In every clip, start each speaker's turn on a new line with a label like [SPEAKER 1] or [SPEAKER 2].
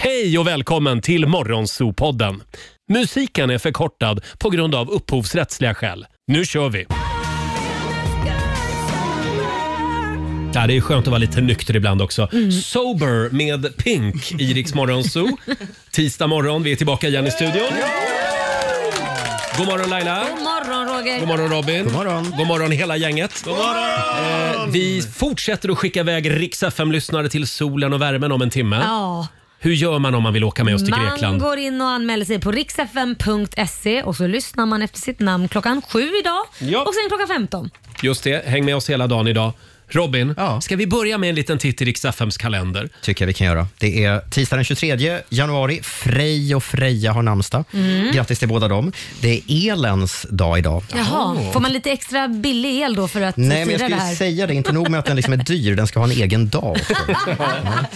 [SPEAKER 1] Hej och välkommen till Morgonzoo-podden. Musiken är förkortad på grund av upphovsrättsliga skäl. Nu kör vi! Ja, det är skönt att vara lite nykter ibland också. Sober med Pink i Rix Morgonzoo. Tisdag morgon, vi är tillbaka igen i studion. God morgon Laila!
[SPEAKER 2] God morgon Roger.
[SPEAKER 1] God morgon Robin. God morgon. God morgon hela gänget. God morgon. Eh, vi fortsätter att skicka iväg Rix FM-lyssnare till solen och värmen om en timme.
[SPEAKER 2] Ja.
[SPEAKER 1] Hur gör man om man vill åka med oss till
[SPEAKER 2] Man
[SPEAKER 1] Grekland?
[SPEAKER 2] går in och anmäler sig på riksfm.se och så lyssnar man efter sitt namn klockan sju idag
[SPEAKER 1] Ja.
[SPEAKER 2] och sen klockan 15.
[SPEAKER 1] Just det, häng med oss hela dagen idag. Robin,
[SPEAKER 3] Ja.
[SPEAKER 1] ska vi börja med en liten titt i Rix FMs kalender?
[SPEAKER 3] tycker jag vi kan göra. Det är tisdag den 23 januari. Frej och Freja har namnsdag.
[SPEAKER 2] Mm.
[SPEAKER 3] Grattis till båda dem. Det är elens dag idag.
[SPEAKER 2] Jaha, får man lite extra billig el då för att
[SPEAKER 3] Nej, men jag
[SPEAKER 2] fira det
[SPEAKER 3] skulle
[SPEAKER 2] här?
[SPEAKER 3] ju säga det. Inte nog med att den liksom är dyr, den ska ha en egen dag också. Mm.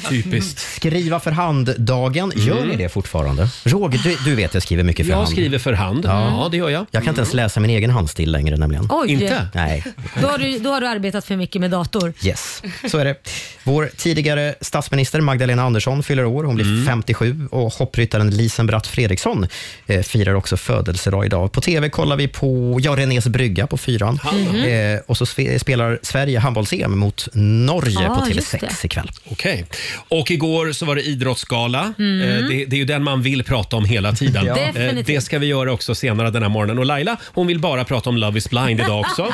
[SPEAKER 1] Typiskt. Mm.
[SPEAKER 3] Skriva för hand-dagen, gör ni det fortfarande? Roger, du, du vet jag skriver mycket för
[SPEAKER 1] Jag
[SPEAKER 3] hand.
[SPEAKER 1] skriver för hand. Ja, det gör jag. Mm.
[SPEAKER 3] Jag kan inte ens läsa min egen handstil längre nämligen.
[SPEAKER 2] Oj,
[SPEAKER 1] Inte?
[SPEAKER 3] Nej,
[SPEAKER 2] Då, har du, då har du arbetat för mycket med dator.
[SPEAKER 3] Yes, så är det. Vår tidigare statsminister Magdalena Andersson fyller år. Hon blir
[SPEAKER 1] Mm.
[SPEAKER 3] 57 och hoppryttaren Lisen Bratt Fredriksson eh, firar också födelsedag idag. På TV kollar vi på ja, Renés brygga på fyran.
[SPEAKER 1] Mm-hmm.
[SPEAKER 3] Eh, och så spe- spelar Sverige handbolls-EM mot Norge
[SPEAKER 2] Ja,
[SPEAKER 3] på
[SPEAKER 2] just
[SPEAKER 3] TV6
[SPEAKER 2] det.
[SPEAKER 3] ikväll.
[SPEAKER 1] Okej. Och igår så var det idrottsgala. Eh, Det, det är ju den man vill prata om hela tiden.
[SPEAKER 3] Ja.
[SPEAKER 1] Eh,
[SPEAKER 2] Mm. Definitivt.
[SPEAKER 1] Det ska vi göra också senare den här morgonen. Och Laila, hon vill bara prata om Love is blind idag också.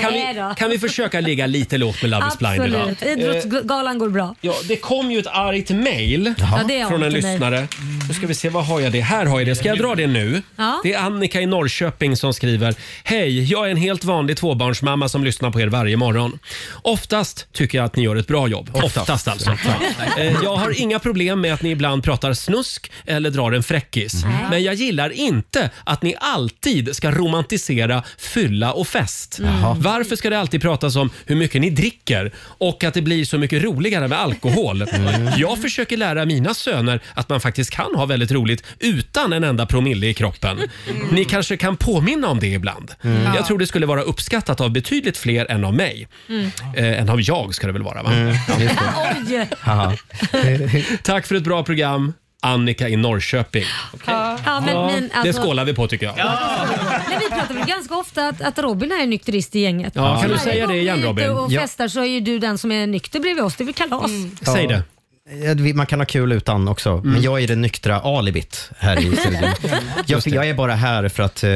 [SPEAKER 1] Kan
[SPEAKER 2] Nej
[SPEAKER 1] vi,
[SPEAKER 2] då.
[SPEAKER 1] kan vi försöka ligga lite lågt med Love is blind idag?
[SPEAKER 2] Absolut, idrottsgalan går bra.
[SPEAKER 1] Ja, det kom ju ett argt mejl
[SPEAKER 2] Ja, det är
[SPEAKER 1] från en
[SPEAKER 2] argt mejl.
[SPEAKER 1] lyssnare. Nu ska vi se, vad har jag det? Här har jag det. Ska jag dra det nu?
[SPEAKER 2] Ja.
[SPEAKER 1] Det är Annika i Norrköping som skriver. Hej, jag är en helt vanlig tvåbarnsmamma som lyssnar på er varje morgon. Oftast tycker jag att ni gör ett bra jobb. Oftast, alltså. Eh, Jag har inga problem med att ni ibland pratar snusk eller drar en fräckis. Men jag gillar inte att ni alltid ska romantisera fylla och fest. Varför ska det alltid pratas om hur mycket ni dricker och att det blir så mycket roligare med alkohol? Jag försöker lära mina söner att man faktiskt kan ha väldigt roligt utan en enda promille i kroppen. Ni kanske kan påminna om det ibland. Jag tror det skulle vara uppskattat av betydligt fler än av mig.
[SPEAKER 2] Mm.
[SPEAKER 1] Eh, än av jag ska det väl vara va?
[SPEAKER 2] Oj!
[SPEAKER 3] Haha.
[SPEAKER 1] Tack för ett bra program. Annika i Norrköping.
[SPEAKER 2] Ja, men,
[SPEAKER 1] Det
[SPEAKER 2] men, alltså,
[SPEAKER 1] skålar vi på tycker jag.
[SPEAKER 2] men vi pratar väl ganska ofta att, att Robin är nykterist i gänget.
[SPEAKER 1] Ja, kan du
[SPEAKER 2] Varje
[SPEAKER 1] säga
[SPEAKER 2] gång
[SPEAKER 1] det igen,
[SPEAKER 2] vi är ute
[SPEAKER 1] Robin?
[SPEAKER 2] och
[SPEAKER 3] Ja.
[SPEAKER 2] festar så är ju du den som är nykter bredvid oss. Det är väl kalas?
[SPEAKER 1] Säg det. Mm.
[SPEAKER 3] Eh, vi- Man kan ha kul utan också, men jag är det nyktra alibit här i studion. jag, jag är bara här för att, eh,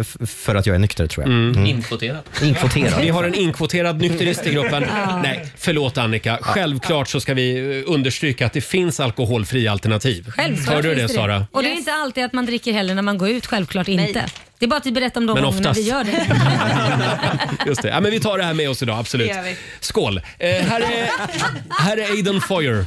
[SPEAKER 3] f- för att jag är nykter tror jag. Mm.
[SPEAKER 4] Inkvoterat.
[SPEAKER 3] Inkvoterad.
[SPEAKER 1] Mm. Vi har en inkvoterad nykterist i gruppen. Nej, förlåt Annika. Självklart så ska vi eh, understryka att det finns alkoholfria alternativ.
[SPEAKER 2] Självklart
[SPEAKER 1] Hör du
[SPEAKER 2] finns
[SPEAKER 1] det Sara?
[SPEAKER 2] Och det är inte alltid att man dricker heller när man går ut, självklart inte. Det är bara att vi berättar om de
[SPEAKER 1] Men
[SPEAKER 2] gångerna
[SPEAKER 1] oftast.
[SPEAKER 2] vi gör det.
[SPEAKER 1] Just det. Ja, men vi tar det här med oss idag, absolut.
[SPEAKER 5] Det gör vi.
[SPEAKER 1] Skål! Eh, här, är, här är Aiden Foyer.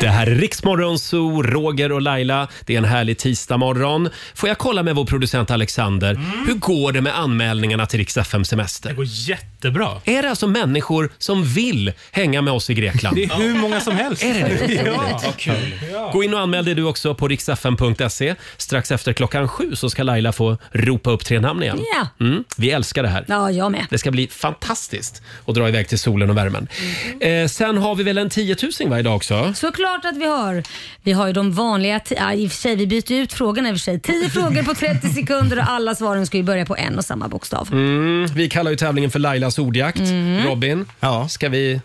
[SPEAKER 1] Det här är Riksmorgon Zoo, Roger och Laila. Det är en härlig tisdagmorgon. Får jag kolla med vår producent Alexander. Hur går det med anmälningarna till Rix FM Semester?
[SPEAKER 6] Mm. Det går jättebra.
[SPEAKER 1] Är det alltså människor som vill hänga med oss i Grekland?
[SPEAKER 6] Det är hur många som helst. Är det ja. kul.
[SPEAKER 1] Gå in och anmäl dig du också på riksfm.se. Strax efter klockan sju så ska Laila få ropa upp tre namn igen.
[SPEAKER 2] Ja.
[SPEAKER 1] Mm, vi älskar det här.
[SPEAKER 2] ja, jag med.
[SPEAKER 1] Det ska bli fantastiskt att dra iväg till solen och värmen.
[SPEAKER 2] Mm.
[SPEAKER 1] Eh, sen har vi väl en tiotusing varje dag också?
[SPEAKER 2] Såklart att vi har. Vi har ju de vanliga, ti- ja, i och för sig, vi byter ut frågorna i och för sig. 10 frågor på 30 sekunder och alla svaren ska ju börja på en och samma bokstav.
[SPEAKER 1] Mm, vi kallar ju tävlingen för Lailas ordjakt.
[SPEAKER 2] Mm.
[SPEAKER 1] Robin,
[SPEAKER 3] Ja.
[SPEAKER 1] ska, vi,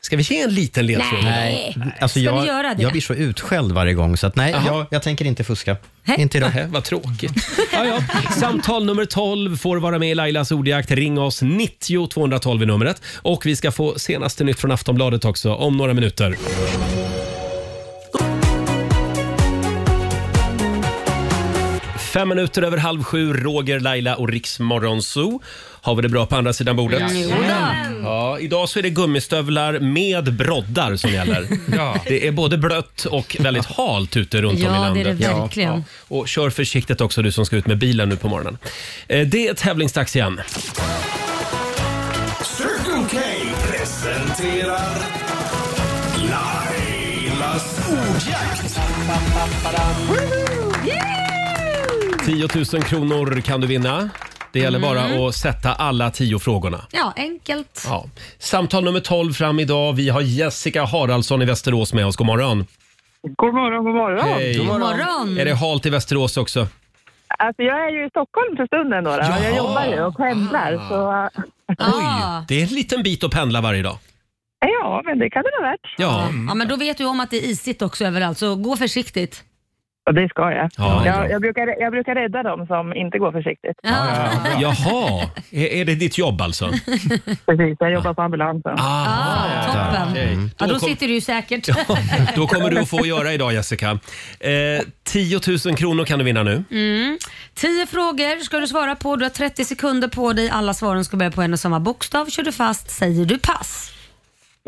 [SPEAKER 1] ska vi ge en liten ledtråd?
[SPEAKER 3] Nej. Alltså
[SPEAKER 2] Ska vi
[SPEAKER 3] jag,
[SPEAKER 2] göra det?
[SPEAKER 3] jag blir så utskälld varje gång, så att nej, jag, jag tänker inte fuska.
[SPEAKER 2] Hä?
[SPEAKER 3] Inte idag.
[SPEAKER 1] Nähä, vad tråkigt. Ja, ja. Samtal nummer 12 får vara med i Lailas ordjakt. Ring oss, 90 212 är numret. Och vi ska få senaste nytt från Aftonbladet också om några minuter. Fem minuter över halv sju, Roger, Laila och Riksmorgon Zoo. Har vi det bra på andra sidan bordet? Ja, idag så är det gummistövlar med broddar som gäller. Det är både blött och väldigt halt ute runt om i
[SPEAKER 2] Ja, det
[SPEAKER 1] landet.
[SPEAKER 2] är det verkligen.
[SPEAKER 1] Och kör försiktigt också du som ska ut med bilen nu på morgonen. Eh, Det är tävlingsdags igen.
[SPEAKER 7] Circle K presenterar Lailas ordjakt.
[SPEAKER 1] 10 000 kronor kan du vinna. Det gäller
[SPEAKER 2] Mm.
[SPEAKER 1] bara att sätta alla tio frågorna.
[SPEAKER 2] Ja, enkelt.
[SPEAKER 1] Ja. Samtal nummer 12 fram idag. Vi har Jessica Haraldsson i Västerås med oss. God morgon.
[SPEAKER 4] God morgon, god morgon.
[SPEAKER 1] Hej.
[SPEAKER 2] God morgon.
[SPEAKER 1] Är det halt i Västerås också?
[SPEAKER 4] Alltså, jag är ju i Stockholm för stunden då. då.
[SPEAKER 1] Jaha. Ah.
[SPEAKER 4] Jag jobbar ju och pendlar. Så
[SPEAKER 2] Ja.
[SPEAKER 1] Det är en liten bit att pendla varje dag.
[SPEAKER 4] ja, men det kan det vara värt.
[SPEAKER 1] Ja.
[SPEAKER 2] ja, men då vet du om att det är isigt också överallt, så gå försiktigt.
[SPEAKER 4] Och det ska jag.
[SPEAKER 1] Ja, det är bra.
[SPEAKER 4] jag, jag, brukar, jag brukar rädda dem som inte går försiktigt.
[SPEAKER 1] Jaha, är, är det ditt jobb alltså?
[SPEAKER 4] Precis, jag jobbar på ambulansen.
[SPEAKER 1] Ah,
[SPEAKER 2] Ah, toppen.
[SPEAKER 1] okej.
[SPEAKER 2] Ja,
[SPEAKER 1] Då
[SPEAKER 2] då
[SPEAKER 1] kom-
[SPEAKER 2] sitter du ju säkert.
[SPEAKER 1] Då kommer du att få göra idag Jessica. Eh, 10 000 kronor kan du vinna nu.
[SPEAKER 2] Mm. Tio frågor ska du svara på. Du har 30 sekunder på dig. Alla svaren ska börja på en och samma bokstav. Kör du fast säger du pass.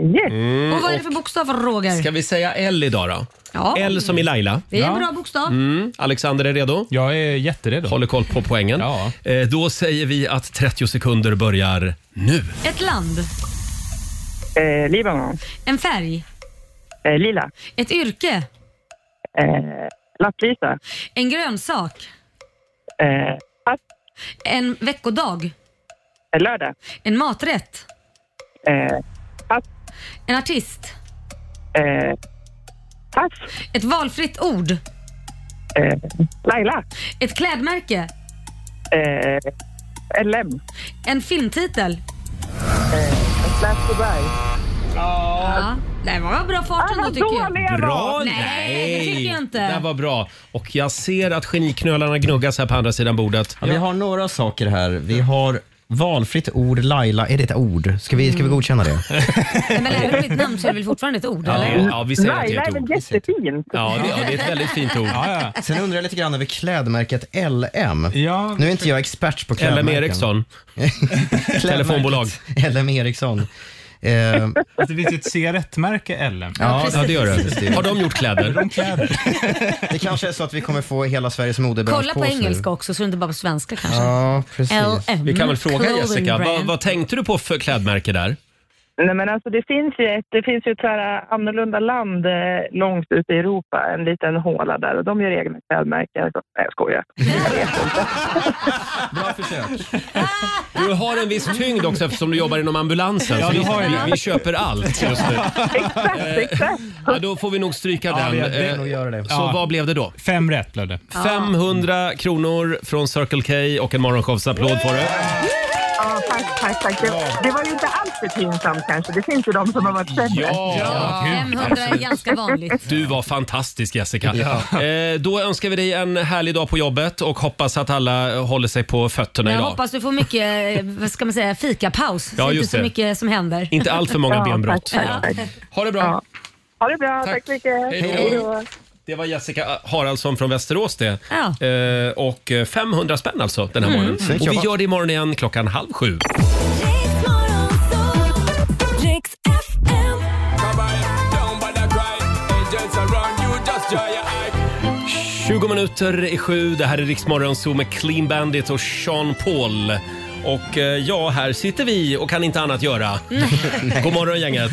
[SPEAKER 4] Yes.
[SPEAKER 2] och vad är det för bokstav, Roger?
[SPEAKER 1] Mm, Ska vi säga L idag då?
[SPEAKER 2] Ja,
[SPEAKER 1] L som i Laila.
[SPEAKER 2] det är en
[SPEAKER 6] Ja.
[SPEAKER 2] bra bokstav.
[SPEAKER 1] Mm. Alexander är redo?
[SPEAKER 6] Jag är jätterädd.
[SPEAKER 1] Håller koll på poängen.
[SPEAKER 6] Ja.
[SPEAKER 1] Eh, då säger vi att 30 sekunder börjar nu.
[SPEAKER 2] Ett land,
[SPEAKER 4] Eh, Libanon.
[SPEAKER 2] en färg,
[SPEAKER 4] Eh, lila.
[SPEAKER 2] ett yrke,
[SPEAKER 4] Eh, lapplisa.
[SPEAKER 2] en grönsak,
[SPEAKER 4] Eh, pass.
[SPEAKER 2] en veckodag,
[SPEAKER 4] Eh, lördag.
[SPEAKER 2] en maträtt,
[SPEAKER 4] Eh, pass.
[SPEAKER 2] en artist,
[SPEAKER 4] Eh, pass.
[SPEAKER 2] ett valfritt ord,
[SPEAKER 4] Eh, Laila.
[SPEAKER 2] ett klädmärke,
[SPEAKER 4] Eh, LM.
[SPEAKER 2] en filmtitel.
[SPEAKER 4] Last Dubai.
[SPEAKER 2] Ja, det var bra fart ändå
[SPEAKER 4] Ah, vad
[SPEAKER 2] tycker jag.
[SPEAKER 4] dålig jag var!
[SPEAKER 1] Bra!
[SPEAKER 2] Nej, det tycker jag inte.
[SPEAKER 1] Det där var bra. Och jag ser att geniknölarna gnuggas här på andra sidan bordet.
[SPEAKER 3] Ja, vi har några saker här. Vi har valfritt ord. Laila, är det ett ord? Ska vi, ska vi godkänna det?
[SPEAKER 2] Nej, Men även om mitt namn så är det väl fortfarande ett ord?
[SPEAKER 1] Ja,
[SPEAKER 2] Eller?
[SPEAKER 1] ja vi säger att det
[SPEAKER 4] Laila
[SPEAKER 1] är
[SPEAKER 4] är
[SPEAKER 1] ett
[SPEAKER 4] väl
[SPEAKER 1] ord.
[SPEAKER 4] jättefint?
[SPEAKER 1] Ja, det, ja, det är ett väldigt fint ord.
[SPEAKER 6] Ja, ja.
[SPEAKER 3] Sen undrar jag lite grann över klädmärket LM.
[SPEAKER 6] Ja.
[SPEAKER 3] Nu är inte jag expert på klädmärken.
[SPEAKER 1] LM Eriksson.
[SPEAKER 3] Klädmärket
[SPEAKER 1] Telefonbolag.
[SPEAKER 3] LM Eriksson. Eh,
[SPEAKER 6] Alltså, Det finns ju ett cigarettmärke LM.
[SPEAKER 3] ja,
[SPEAKER 1] Ja, det gör det. Har de gjort kläder?
[SPEAKER 6] Kläder.
[SPEAKER 3] det kanske är så att vi kommer få hela Sveriges modebransch
[SPEAKER 2] Kolla på
[SPEAKER 3] oss
[SPEAKER 2] engelska också så det inte bara på svenska kanske.
[SPEAKER 3] Nu. Ja, precis.
[SPEAKER 2] LM.
[SPEAKER 1] Vi kan väl fråga
[SPEAKER 2] clothing
[SPEAKER 1] Jessica,
[SPEAKER 2] brand.
[SPEAKER 1] vad, vad tänkte du på för klädmärke där?
[SPEAKER 4] Nej, men alltså, det finns ju ett, det finns ju ett så här eh, annorlunda land eh, långt ute i Europa, en liten håla där och de gör egna klädmärken. Så- Nej, jag skojar.
[SPEAKER 3] Bra försök.
[SPEAKER 1] Du har en viss tyngd också eftersom du jobbar inom ambulansen.
[SPEAKER 6] Ja,
[SPEAKER 1] så
[SPEAKER 6] du
[SPEAKER 1] vi,
[SPEAKER 6] har ju
[SPEAKER 1] vi,
[SPEAKER 6] det.
[SPEAKER 1] vi köper allt just nu. Eh,
[SPEAKER 4] Exakt, exakt.
[SPEAKER 1] Ja, då får vi nog stryka
[SPEAKER 6] Ja,
[SPEAKER 1] den.
[SPEAKER 6] vi- det är
[SPEAKER 1] Eh,
[SPEAKER 3] nog göra det.
[SPEAKER 1] Så
[SPEAKER 6] Ja.
[SPEAKER 1] vad blev det då?
[SPEAKER 6] Fem rätt blev det.
[SPEAKER 1] 500 kronor från Circle K och en morgonshowsapplåd får du.
[SPEAKER 4] Ja, tack, tack, tack. Det, det var ju inte alls för pinsamt kanske. Det finns ju de som har varit sämre.
[SPEAKER 1] Ja,
[SPEAKER 2] 500 är ganska vanligt.
[SPEAKER 1] du var fantastisk Jessica. Eh, då önskar vi dig en härlig dag på jobbet och hoppas att alla håller sig på fötterna
[SPEAKER 2] Jag
[SPEAKER 1] idag.
[SPEAKER 2] hoppas du får mycket, eh, vad ska man säga, fikapaus. Så
[SPEAKER 1] Ja,
[SPEAKER 2] inte
[SPEAKER 1] just
[SPEAKER 2] så
[SPEAKER 1] det.
[SPEAKER 2] mycket som händer.
[SPEAKER 1] Inte allt för många benbrott.
[SPEAKER 4] tack, tack.
[SPEAKER 1] Ha det bra.
[SPEAKER 4] Ja. Ha det bra.
[SPEAKER 1] Tack.
[SPEAKER 4] Tack, så mycket.
[SPEAKER 1] Hej då. Det var Jessica Haraldsson från Västerås det.
[SPEAKER 2] Ja.
[SPEAKER 1] Eh, och eh, 500 spänn alltså den här
[SPEAKER 5] Mm.
[SPEAKER 1] morgonen. Och vi
[SPEAKER 3] jobbat.
[SPEAKER 1] gör det imorgon igen klockan halv sju.
[SPEAKER 7] Come on, down by the grind. Angels around you, just try your eye.
[SPEAKER 1] 20 minuter i sju. Det här är Riksmorgon Zoo med Clean Bandit och Sean Paul. Och eh, ja, här sitter vi och kan inte annat göra. God morgon gänget.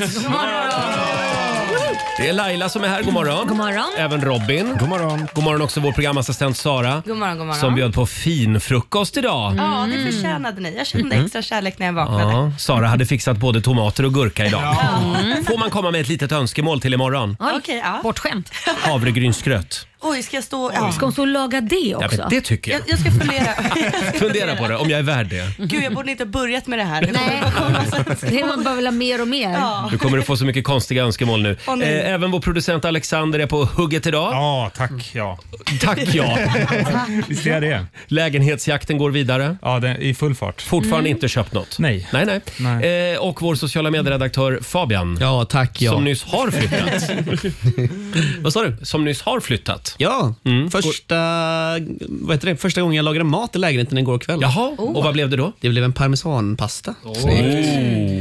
[SPEAKER 1] Det är Laila som är här. God morgon.
[SPEAKER 2] God morgon.
[SPEAKER 1] Även Robin.
[SPEAKER 3] God morgon.
[SPEAKER 1] God morgon också vår programassistent Sara.
[SPEAKER 5] God morgon, god morgon.
[SPEAKER 1] Som bjöd på fin frukost idag.
[SPEAKER 5] Ja, det förtjänade ni. Jag kände extra kärlek när jag vaknade.
[SPEAKER 1] Ja, Sara hade fixat både tomater och gurka idag.
[SPEAKER 5] Mm.
[SPEAKER 1] Får man komma med ett litet önskemål till imorgon?
[SPEAKER 2] Oj,
[SPEAKER 5] Okej, ja.
[SPEAKER 2] Bortskämt.
[SPEAKER 1] Havregrynsgröt.
[SPEAKER 5] Oj, ska jag stå... Ja.
[SPEAKER 2] Ska hon stå och laga det
[SPEAKER 1] Ja,
[SPEAKER 2] också?
[SPEAKER 1] men det tycker jag.
[SPEAKER 5] Jag, jag ska fundera.
[SPEAKER 1] Fundera på det, om jag är värd det.
[SPEAKER 5] Gud, jag borde inte ha börjat med det här.
[SPEAKER 2] Nej, det man bara vill ha mer och mer.
[SPEAKER 5] Ja.
[SPEAKER 1] Du kommer att få så mycket konstiga önskemål nu.
[SPEAKER 5] Åh, nej.
[SPEAKER 1] eh, även vår producent Alexander är på hugget idag.
[SPEAKER 6] Ja, tack. Ja.
[SPEAKER 1] Tack ja!
[SPEAKER 6] Visst är jag det?
[SPEAKER 1] Lägenhetsjakten går vidare.
[SPEAKER 6] Ja, den, i full fart.
[SPEAKER 1] Fortfarande
[SPEAKER 5] Mm.
[SPEAKER 1] inte köpt något.
[SPEAKER 6] Nej.
[SPEAKER 1] nej. nej.
[SPEAKER 6] Nej.
[SPEAKER 1] Eh, och vår sociala medieredaktör Fabian.
[SPEAKER 8] Ja, tack ja.
[SPEAKER 1] Som nyss har flyttat. Vad sa du? Som nyss har flyttat?
[SPEAKER 8] Ja,
[SPEAKER 1] Mm.
[SPEAKER 8] första, vad heter det? första gången jag lagade mat i lägenheten igår kväll.
[SPEAKER 1] Jaha, Oh. och vad blev det då?
[SPEAKER 8] Det blev en parmesanpasta.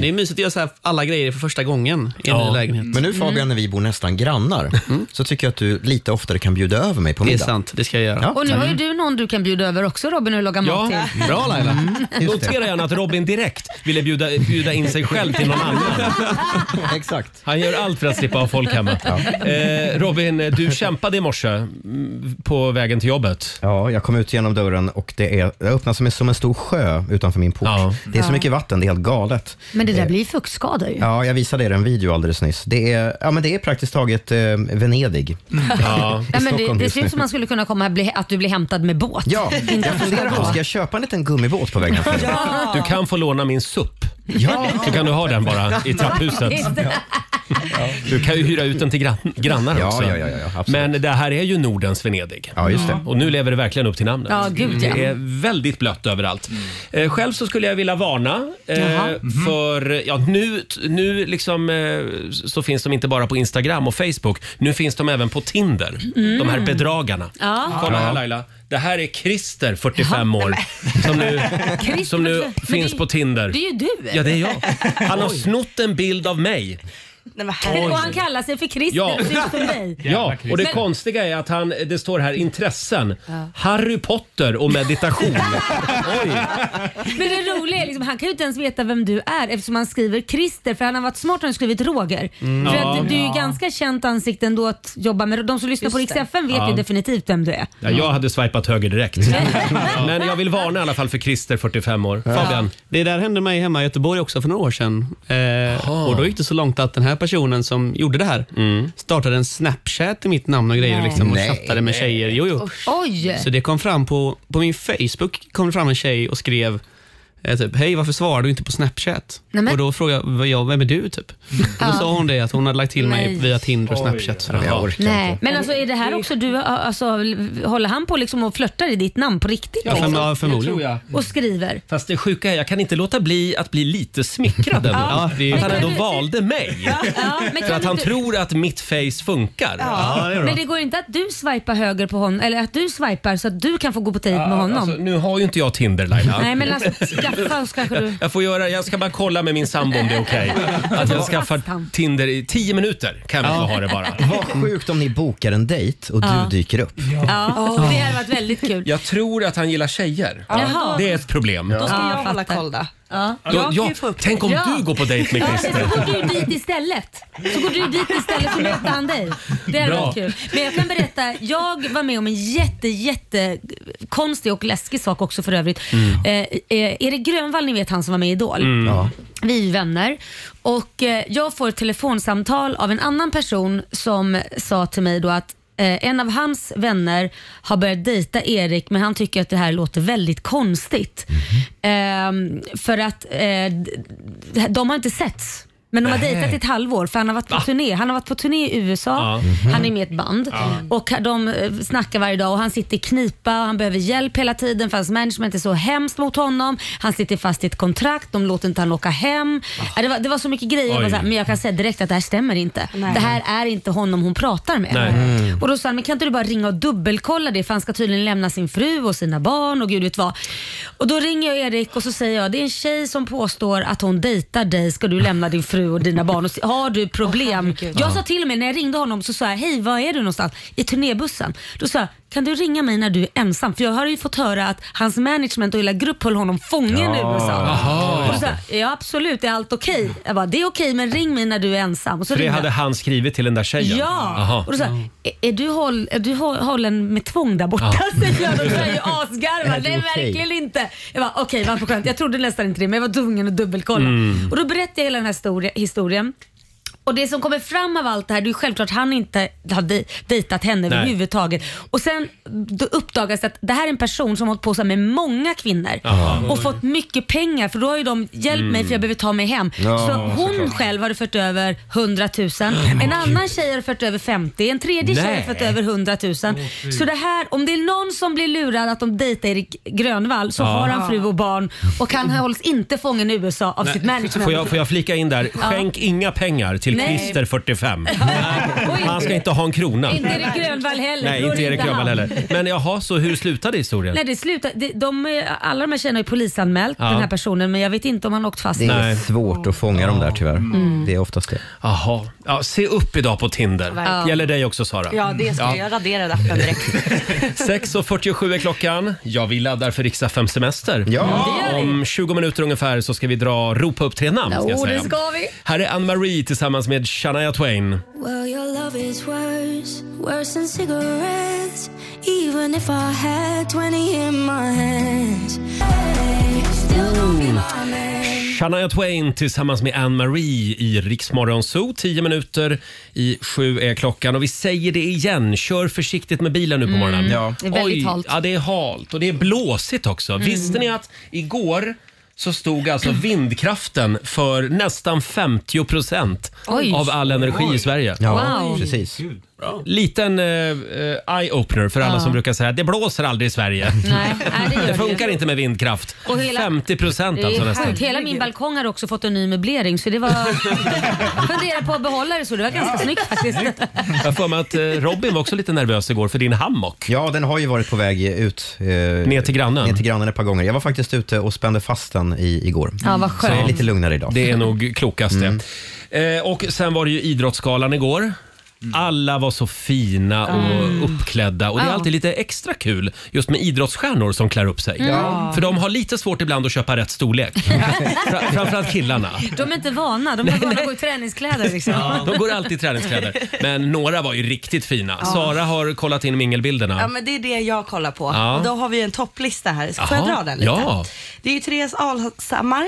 [SPEAKER 8] Det är mysigt att göra så här alla grejer för första gången i en
[SPEAKER 1] Ja.
[SPEAKER 8] ny lägenhet. Mm.
[SPEAKER 3] Men nu Fabian, när vi bor nästan grannar, så tycker jag att du lite oftare kan bjuda över mig på
[SPEAKER 8] Det är
[SPEAKER 3] middag.
[SPEAKER 8] sant, det ska jag göra.
[SPEAKER 3] Ja.
[SPEAKER 2] Och nu har ju du någon du kan bjuda över också Robin och laga mat
[SPEAKER 1] Ja,
[SPEAKER 2] till.
[SPEAKER 1] bra Laila.
[SPEAKER 3] Mm, Just det.
[SPEAKER 1] Notera gärna att Robin direkt ville bjuda, bjuda in sig själv till någon annan.
[SPEAKER 3] Exakt.
[SPEAKER 1] Han gör allt för att slippa ha folk hemma. Eh, Robin, du kämpade i morse mm, på vägen till jobbet.
[SPEAKER 3] Ja, jag kom ut genom dörren och det, är, det öppnas som en, som en stor sjö utanför min port.
[SPEAKER 1] Ja.
[SPEAKER 3] Det är så mycket vatten, det är helt galet. Eh,
[SPEAKER 2] Men det där blir ju fuktskador ju.
[SPEAKER 3] Ja, jag visade er en video alldeles nyss. Det är, ja, men det är praktiskt taget eh, Venedig.
[SPEAKER 8] Mm.
[SPEAKER 1] Ja.
[SPEAKER 2] Ja, men det,
[SPEAKER 3] Stockholm
[SPEAKER 2] det
[SPEAKER 3] just
[SPEAKER 2] ser ut som
[SPEAKER 3] nu.
[SPEAKER 2] man skulle kunna komma och bli, att du blir hämtad med båt.
[SPEAKER 3] Ja, jag funderar på, ska jag köpa en liten gummibåt på vägen hem?
[SPEAKER 1] Du kan få låna min SUP.
[SPEAKER 3] Ja,
[SPEAKER 1] Så kan du ha den bara i trapphuset. Du kan ju hyra ut den till gran- grannar
[SPEAKER 3] Ja,
[SPEAKER 1] också.
[SPEAKER 3] ja, ja, ja, absolut.
[SPEAKER 1] Men det här är ju Nordens Venedig.
[SPEAKER 3] ja just det.
[SPEAKER 1] Och nu lever det verkligen upp till namnet.
[SPEAKER 2] Ja, gud, ja.
[SPEAKER 1] Det är väldigt blött överallt. Eh, själv så skulle jag vilja varna eh,
[SPEAKER 2] Jaha. Mhm.
[SPEAKER 1] för, ja nu, nu liksom eh, så finns de inte bara på Instagram och Facebook. Nu finns de även på Tinder. De
[SPEAKER 2] Mm.
[SPEAKER 1] här bedragarna.
[SPEAKER 2] Ja.
[SPEAKER 1] Kolla här Laila. Det här är Christer, 45 år, som nu,
[SPEAKER 2] Christer,
[SPEAKER 1] som nu
[SPEAKER 2] men
[SPEAKER 1] finns
[SPEAKER 2] det-
[SPEAKER 1] på Tinder.
[SPEAKER 2] Det är ju du.
[SPEAKER 1] Ja, det är jag. Han har snott en bild av mig.
[SPEAKER 5] Nej, men
[SPEAKER 2] Och
[SPEAKER 5] herregud.
[SPEAKER 2] han kallar sig för Christer,
[SPEAKER 1] Ja.
[SPEAKER 2] det ser ut som dig.
[SPEAKER 1] Ja, och det
[SPEAKER 2] Men-
[SPEAKER 1] konstiga är att han, det står här intressen. Harry Potter och meditation. Oj!
[SPEAKER 2] Men det roliga är liksom, han kan ju inte ens veta vem du är eftersom han skriver Christer för han har varit smart och han skrivit Roger.
[SPEAKER 8] Mm.
[SPEAKER 2] För att du är ju ganska känt ansikte ändå att jobba med. De som lyssnar på Rix FM vet ju definitivt vem du är.
[SPEAKER 1] Ja, jag hade swipat höger direkt. Men jag vill varna i alla fall för Christer, 45 år. Fabian?
[SPEAKER 8] Det där hände mig hemma i Göteborg också för några år sedan. Eh, och då gick det så långt att den här personen som gjorde det här
[SPEAKER 1] Mm.
[SPEAKER 8] startade en Snapchat i mitt namn och grejer liksom, och
[SPEAKER 3] Nej.
[SPEAKER 8] chattade med tjejer. Jo, jo.
[SPEAKER 2] Oj!
[SPEAKER 8] Så det kom fram på, på min Facebook kom det fram en tjej och skrev eh, Typ, hej varför svarar du inte på Snapchat?
[SPEAKER 2] Nämen. Mm.
[SPEAKER 8] Och då frågade jag, "Vad- jag vem är du? Typ. Och då sa hon det, att hon hade lagt till mig
[SPEAKER 2] Nej.
[SPEAKER 8] via Tinder och Snapchat. Så
[SPEAKER 3] Jag orkar
[SPEAKER 2] Nej,
[SPEAKER 3] inte.
[SPEAKER 2] men alltså är det här också du, alltså håller han på liksom och flörtar i ditt namn på riktigt?
[SPEAKER 8] Ja,
[SPEAKER 2] liksom?
[SPEAKER 8] ja, förmodligen.
[SPEAKER 1] Det tror jag.
[SPEAKER 2] Och skriver?
[SPEAKER 1] Fast det sjuka är, jag kan inte låta bli att bli lite smickrad ändå.
[SPEAKER 8] Ja, det är-
[SPEAKER 1] Att han ändå
[SPEAKER 2] Men-
[SPEAKER 1] valde mig.
[SPEAKER 2] Ja, men
[SPEAKER 1] För
[SPEAKER 2] kan
[SPEAKER 1] att
[SPEAKER 2] du
[SPEAKER 1] han
[SPEAKER 2] inte-
[SPEAKER 1] tror att mitt face funkar.
[SPEAKER 2] Men det går inte att du swipar höger på honom, eller att du swipar så att du kan få gå på dejt med honom.
[SPEAKER 1] Alltså, nu har ju inte jag Tinder Laila.
[SPEAKER 2] Nej men alltså skaffa oss kanske du...
[SPEAKER 1] Jag, får göra, jag ska bara kolla med min sambo om det är okej. Att jag skaffar Tinder i tio minuter kan vi få ha det bara.
[SPEAKER 3] Vad sjukt om ni bokar en dejt och du dyker upp.
[SPEAKER 2] Ja, det hade varit väldigt kul.
[SPEAKER 1] Jag tror att han gillar tjejer.
[SPEAKER 2] Jaha.
[SPEAKER 1] Det är ett problem.
[SPEAKER 5] Då ska jag
[SPEAKER 2] Ja, jag
[SPEAKER 5] hålla
[SPEAKER 2] fattar.
[SPEAKER 5] koll då.
[SPEAKER 2] Ja.
[SPEAKER 1] Då-
[SPEAKER 5] Jag kan
[SPEAKER 1] ja,
[SPEAKER 5] ju få upp det.
[SPEAKER 1] tänk om
[SPEAKER 2] Ja.
[SPEAKER 1] du går på dejt med
[SPEAKER 2] Ja,
[SPEAKER 1] Christer.
[SPEAKER 2] eller så går du dit istället. Så går du dit istället så möter han dig. Det hade
[SPEAKER 1] Bra.
[SPEAKER 2] varit kul. Men jag kan berätta, jag var med om en jätte, jätte konstig och läskig sak också för övrigt. Eh, eh, Erik Grönvall, ni vet han som var med i Idol.
[SPEAKER 1] Mm.
[SPEAKER 3] Ja.
[SPEAKER 2] Vi är ju vänner och eh, jag får ett telefonsamtal av en annan person som sa till mig då att eh, en av hans vänner har börjat dejta Erik men han tycker att det här låter väldigt konstigt. Ehm, för att eh, d- d- de har inte setts. Men de har dejtat i ett halvår för han har varit på turné. Han har varit på turné i USA, han är med i ett band och de eh, snackar varje dag och han sitter i knipa och han behöver hjälp hela tiden för hans management är så hemskt mot honom. Han sitter fast i ett kontrakt, de låter inte han åka hem. Ja, Det, var, det var så mycket grejer, Jag
[SPEAKER 1] Ah. Oj.
[SPEAKER 2] var så här, men jag kan säga direkt att det här stämmer inte.
[SPEAKER 5] Nej.
[SPEAKER 2] Det här är inte honom hon pratar med.
[SPEAKER 1] Nej.
[SPEAKER 2] Och då sa han, men kan inte du bara ringa och dubbelkolla det för han ska tydligen lämna sin fru och sina barn och gud vet vad. Och då ringer jag Erik och så säger jag, det är en tjej som påstår att hon dejtar dig, ska du lämna din fru och dina barn? Och se- har du problem? jag sa till och med när jag ringde honom så sa jag, hej var är du någonstans? I turnébussen. Då sa jag, kan du ringa mig när du är ensam? För jag har ju fått höra att hans management och hela grupp höll honom fången i USA. Och då sa jag, ja absolut, är allt okej? Jag bara, det är okej men ring mig när du är ensam. Och så
[SPEAKER 1] För det
[SPEAKER 2] ringde
[SPEAKER 1] hade
[SPEAKER 2] jag.
[SPEAKER 1] han skrivit till den där tjejen?
[SPEAKER 2] Ja!
[SPEAKER 1] Aha.
[SPEAKER 2] Och då sa jag, "Är- är du, håll, är du håll, hållen med tvång där borta? säger jag. Då blir jag ju asgarvad.
[SPEAKER 3] Är du
[SPEAKER 2] Nej
[SPEAKER 3] okej?
[SPEAKER 2] verkligen inte. Jag bara okej vad skönt. Jag trodde nästan inte det men jag var tvungen att dubbelkolla.
[SPEAKER 1] Mm.
[SPEAKER 2] Och då berättade jag hela den här histori- historien. Och det som kommer fram av allt det här, det är ju självklart att han inte har dej- dejtat henne
[SPEAKER 1] Nej.
[SPEAKER 2] överhuvudtaget. Och sen då uppdagas det att det här är en person som har hållit på så här med många kvinnor och fått mycket pengar för då har ju de hjälpt mig
[SPEAKER 1] Mm.
[SPEAKER 2] för jag behöver ta mig hem. så hon själv har fört över 100 000, en annan tjej har fört över 50, en tredje tjej
[SPEAKER 1] Nej.
[SPEAKER 2] har fört över 100 000. så det här, om det är någon som blir lurad att de dejtar Erik Grönvall så har han fru och barn och han hålls inte fången i USA av sitt management.
[SPEAKER 1] Får jag, får jag flika in där? Skänk inga pengar till
[SPEAKER 2] Nej.
[SPEAKER 1] Christer 45.
[SPEAKER 2] Och inte-
[SPEAKER 1] Han ska inte ha en krona.
[SPEAKER 2] Inte Erik Grönvall heller.
[SPEAKER 1] Nej,
[SPEAKER 2] Då är
[SPEAKER 1] inte
[SPEAKER 2] det
[SPEAKER 1] Erik
[SPEAKER 2] han.
[SPEAKER 1] Grönvall heller. Men jaha, så hur slutade historien?
[SPEAKER 2] Nej, det slutar, det, de, alla de här tjejerna har ju polisanmält
[SPEAKER 1] Ja.
[SPEAKER 2] den här personen men jag vet inte om han har åkt fast.
[SPEAKER 3] Det är
[SPEAKER 1] Nej.
[SPEAKER 3] svårt att fånga dem där tyvärr. Mm. Det är oftast det.
[SPEAKER 1] Jaha. Ja, se upp idag på Tinder.
[SPEAKER 5] Verkligen.
[SPEAKER 1] Gäller dig också Sara.
[SPEAKER 5] Ja, det ska jag. Jag raderade appen direkt.
[SPEAKER 1] 6.47 är klockan. Ja, vi laddar för riksdag fem semester.
[SPEAKER 3] Ja.
[SPEAKER 1] Om 20 minuter ungefär så ska vi dra ropa upp tre namn. Ska jag
[SPEAKER 2] Jo,
[SPEAKER 1] säga.
[SPEAKER 2] det ska vi.
[SPEAKER 1] Här är Ann-Marie tillsammans tillsammans med Shania Twain.
[SPEAKER 9] Well, your love is worse, worse than cigarettes. Even if I had 20 in my hands, hey, still don't be my man.
[SPEAKER 1] Shania Twain tillsammans med Anne Marie i Riksmorgon Zoo. 10 minuter i sju är klockan och vi säger det igen. Kör försiktigt med bilen nu på morgonen.
[SPEAKER 10] Ja.
[SPEAKER 2] Det är väldigt halt. Mm.
[SPEAKER 1] Ja, det är halt och det är blåsigt också. Visste ni att igår så stod alltså vindkraften för nästan 50 procent
[SPEAKER 2] Oj.
[SPEAKER 1] av all energi i Sverige.
[SPEAKER 3] Ja,
[SPEAKER 2] Wow.
[SPEAKER 3] precis.
[SPEAKER 1] Liten eh, eh, eye-opener för alla
[SPEAKER 2] Ja.
[SPEAKER 1] som brukar säga att det blåser aldrig i Sverige.
[SPEAKER 2] Nej, nej, det gör
[SPEAKER 1] Det funkar
[SPEAKER 2] ju.
[SPEAKER 1] inte med vindkraft.
[SPEAKER 2] Och hela-
[SPEAKER 1] 50 procent
[SPEAKER 2] Det
[SPEAKER 1] alltså
[SPEAKER 2] är
[SPEAKER 1] nästan.
[SPEAKER 2] sjukt. Hela min balkong har också fått en ny möblering så det var... Funderar på att behålla det så det var ganska snyggt faktiskt.
[SPEAKER 1] Jag har för mig att eh, Robin var också lite nervös igår för din hammock.
[SPEAKER 3] Ja, den har ju varit på väg ut. Eh,
[SPEAKER 1] Ner till grannen.
[SPEAKER 3] Ner till grannen ett par gånger. Jag var faktiskt ute och spände fast den i, igår.
[SPEAKER 2] Ja, vad
[SPEAKER 3] Så jag är
[SPEAKER 2] skönt.
[SPEAKER 3] lite lugnare idag.
[SPEAKER 1] Det är nog klokast det. Eh, och sen var det ju Idrottsgalan igår. Alla var så fina och
[SPEAKER 5] Mm.
[SPEAKER 1] uppklädda och det är
[SPEAKER 2] Ja.
[SPEAKER 1] alltid lite extra kul just med idrottsstjärnor som klär upp sig. För de har lite svårt ibland att köpa rätt storlek. Fra- Framförallt killarna.
[SPEAKER 2] De är inte vana. De är vana att gå i träningskläder liksom.
[SPEAKER 1] De går alltid i träningskläder. Men några var ju riktigt fina. Sara har kollat in mingelbilderna.
[SPEAKER 5] Ja, men det är det jag kollar på.
[SPEAKER 1] Ja.
[SPEAKER 5] Och Då har vi en topplista här. Ska jag
[SPEAKER 1] Jaha,
[SPEAKER 5] dra den lite?
[SPEAKER 1] ja.
[SPEAKER 5] Det är ju Therese Alshammar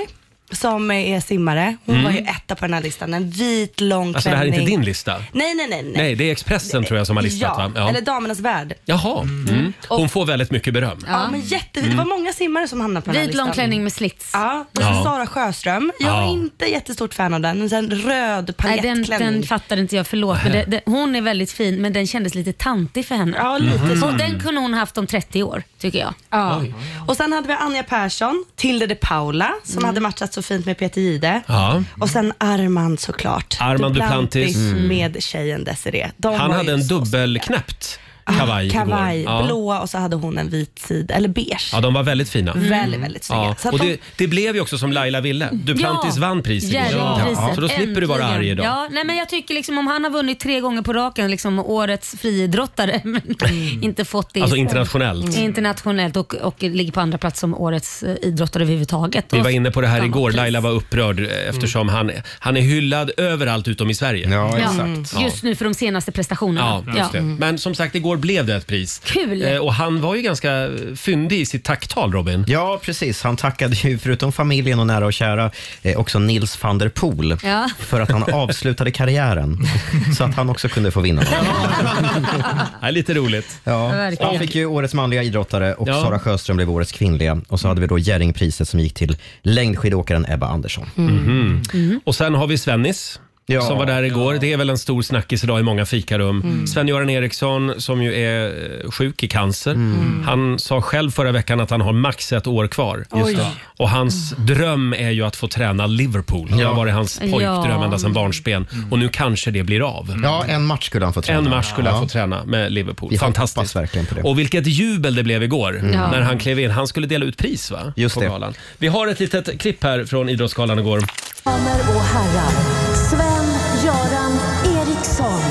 [SPEAKER 5] som är simmare. Hon var ju etta på den här listan. En vit lång
[SPEAKER 1] Alltså det här är
[SPEAKER 5] klänning.
[SPEAKER 1] inte din lista?
[SPEAKER 5] Nej, nej, nej. nej.
[SPEAKER 1] Nej, det är Expressen tror jag som har listat
[SPEAKER 5] ja,
[SPEAKER 1] va? Ja.
[SPEAKER 5] eller Damernas Värld.
[SPEAKER 1] Jaha. Mm. Hon får väldigt mycket beröm.
[SPEAKER 5] Ja, men jättevit. Det var många simmare som hamnade på den här
[SPEAKER 2] Vit
[SPEAKER 5] listan.
[SPEAKER 2] lång klänning med slits.
[SPEAKER 5] Ja, och sen
[SPEAKER 1] Mm. Ja.
[SPEAKER 5] Sara Sjöström. Jag
[SPEAKER 1] Ja.
[SPEAKER 5] är inte jättestort fan av den. Men sen röd
[SPEAKER 2] Nej, den,
[SPEAKER 5] paljettklänning.
[SPEAKER 2] den fattade inte jag, förlåt. Men det, det, hon är väldigt fin, men den kändes lite tantig för henne.
[SPEAKER 5] Ja, lite så.
[SPEAKER 2] Hon, den kunde hon haft om 30 år, tycker jag.
[SPEAKER 5] Ja. Och sen hade vi Anja Persson, Tilde de Paula, som
[SPEAKER 2] Mm.
[SPEAKER 5] hade matchat så fint med Peter Jihde.
[SPEAKER 1] Ja.
[SPEAKER 5] Och sen Armand såklart.
[SPEAKER 1] Armand Duplantis.
[SPEAKER 2] Mm.
[SPEAKER 1] Mm.
[SPEAKER 5] med tjejen Desiree. De
[SPEAKER 1] Han
[SPEAKER 5] var
[SPEAKER 1] hade
[SPEAKER 5] ju
[SPEAKER 1] en
[SPEAKER 5] så
[SPEAKER 1] dubbelknäppt
[SPEAKER 5] snygga.
[SPEAKER 1] kavaj igår.
[SPEAKER 5] Kavaj,
[SPEAKER 1] Ja.
[SPEAKER 5] blåa och så hade hon en vit sida, eller beige.
[SPEAKER 1] Ja, de var väldigt fina. Mm.
[SPEAKER 5] Väldigt, väldigt snygga.
[SPEAKER 1] Ja.
[SPEAKER 5] Så att
[SPEAKER 1] Och
[SPEAKER 5] de-
[SPEAKER 1] det, det blev ju också som Laila ville. Duplantis vann priset igår.
[SPEAKER 2] Jerringpriset,
[SPEAKER 1] Så då slipper du vara
[SPEAKER 2] äntligen.
[SPEAKER 1] arg idag.
[SPEAKER 2] Ja, nej, men jag tycker liksom om han har vunnit tre gånger på raken, liksom årets friidrottare, men inte fått det Mm.
[SPEAKER 1] Alltså internationellt.
[SPEAKER 2] internationellt och, och ligger på andra plats som årets eh, idrottare överhuvudtaget.
[SPEAKER 1] Vi var inne på det här
[SPEAKER 2] Samma
[SPEAKER 1] igår.
[SPEAKER 2] pris.
[SPEAKER 1] Laila var upprörd eh, eftersom han, han är hyllad överallt utom i Sverige.
[SPEAKER 3] Ja,
[SPEAKER 2] Ja, Mm.
[SPEAKER 3] exakt.
[SPEAKER 2] Just nu för de senaste prestationerna.
[SPEAKER 1] Ja, just det. Men som sagt, igår blev det ett pris.
[SPEAKER 2] Kul.
[SPEAKER 1] Eh, och han var ju ganska eh, fyndig i sitt tacktal, Robin.
[SPEAKER 3] Ja, precis. Han tackade ju förutom familjen och nära och kära eh, också Nils van der Poel
[SPEAKER 2] Ja.
[SPEAKER 3] för att han avslutade karriären så att han också kunde få vinna.
[SPEAKER 1] Ja, lite roligt.
[SPEAKER 3] Ja.
[SPEAKER 2] Verkligen.
[SPEAKER 3] Han fick ju årets manliga idrottare och
[SPEAKER 1] Ja.
[SPEAKER 3] Sara Sjöström blev årets kvinnliga. Och så hade vi då Jerringpriset som gick till längdskidåkaren Ebba Andersson.
[SPEAKER 1] Mm. Mhm.
[SPEAKER 5] Mm.
[SPEAKER 1] Och sen har vi Svennis.
[SPEAKER 3] Ja.
[SPEAKER 1] som var där igår. Det är väl en stor snackis idag i många fikarum.
[SPEAKER 5] Mm.
[SPEAKER 1] Sven-Göran Eriksson som ju är eh, sjuk i cancer.
[SPEAKER 3] Mm.
[SPEAKER 1] Han sa själv förra veckan att han har max ett år kvar.
[SPEAKER 5] Mm. Just det. Mm.
[SPEAKER 1] Och hans dröm är ju att få träna Liverpool. Det har varit hans pojkdröm
[SPEAKER 2] Ja.
[SPEAKER 1] ända sedan barnsben. Och nu kanske det blir av.
[SPEAKER 3] Ja, en match skulle han få träna.
[SPEAKER 1] En match skulle han
[SPEAKER 3] Ja.
[SPEAKER 1] få träna med Liverpool.
[SPEAKER 3] Vi
[SPEAKER 1] Fantastiskt.
[SPEAKER 3] hoppas verkligen på det. Mm.
[SPEAKER 1] Och vilket jubel det blev igår
[SPEAKER 2] Ja.
[SPEAKER 1] när han klev in. Han skulle dela ut pris va?
[SPEAKER 3] Just
[SPEAKER 1] På
[SPEAKER 3] det.
[SPEAKER 1] galan. Vi har ett litet klipp här från Idrottsgalan igår.
[SPEAKER 11] Damer och herrar, Sven Göran Eriksson.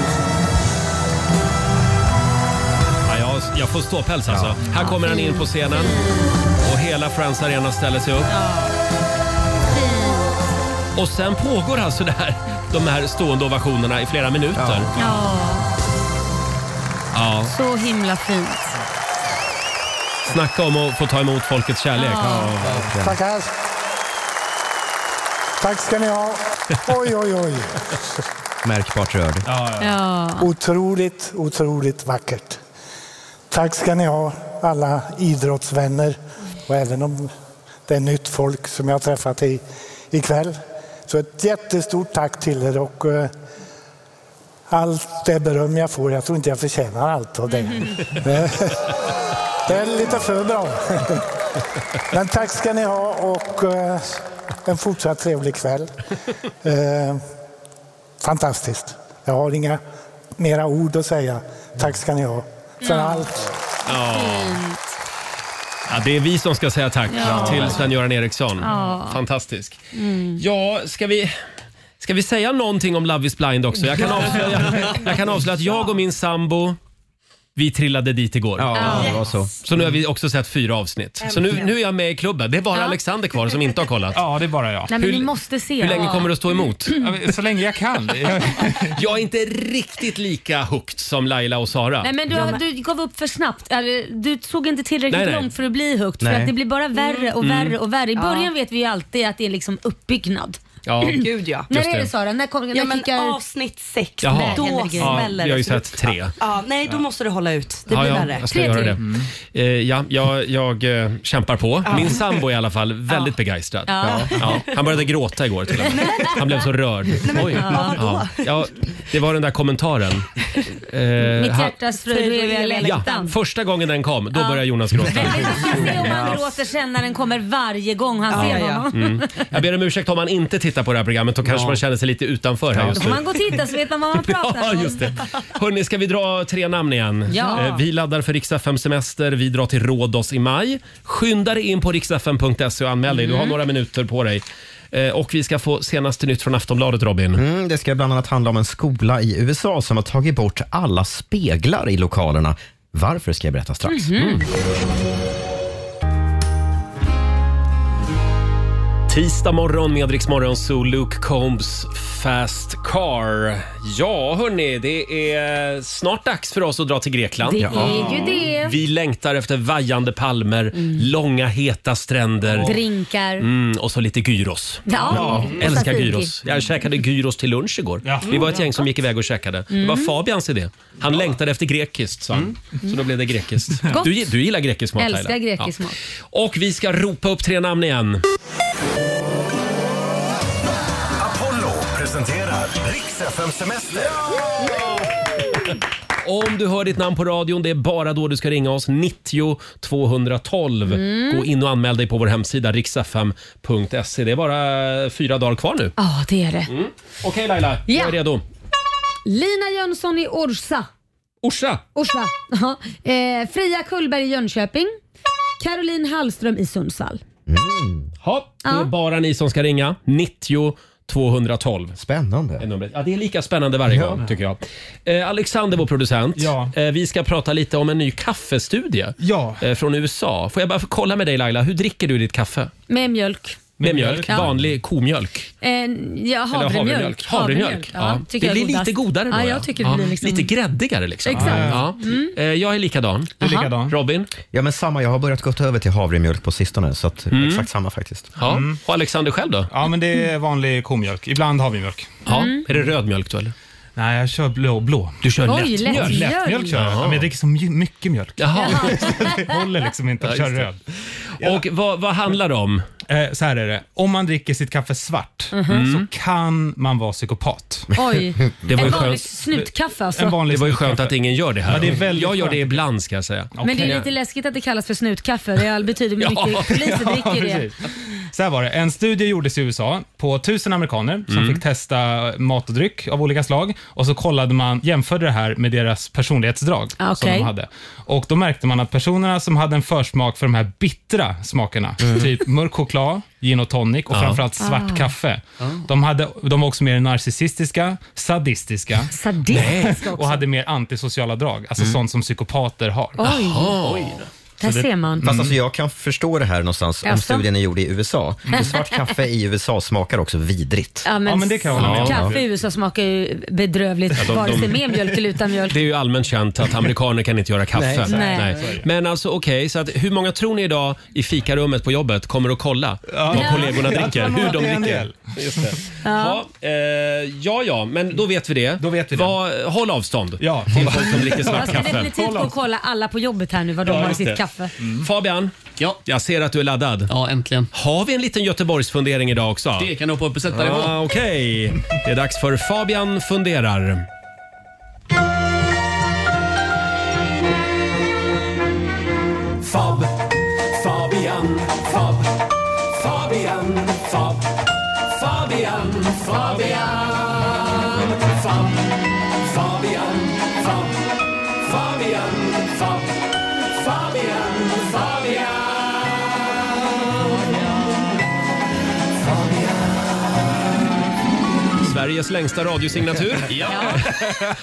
[SPEAKER 1] Ja, jag, jag får ståpäls alltså. Här kommer han in på scenen och hela Friends Arena ställer sig upp. Och sen pågår alltså det här, de här stående ovationerna i flera minuter.
[SPEAKER 2] Ja,
[SPEAKER 1] Ja.
[SPEAKER 2] så himla fint.
[SPEAKER 1] Snacka om att få ta emot folkets kärlek.
[SPEAKER 11] Tackar. Tack ska ni ha. Oj, oj, oj.
[SPEAKER 3] Märkbart rörd.
[SPEAKER 2] Ja.
[SPEAKER 11] Otroligt, otroligt vackert. Tack ska ni ha, alla idrottsvänner och även om det är nytt folk som jag har träffat i, ikväll. Så ett jättestort tack till er och eh, allt det beröm jag får, jag tror inte jag förtjänar allt av det. Det- Det är lite för bra. Men tack ska ni ha och eh, en fortsatt trevlig kväll. Eh, Fantastiskt. Jag har inga mera ord att säga. Tack ska ni ha för
[SPEAKER 1] Mm.
[SPEAKER 11] allt.
[SPEAKER 1] Ja, det är vi som ska säga tack till Sven-Göran Eriksson.
[SPEAKER 2] Ja.
[SPEAKER 1] Fantastisk. Ja, ska vi... Ska vi säga någonting om Love is blind också? Jag kan avslöja, jag kan avslöja att jag och min sambo Vi trillade dit igår.
[SPEAKER 3] Ja, det var
[SPEAKER 1] så. Så nu har vi också sett fyra avsnitt. Så nu,
[SPEAKER 2] Äntligen.
[SPEAKER 1] nu är jag med i klubben. Det är bara
[SPEAKER 2] Ja.
[SPEAKER 1] Alexander kvar som inte har kollat. Ja, det är bara jag.
[SPEAKER 2] Nej, men ni måste se.
[SPEAKER 1] Hur länge kommer du att stå emot?
[SPEAKER 6] Ja, så länge jag kan.
[SPEAKER 1] Jag är inte riktigt lika hooked som Laila och Sara.
[SPEAKER 2] Nej men du, du gav upp för snabbt. Eller, Du såg inte tillräckligt
[SPEAKER 1] Nej, nej.
[SPEAKER 2] långt för att bli högt. För
[SPEAKER 1] Nej.
[SPEAKER 2] att det blir bara värre och
[SPEAKER 1] Mm.
[SPEAKER 2] värre och värre. I
[SPEAKER 5] Ja.
[SPEAKER 2] början vet vi ju alltid att det är liksom uppbyggnad.
[SPEAKER 1] Ja.
[SPEAKER 5] Gud ja.
[SPEAKER 2] När är det Sara? När, kom, när
[SPEAKER 5] Ja, men
[SPEAKER 2] kickar...
[SPEAKER 5] avsnitt sex,
[SPEAKER 1] Jaha.
[SPEAKER 5] då
[SPEAKER 1] Ja,
[SPEAKER 5] smäller
[SPEAKER 1] vi har ju
[SPEAKER 5] det så
[SPEAKER 2] liksom?
[SPEAKER 1] sett
[SPEAKER 5] mycket.
[SPEAKER 1] tre.
[SPEAKER 5] Ja, nej, då måste du hålla ut. Det blir
[SPEAKER 1] ja,
[SPEAKER 5] värre.
[SPEAKER 1] Jag ska göra det.
[SPEAKER 2] Mm.
[SPEAKER 1] Eh, ja, jag, jag eh, kämpar på.
[SPEAKER 5] Ja.
[SPEAKER 1] Min sambo är i alla fall väldigt begeistrad.
[SPEAKER 5] Ja.
[SPEAKER 1] Ja, han började gråta igår till och med. Han blev så rörd.
[SPEAKER 2] men,
[SPEAKER 1] ja.
[SPEAKER 2] ja.
[SPEAKER 1] Ja. det var den där kommentaren. Eh,
[SPEAKER 2] Mitt
[SPEAKER 1] han-
[SPEAKER 2] hjärtas fröjd och eviga
[SPEAKER 1] Ja,
[SPEAKER 2] längtan.
[SPEAKER 1] första gången den kom, då
[SPEAKER 2] Ja.
[SPEAKER 1] började Jonas gråta.
[SPEAKER 2] Jag ser om han gråter sen när den kommer varje gång han ser honom.
[SPEAKER 1] Mm. Jag ber om ursäkt om man inte tittar på det här programmet, då kanske man känner sig lite utanför här
[SPEAKER 2] Då
[SPEAKER 1] just
[SPEAKER 2] får
[SPEAKER 1] nu.
[SPEAKER 2] man gå och titta så vet man vad man pratar om.
[SPEAKER 1] Ja, just det. Hörrni, ska vi dra tre namn igen?
[SPEAKER 2] Ja.
[SPEAKER 1] Eh, Vi laddar för Rix FM semester. Vi drar till Rhodos i maj. Skynda dig in på riksfm.se och anmäl dig. Du har
[SPEAKER 3] Mm.
[SPEAKER 1] några minuter på dig. Eh, Och vi ska få senaste nytt från Aftonbladet, Robin.
[SPEAKER 3] Mm, det ska bland annat handla om en skola i USA som har tagit bort alla speglar i lokalerna. Varför ska jag berätta strax.
[SPEAKER 1] Mhm.
[SPEAKER 2] Mm-hmm.
[SPEAKER 3] Mm.
[SPEAKER 1] Tisdag morgon med Rix Morgon, så Luke Combs Fast Car. Ja, hörni, det är snart dags för oss att dra till Grekland.
[SPEAKER 2] Det är ju det. Mm.
[SPEAKER 1] Vi längtar efter vajande palmer, långa heta stränder.
[SPEAKER 2] Drinkar.
[SPEAKER 1] Mm, och så lite gyros. Mm.
[SPEAKER 2] Ja, och
[SPEAKER 1] Älskar
[SPEAKER 2] tzatziki.
[SPEAKER 1] gyros. Jag käkade gyros till lunch igår. Vi var ett gäng som gick iväg och käkade. Det
[SPEAKER 2] Mm.
[SPEAKER 1] var Fabians idé. Han längtade efter grekiskt, sa han. Så då blev det grekiskt.
[SPEAKER 2] Gott.
[SPEAKER 1] Du, du gillar grekisk mat,
[SPEAKER 2] Älskar
[SPEAKER 1] Laila.
[SPEAKER 2] grekisk
[SPEAKER 1] Ja.
[SPEAKER 2] mat.
[SPEAKER 1] Och vi ska ropa upp tre namn igen.
[SPEAKER 10] Apollo presenterar Rix FM Semester.
[SPEAKER 1] Om du hör ditt namn på radion, det är bara då du ska ringa oss. 90 212.
[SPEAKER 2] Mm.
[SPEAKER 1] Gå in och anmäl dig på vår hemsida riksfm.se. E. Det är bara fyra dagar kvar nu.
[SPEAKER 2] Ja, det är det.
[SPEAKER 1] Mm. Okej Laila,
[SPEAKER 2] Ja.
[SPEAKER 1] jag är redo.
[SPEAKER 2] Lina Jönsson i Orsa.
[SPEAKER 1] Orsa.
[SPEAKER 2] Orsa. Ja. Eh, Freja Kullberg i Jönköping. Caroline Hallström i Sundsvall.
[SPEAKER 3] Mm.
[SPEAKER 1] Ja, det är
[SPEAKER 2] Ja.
[SPEAKER 1] bara ni som ska ringa. 90 212.
[SPEAKER 3] Spännande.
[SPEAKER 1] Är numret. Ja, det är lika spännande varje
[SPEAKER 3] Ja.
[SPEAKER 1] gång tycker jag. Eh, Alexander, vår producent. Eh, vi ska prata lite om en ny kaffestudie eh, från USA. Får jag bara kolla med dig Laila, hur dricker du ditt kaffe?
[SPEAKER 2] Med mjölk.
[SPEAKER 1] Med mjölk?
[SPEAKER 2] Ja.
[SPEAKER 1] Vanlig komjölk?
[SPEAKER 2] Eh, ja, havremjölk.
[SPEAKER 1] Havremjölk. Ja. Det
[SPEAKER 2] tycker jag
[SPEAKER 1] blir
[SPEAKER 2] är godast.
[SPEAKER 1] lite godare då.
[SPEAKER 2] Ja, jag tycker det blir
[SPEAKER 1] Ja,
[SPEAKER 2] liksom...
[SPEAKER 1] Lite gräddigare liksom.
[SPEAKER 2] Exakt.
[SPEAKER 1] Ja.
[SPEAKER 2] Mm.
[SPEAKER 1] Eh, Jag är likadan. Du är likadan. Robin?
[SPEAKER 3] Ja, men samma. Jag har börjat gått över till havremjölk på sistone, så att exakt samma faktiskt.
[SPEAKER 1] Mm.
[SPEAKER 3] Mm.
[SPEAKER 1] Ja. Och Alexander själv då?
[SPEAKER 6] Mm. Ja, men det är vanlig komjölk. Ibland har vi mjölk.
[SPEAKER 1] Ja. Är det röd mjölk då eller?
[SPEAKER 6] Nej, jag kör blå. blå.
[SPEAKER 1] Du kör
[SPEAKER 6] Oj,
[SPEAKER 1] lättmjölk?
[SPEAKER 6] lättmjölk. Lättmjölk kör jag. Ja, men jag dricker så my- mycket mjölk.
[SPEAKER 1] Jaha.
[SPEAKER 6] det håller liksom inte att
[SPEAKER 1] Ja,
[SPEAKER 6] köra
[SPEAKER 1] just det.
[SPEAKER 6] röd.
[SPEAKER 1] Och vad, handlar det om?
[SPEAKER 6] Eh, så här är det. Om man dricker sitt kaffe svart
[SPEAKER 1] Mhm.
[SPEAKER 6] så kan man vara psykopat.
[SPEAKER 2] Oj.
[SPEAKER 1] Det var ju
[SPEAKER 2] en vanlig
[SPEAKER 1] skönt.
[SPEAKER 2] snutkaffe alltså.
[SPEAKER 6] En vanlig
[SPEAKER 1] Det var ju skönt
[SPEAKER 6] snutkaffe.
[SPEAKER 1] att ingen gör det här.
[SPEAKER 6] Ja, det är väldigt
[SPEAKER 1] jag gör det
[SPEAKER 6] skönt.
[SPEAKER 1] ibland ska jag säga.
[SPEAKER 2] Men det är lite läskigt att det kallas för snutkaffe. Det all- betyder mycket.
[SPEAKER 6] Ja.
[SPEAKER 2] Poliser
[SPEAKER 6] Ja,
[SPEAKER 2] dricker det.
[SPEAKER 6] precis. Så här var det. En studie gjordes i USA på tusen amerikaner som
[SPEAKER 1] Mm.
[SPEAKER 6] fick testa mat och dryck av olika slag. Och så kollade man, jämförde det här med deras personlighetsdrag
[SPEAKER 2] Ah,
[SPEAKER 6] som
[SPEAKER 2] okej.
[SPEAKER 6] de hade. Och då märkte man att personerna som hade en försmak för de här bittra smakerna, typ mörk choklad, gin och tonic och
[SPEAKER 1] Ja.
[SPEAKER 6] framförallt svart
[SPEAKER 1] Ah.
[SPEAKER 6] kaffe, de, hade, de var också mer narcissistiska, sadistiska
[SPEAKER 2] Sadistiska
[SPEAKER 6] Nej.
[SPEAKER 2] också.
[SPEAKER 6] och hade mer antisociala drag, alltså sånt som psykopater har.
[SPEAKER 2] Oj.
[SPEAKER 3] Jaha.
[SPEAKER 2] Oj Där ser man.
[SPEAKER 3] Fast alltså jag kan förstå det här någonstans, om
[SPEAKER 2] Jaså? Mm.
[SPEAKER 3] studien är gjord i USA. För svart kaffe i USA smakar också vidrigt.
[SPEAKER 2] Ja, men, Kaffe i
[SPEAKER 3] Ja.
[SPEAKER 2] USA smakar ju bedrövligt,
[SPEAKER 1] Ja, de-
[SPEAKER 2] vare sig
[SPEAKER 1] de-
[SPEAKER 2] med mjölk eller utan mjölk.
[SPEAKER 1] Det är ju allmänt känt att amerikaner kan inte göra
[SPEAKER 2] Nej,
[SPEAKER 1] kaffe.
[SPEAKER 2] exakt. Nej. Så är
[SPEAKER 1] Men alltså okej, så att hur många tror ni idag i fikarummet på jobbet kommer att kolla vad
[SPEAKER 6] Ja.
[SPEAKER 1] kollegorna
[SPEAKER 6] Ja,
[SPEAKER 1] dricker,
[SPEAKER 6] det
[SPEAKER 1] hur
[SPEAKER 6] är
[SPEAKER 1] de
[SPEAKER 6] en
[SPEAKER 1] dricker?
[SPEAKER 6] del.
[SPEAKER 1] Just det. Ja. Ja, eh, ja, ja, men då vet vi det. Då vet vi håll avstånd ja. till folk som dricker
[SPEAKER 2] Jag
[SPEAKER 1] svart
[SPEAKER 2] ska
[SPEAKER 1] kaffe.
[SPEAKER 2] definitivt gå och kolla alla på jobbet här nu vad de
[SPEAKER 1] Ja,
[SPEAKER 2] har i
[SPEAKER 1] just
[SPEAKER 2] sitt
[SPEAKER 1] det.
[SPEAKER 2] kaffe.
[SPEAKER 1] Mm. Fabian, ja. jag ser att du är laddad. Ja, äntligen. Har vi en liten Göteborgsfundering idag också?
[SPEAKER 8] Det kan nog på sätt det
[SPEAKER 1] Ah,
[SPEAKER 8] var.
[SPEAKER 1] Okej, det är dags för Fabian funderar.
[SPEAKER 7] Fab, Fabian, Fab, Fabian, Fab, Fabian, Fabian, Fab, Fabian, Fab, Fabian, Fab, Fabian, Fabian.
[SPEAKER 1] Sveriges Sveriges längsta radiosignatur.
[SPEAKER 8] Ja.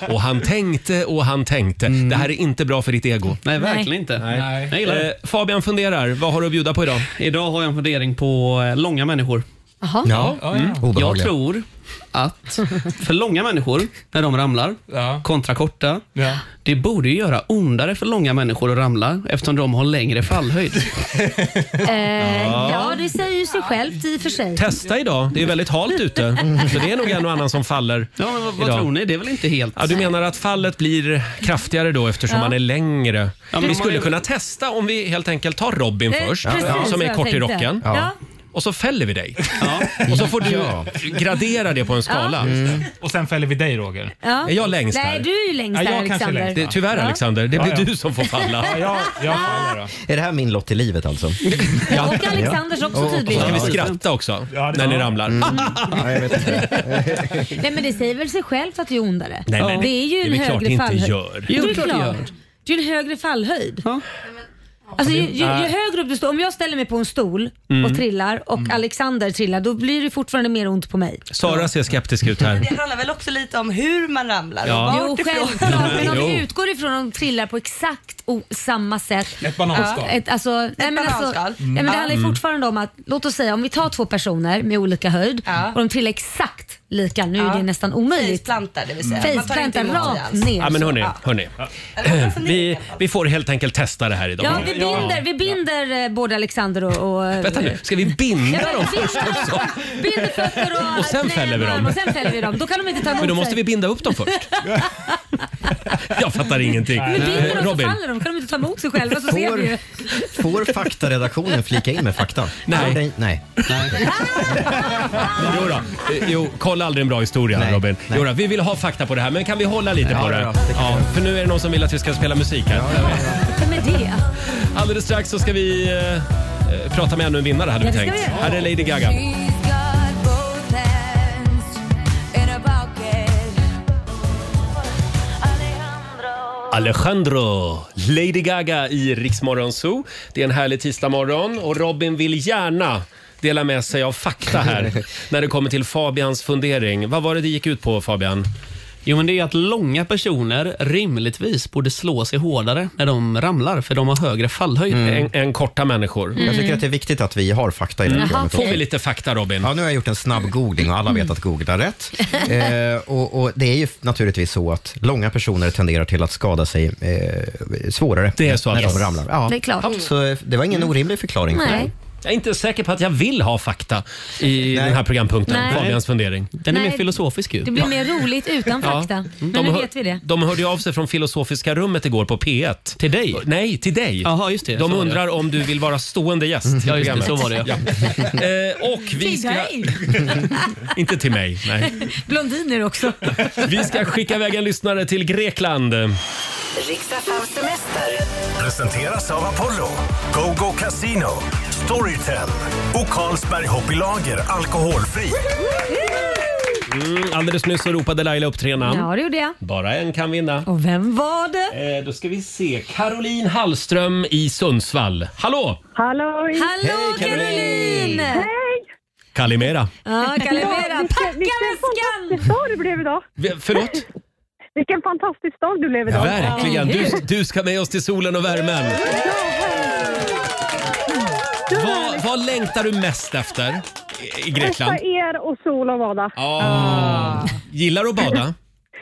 [SPEAKER 1] Och han tänkte och han tänkte. Det här är inte bra för ditt ego.
[SPEAKER 8] Mm. Nej, verkligen Nej. inte. Nej. Jag gillar det.
[SPEAKER 1] Eh, Fabian funderar. Vad har du att bjuda på idag?
[SPEAKER 8] Idag har jag en fundering på eh, långa människor.
[SPEAKER 2] Jaha.
[SPEAKER 8] Mm. Jag tror att för långa människor, när de ramlar, kontra korta, det borde ju göra ondare för långa människor att ramla eftersom de har längre fallhöjd.
[SPEAKER 2] Eh,
[SPEAKER 1] Mm. Ja.
[SPEAKER 2] ja, det säger ju sig självt i och för sig.
[SPEAKER 1] Testa idag. Det är väldigt halt ute. Så det är nog en och annan som faller
[SPEAKER 8] Ja, men vad, vad
[SPEAKER 1] idag.
[SPEAKER 8] tror ni? Det är väl inte helt...
[SPEAKER 1] Ja, du menar att fallet blir kraftigare då eftersom
[SPEAKER 8] Ja.
[SPEAKER 1] man är längre?
[SPEAKER 8] Ja, men
[SPEAKER 1] vi
[SPEAKER 8] man
[SPEAKER 1] skulle
[SPEAKER 8] är-
[SPEAKER 1] kunna testa om vi helt enkelt tar Robin
[SPEAKER 8] Eh,
[SPEAKER 1] först,
[SPEAKER 8] precis
[SPEAKER 1] ja. som
[SPEAKER 8] vad
[SPEAKER 1] är
[SPEAKER 8] jag
[SPEAKER 1] kort i
[SPEAKER 8] tänkte.
[SPEAKER 1] rocken.
[SPEAKER 8] Ja.
[SPEAKER 1] Och så fäller vi dig. Och så får du
[SPEAKER 6] Ja.
[SPEAKER 1] gradera det på en skala.
[SPEAKER 6] Ja. Mm. Och sen fäller vi dig Roger.
[SPEAKER 2] Ja.
[SPEAKER 1] Är jag längst
[SPEAKER 2] Nej,
[SPEAKER 1] här?
[SPEAKER 2] du är ju längst
[SPEAKER 1] Ja,
[SPEAKER 2] här
[SPEAKER 1] jag kanske
[SPEAKER 2] Alexander.
[SPEAKER 1] längst. Det- tyvärr, Alexander, det blir du som får falla.
[SPEAKER 2] Ja,
[SPEAKER 6] jag,
[SPEAKER 2] faller
[SPEAKER 3] Är det här min lott i livet alltså?
[SPEAKER 2] Ja. Och Alexanders också
[SPEAKER 3] Och- och-
[SPEAKER 1] Och så
[SPEAKER 2] tydligen.
[SPEAKER 1] kan vi skratta också när ni ramlar.
[SPEAKER 3] Mm.
[SPEAKER 1] Ah.
[SPEAKER 2] Nej men det säger väl sig självt att det är ondare?
[SPEAKER 1] Nej, nej, nej.
[SPEAKER 2] Det är ju
[SPEAKER 1] Det är väl
[SPEAKER 2] en
[SPEAKER 1] klart det
[SPEAKER 2] högre
[SPEAKER 1] inte
[SPEAKER 2] fallhöjd.
[SPEAKER 1] gör.
[SPEAKER 2] Jo, det är
[SPEAKER 1] klart det
[SPEAKER 2] klart.
[SPEAKER 1] gör.
[SPEAKER 2] Det är ju en högre fallhöjd. Alltså, ju, ju, ju
[SPEAKER 1] Nej.
[SPEAKER 2] högre upp du står, om jag ställer mig på en stol
[SPEAKER 1] Mm.
[SPEAKER 2] och trillar och
[SPEAKER 1] Mm.
[SPEAKER 2] Alexander trillar, då blir det fortfarande mer ont på mig.
[SPEAKER 1] Sara ser skeptisk ut här.
[SPEAKER 5] Det handlar väl också lite om hur man ramlar och
[SPEAKER 1] Ja.
[SPEAKER 2] Jo,
[SPEAKER 5] vart ifrån.
[SPEAKER 2] självklart. Men om vi
[SPEAKER 1] Jo.
[SPEAKER 2] utgår ifrån att de trillar på exakt o- samma sätt.
[SPEAKER 5] Ett bananskal.
[SPEAKER 2] Ja, Ett, alltså, nej, men alltså,
[SPEAKER 5] bananskal.
[SPEAKER 2] nej, men det handlar ju
[SPEAKER 5] Mm.
[SPEAKER 2] fortfarande om att, låt oss säga om vi tar två personer med olika höjd och de trillar exakt lika, nu är det nästan omöjligt. Faceplantar det
[SPEAKER 5] vill säga. Man tar inte emot det
[SPEAKER 2] rakt
[SPEAKER 5] alls.
[SPEAKER 2] ner.
[SPEAKER 1] Ja, men
[SPEAKER 2] så.
[SPEAKER 1] hörni,
[SPEAKER 2] Ja.
[SPEAKER 1] hörni. Vi, vi får helt enkelt testa det här idag.
[SPEAKER 2] Ja, vi binder, vi binder eh, både Alexander och... och
[SPEAKER 1] Vänta nu, ska vi binda
[SPEAKER 2] Ja,
[SPEAKER 1] dem
[SPEAKER 2] men-
[SPEAKER 1] först också?
[SPEAKER 2] Binder fötter och,
[SPEAKER 1] Och sen fäller vi dem.
[SPEAKER 2] Och sen fäller vi dem. Då kan de inte ta emot
[SPEAKER 1] Men då måste vi
[SPEAKER 2] sig.
[SPEAKER 1] binda upp dem först. Jag fattar ingenting.
[SPEAKER 2] Men binder
[SPEAKER 1] Eh,
[SPEAKER 2] de så
[SPEAKER 1] Robin.
[SPEAKER 2] faller de. Kan de inte ta emot sig själva så ser
[SPEAKER 3] Får-
[SPEAKER 2] vi ju.
[SPEAKER 3] Får faktaredaktionen flika in med fakta?
[SPEAKER 1] Nej.
[SPEAKER 3] Den- nej.
[SPEAKER 1] Jo, då. Eh, jo, kolla aldrig en bra historia Robin. Jo, då, vi vill ha fakta på det här men kan vi hålla lite
[SPEAKER 3] Ja, ja,
[SPEAKER 1] på det?
[SPEAKER 3] ja,
[SPEAKER 1] Ja,
[SPEAKER 3] det kan
[SPEAKER 1] för nu är det någon som vill att vi ska spela musik här.
[SPEAKER 2] Vem är det?
[SPEAKER 1] Alldeles strax så ska vi eh, eh, prata med ännu en vinnare hade
[SPEAKER 2] Ja,
[SPEAKER 1] vi
[SPEAKER 2] det ska
[SPEAKER 1] tänkt.
[SPEAKER 2] vi göra.
[SPEAKER 1] Här är Lady Gaga. Alejandro, Lady Gaga i Riksmorgon Zoo. Det är en härlig tisdagmorgon och Robin vill gärna dela med sig av fakta här när det kommer till Fabians fundering. Vad var det det gick ut på Fabian?
[SPEAKER 8] Jo, men det är att långa personer rimligtvis borde slå sig hårdare när de ramlar, för de har högre fallhöjd.
[SPEAKER 1] Än- Mm. korta människor.
[SPEAKER 3] Jag
[SPEAKER 2] Mm.
[SPEAKER 3] tycker att det är viktigt att vi har fakta i det här
[SPEAKER 8] Mm.
[SPEAKER 3] programmet
[SPEAKER 8] Jaha, okej.
[SPEAKER 3] också.
[SPEAKER 8] Får vi
[SPEAKER 1] lite fakta Robin?
[SPEAKER 3] Ja, nu har jag gjort en snabb googling och alla vet att googla rätt.
[SPEAKER 2] Mm.
[SPEAKER 3] Eh, och, och det är ju naturligtvis så att långa personer tenderar till att skada sig eh, svårare
[SPEAKER 1] Det är så
[SPEAKER 3] när
[SPEAKER 1] alltså. Mm.
[SPEAKER 3] de ramlar. Ja.
[SPEAKER 2] Det är klart.
[SPEAKER 3] Ja, Så eh, det var ingen orimlig förklaring. på
[SPEAKER 2] Mm. Nej.
[SPEAKER 3] det.
[SPEAKER 1] Jag är inte säker på att jag vill ha fakta i den här programpunkten.
[SPEAKER 2] Nej.
[SPEAKER 1] Fabians fundering.
[SPEAKER 8] Den
[SPEAKER 2] är Nej. mer
[SPEAKER 8] filosofisk ju.
[SPEAKER 2] Det blir mer roligt utan
[SPEAKER 1] Ja. Mm.
[SPEAKER 2] fakta. Men
[SPEAKER 1] De
[SPEAKER 2] nu
[SPEAKER 1] hör-
[SPEAKER 2] vet vi det.
[SPEAKER 1] De hörde ju av sig från Filosofiska rummet igår på P1.
[SPEAKER 8] Till dig?
[SPEAKER 1] Nej, till dig.
[SPEAKER 8] Jaha, just det.
[SPEAKER 1] De
[SPEAKER 8] Så var det. Mm.
[SPEAKER 1] undrar om du vill vara stående gäst i
[SPEAKER 8] Ja, just det,
[SPEAKER 1] programmet.
[SPEAKER 8] så var det.
[SPEAKER 1] Ja. Eh, och vi ska... Inte till mig, nej.
[SPEAKER 2] Blondiner också.
[SPEAKER 1] Vi ska skicka iväg en lyssnare till Grekland. Mm,
[SPEAKER 10] Riksdagens semester. Presenteras av Apollo, GoGo Casino, Storytel och Carlsberg Hoppilager Alkoholfri.
[SPEAKER 1] Mm, alldeles nyss så ropade Laila upp tre namn.
[SPEAKER 2] Ja, det gjorde jag.
[SPEAKER 1] Bara en kan vinna.
[SPEAKER 2] Och vem var det?
[SPEAKER 1] Eh, då ska vi se. Caroline Hallström i Sundsvall. Hallå!
[SPEAKER 12] Hallå!
[SPEAKER 2] Hallå Caroline!
[SPEAKER 12] Hej!
[SPEAKER 1] Kalimera.
[SPEAKER 2] Ja, Calimera. Packa väskan!
[SPEAKER 12] Vilken dag det blev idag!
[SPEAKER 1] V- Förlåt?
[SPEAKER 12] Vilken fantastisk dag det blev idag!
[SPEAKER 1] Verkligen. Du, du ska med oss till solen och värmen. Vad, vad längtar du mest efter i- i Grekland?
[SPEAKER 12] Träffa er och sol och bada.
[SPEAKER 1] Ah. Gillar du att bada?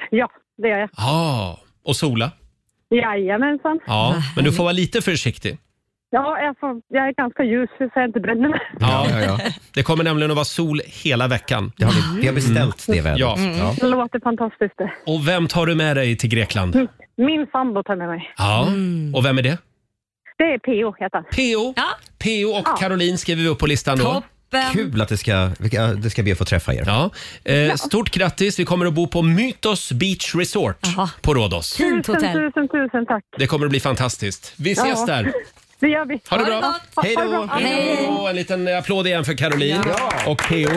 [SPEAKER 12] Ja, det gör jag.
[SPEAKER 1] Ja. Och sola?
[SPEAKER 12] Jajamensan.
[SPEAKER 1] Ja, men du får vara lite försiktig.
[SPEAKER 12] Ja, jag, får, jag är ganska ljus så jag inte bränner mig.
[SPEAKER 1] Ja.
[SPEAKER 3] Ja, ja,
[SPEAKER 1] Det kommer nämligen att vara sol hela veckan.
[SPEAKER 3] Det har vi, vi har beställt det vädret.
[SPEAKER 1] Ja.
[SPEAKER 12] Mm. Det låter fantastiskt det.
[SPEAKER 1] Och vem tar du med dig till
[SPEAKER 3] Mm.
[SPEAKER 1] Grekland?
[SPEAKER 12] Min sambo tar med mig.
[SPEAKER 1] Ja, och vem är det?
[SPEAKER 12] Det är P.O. heter han.
[SPEAKER 1] P.O. P.O. och Caroline skriver vi upp på listan då.
[SPEAKER 2] Toppen.
[SPEAKER 3] Kul att det ska, vilka- det ska be att få träffa er.
[SPEAKER 1] Ja. Eh, stort grattis. Vi kommer att bo på Mytos Beach Resort på Rhodos.
[SPEAKER 12] Tusen, tusen, tusen tack.
[SPEAKER 1] Det kommer att bli fantastiskt. Vi ses
[SPEAKER 12] Ja.
[SPEAKER 1] där.
[SPEAKER 12] Det gör vi.
[SPEAKER 1] Ha det bra.
[SPEAKER 12] Hej då!
[SPEAKER 1] Och en liten applåd igen för Caroline och P.O.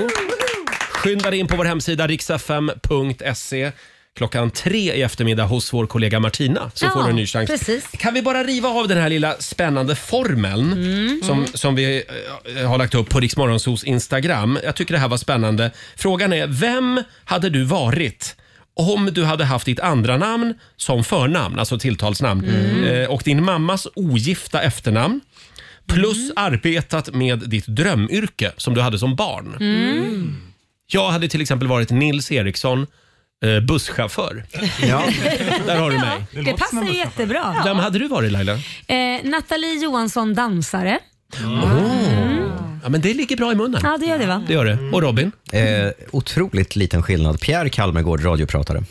[SPEAKER 1] Skynda dig in på vår hemsida riksfm.se. klockan tre i eftermiddag hos vår kollega Martina. Så
[SPEAKER 2] Ja,
[SPEAKER 1] får du en ny chans.
[SPEAKER 2] precis.
[SPEAKER 1] Kan vi bara riva av den här lilla spännande formeln som, som vi eh, har lagt upp på Riksmorgonsos Instagram. Jag tycker det här var spännande. Frågan är, vem hade du varit om du hade haft ditt andra namn som förnamn, alltså tilltalsnamn, eh, och din mammas ogifta efternamn? Plus arbetat med ditt drömyrke som du hade som barn.
[SPEAKER 7] Mm.
[SPEAKER 1] Jag hade till exempel varit Nils Eriksson, eh, busschaufför. Ja. Där har du mig.
[SPEAKER 2] Det, passar ju jättebra.
[SPEAKER 1] Vem hade du varit Laila?
[SPEAKER 2] Eh, Nathalie Johansson, dansare.
[SPEAKER 1] Ja, men det ligger bra i munnen.
[SPEAKER 2] Ja, det gör det va?
[SPEAKER 1] gör det. Och Robin?
[SPEAKER 3] Eh, otroligt liten skillnad. Pierre Kalmegård, radiopratare.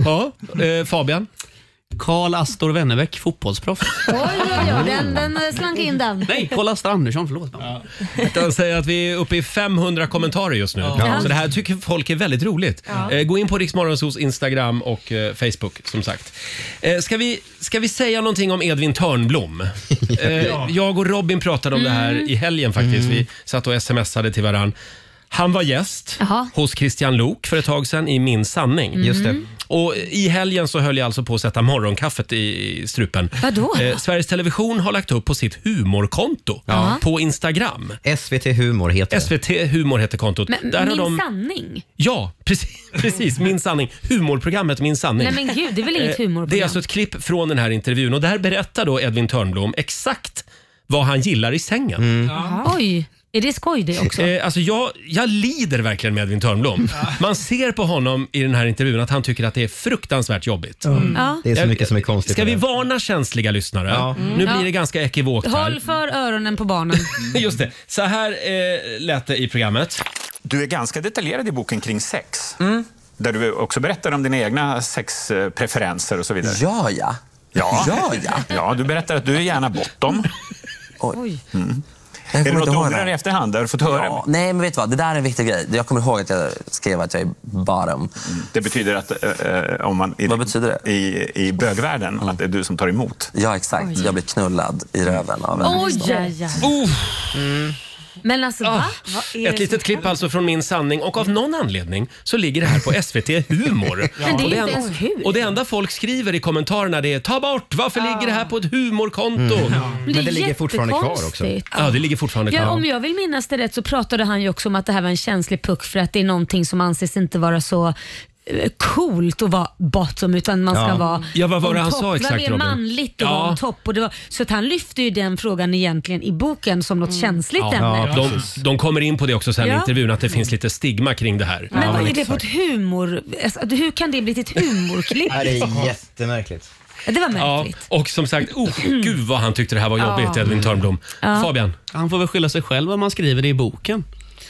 [SPEAKER 1] Ja, eh, Fabian?
[SPEAKER 8] Karl Astor Wennerbäck, fotbollsproff.
[SPEAKER 2] Oj, oj, oj. Den, den eh, slank in den.
[SPEAKER 8] Nej, Karl Astor Andersson, förlåt.
[SPEAKER 1] Jag kan säga att vi är uppe i 500 kommentarer just nu.
[SPEAKER 8] Ja.
[SPEAKER 1] Så det här tycker folk är väldigt roligt.
[SPEAKER 8] Ja.
[SPEAKER 1] Eh, Gå in på Riksmorgonsos Instagram och eh, Facebook som sagt. Eh, Ska vi, ska vi säga någonting om Edvin Törnblom? Eh, Jag och Robin pratade om det här
[SPEAKER 8] Mm.
[SPEAKER 1] i helgen faktiskt. Vi satt och smsade till varann. Han var gäst
[SPEAKER 2] Jaha.
[SPEAKER 1] hos Christian Lok för ett tag sedan i Min sanning.
[SPEAKER 2] Just det.
[SPEAKER 1] Och I helgen så höll jag alltså på att sätta morgonkaffet i i strupen.
[SPEAKER 2] Vadå?
[SPEAKER 1] Eh, Sveriges Television har lagt upp på sitt humorkonto
[SPEAKER 2] Ja.
[SPEAKER 1] på Instagram. SVT Humor heter SVT Humor heter kontot.
[SPEAKER 2] Men,
[SPEAKER 1] Där har
[SPEAKER 2] min
[SPEAKER 1] de-
[SPEAKER 2] sanning?
[SPEAKER 1] Ja, precis, precis. Min sanning. Humorprogrammet Min sanning.
[SPEAKER 2] Nej men gud, det är väl inget
[SPEAKER 1] Eh, Det
[SPEAKER 2] humorprogram?
[SPEAKER 1] är alltså ett klipp från den här intervjun och där berättar då Edvin Törnblom exakt vad han gillar i sängen.
[SPEAKER 2] Jaha. Oj, är det skoj det också?
[SPEAKER 1] Eh, alltså jag, jag lider verkligen med Edvin Törnblom. Man ser på honom i den här intervjun att han tycker att det är fruktansvärt jobbigt.
[SPEAKER 3] Mm. Ja. Det är så mycket som är konstigt
[SPEAKER 1] Ska
[SPEAKER 3] med
[SPEAKER 1] vi
[SPEAKER 3] det.
[SPEAKER 1] varna känsliga lyssnare? Nu
[SPEAKER 2] Mm. Ja.
[SPEAKER 1] blir det ganska ekivokt här.
[SPEAKER 2] Håll för öronen på barnen.
[SPEAKER 1] Just det. Så här eh, lät det i programmet.
[SPEAKER 13] Du är ganska detaljerad i boken kring sex. Där du också berättar om dina egna sexpreferenser och så vidare.
[SPEAKER 14] Ja, ja.
[SPEAKER 13] Ja.
[SPEAKER 14] Ja, ja.
[SPEAKER 13] ja, du berättar att du är gärna bortom.
[SPEAKER 14] Oj.
[SPEAKER 13] Mm.
[SPEAKER 14] Jag
[SPEAKER 13] Är det
[SPEAKER 14] kommer
[SPEAKER 13] något
[SPEAKER 14] inte
[SPEAKER 13] du
[SPEAKER 14] ihåg
[SPEAKER 13] ångrar
[SPEAKER 14] det.
[SPEAKER 13] i efterhand? Där du fått höra?
[SPEAKER 14] Ja, nej, men vet du vad? Det där är en viktig grej. Jag kommer ihåg att jag skrev att jag är bottom.
[SPEAKER 13] Mm. Det betyder att eh, eh, om man i, vad betyder det? I, i bögvärlden, att det är du som tar emot.
[SPEAKER 14] Mm. Ja, exakt. Jag blir knullad i röven av en.
[SPEAKER 2] Oj! Men alltså va? Vad är
[SPEAKER 1] Ah, Ett
[SPEAKER 2] det
[SPEAKER 1] litet klipp alltså från Min sanning och av någon anledning så ligger det här på SVT Humor.
[SPEAKER 2] Men det är
[SPEAKER 1] Och
[SPEAKER 2] ju
[SPEAKER 1] en-
[SPEAKER 2] inte ens kul.
[SPEAKER 1] Och det enda folk skriver i kommentarerna det är “Ta bort! Varför ligger det här på ett humorkonto?”
[SPEAKER 3] Mm. Ja.
[SPEAKER 2] Men det Men det är ligger fortfarande kvar också. jättekonstigt.
[SPEAKER 1] Ja, det ligger fortfarande kvar.
[SPEAKER 2] Ja, om jag vill minnas det rätt så pratade han ju också om att det här var en känslig puck för att det är någonting som anses inte vara så eh, coolt att vara bottom utan man ska
[SPEAKER 1] Ja.
[SPEAKER 2] vara
[SPEAKER 1] Ja, vad var
[SPEAKER 2] on
[SPEAKER 1] det han
[SPEAKER 2] top.
[SPEAKER 1] sa exakt,
[SPEAKER 2] Vad är
[SPEAKER 1] Robin?
[SPEAKER 2] manligt att
[SPEAKER 1] Ja.
[SPEAKER 2] vara on top? Och det var, så att han lyfte ju den frågan egentligen i boken som något känsligt ämne.
[SPEAKER 1] Mm. Ja, de, de kommer in på det också sen i
[SPEAKER 2] Ja.
[SPEAKER 1] intervjun, att det finns lite stigma kring det här.
[SPEAKER 2] Men vad är det typ? på ett humor... Alltså, hur kan det bli till ett humorklipp?
[SPEAKER 1] jättemärkligt.
[SPEAKER 2] det var
[SPEAKER 1] Ja,
[SPEAKER 2] märkligt.
[SPEAKER 1] och som sagt, oh,
[SPEAKER 2] Mm.
[SPEAKER 1] gud vad han tyckte det här var jobbigt,
[SPEAKER 8] Ja.
[SPEAKER 1] Edvin Törnblom.
[SPEAKER 8] Ja.
[SPEAKER 1] Fabian?
[SPEAKER 8] Han får väl skylla sig själv om han skriver det i boken.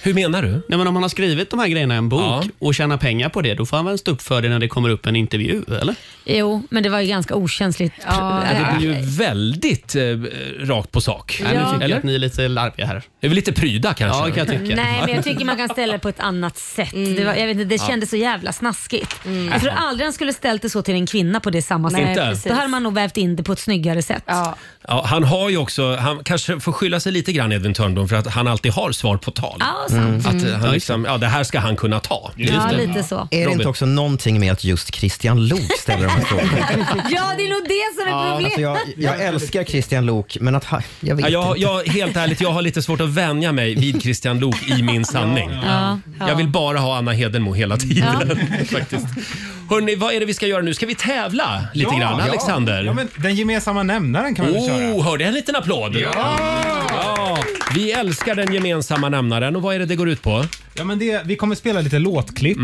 [SPEAKER 1] Hur menar du?
[SPEAKER 8] Nej, men om han har skrivit de här grejerna i en bok och tjänar pengar på det, då får han väl stå upp för det när det kommer upp en intervju, eller?
[SPEAKER 2] Jo, men det var ju ganska okänsligt.
[SPEAKER 1] Ja, det blir ju väldigt eh, rakt på sak.
[SPEAKER 2] Ja. Nej, nu tycker jag
[SPEAKER 1] Eller?
[SPEAKER 2] att
[SPEAKER 1] ni är lite larviga här. Det är väl lite pryda kanske?
[SPEAKER 8] Ja, kan jag tycka.
[SPEAKER 2] Nej, men jag tycker Mm. man kan ställa det på ett annat sätt. Det, var, jag vet inte, det
[SPEAKER 1] Ja.
[SPEAKER 2] kändes så jävla snaskigt. Jag tror aldrig han skulle ställt det så till en kvinna på det samma
[SPEAKER 1] Nej,
[SPEAKER 2] sätt.
[SPEAKER 1] Inte? precis.
[SPEAKER 2] Då hade man nog vävt in det på ett snyggare sätt. Ja.
[SPEAKER 1] Ja, han har ju också, han kanske får skylla sig lite grann Edvin Törnblom för att han alltid har svar på tal.
[SPEAKER 2] Ja, sant.
[SPEAKER 1] Att
[SPEAKER 2] Mm.
[SPEAKER 1] han liksom, ja det här ska han kunna ta.
[SPEAKER 2] Ja, lite så.
[SPEAKER 3] Är det inte också någonting med att just Christian Lok ställer de här frågorna?
[SPEAKER 2] ja, det är nog det som är problemet.
[SPEAKER 3] Alltså jag, jag älskar Christian Lok, men att han... Jag vet
[SPEAKER 1] Ja, jag,
[SPEAKER 3] inte.
[SPEAKER 1] jag, helt ärligt, jag har lite svårt att vänja mig vid Christian Lok i min sanning.
[SPEAKER 2] Ja, ja.
[SPEAKER 1] Jag vill bara ha Anna Hedenmo hela tiden. faktiskt. Hörrni, vad är det vi ska göra nu? Ska vi tävla lite
[SPEAKER 6] Ja,
[SPEAKER 1] grann?
[SPEAKER 6] ja.
[SPEAKER 1] Alexander?
[SPEAKER 6] Ja, men den gemensamma nämnaren kan man väl köra?
[SPEAKER 1] Oh, hörde jag en liten applåd?
[SPEAKER 6] Ja!
[SPEAKER 1] ja! Vi älskar den gemensamma nämnaren och vad är det det går ut på? Mm.
[SPEAKER 6] Ja, men det, vi kommer spela lite låtklipp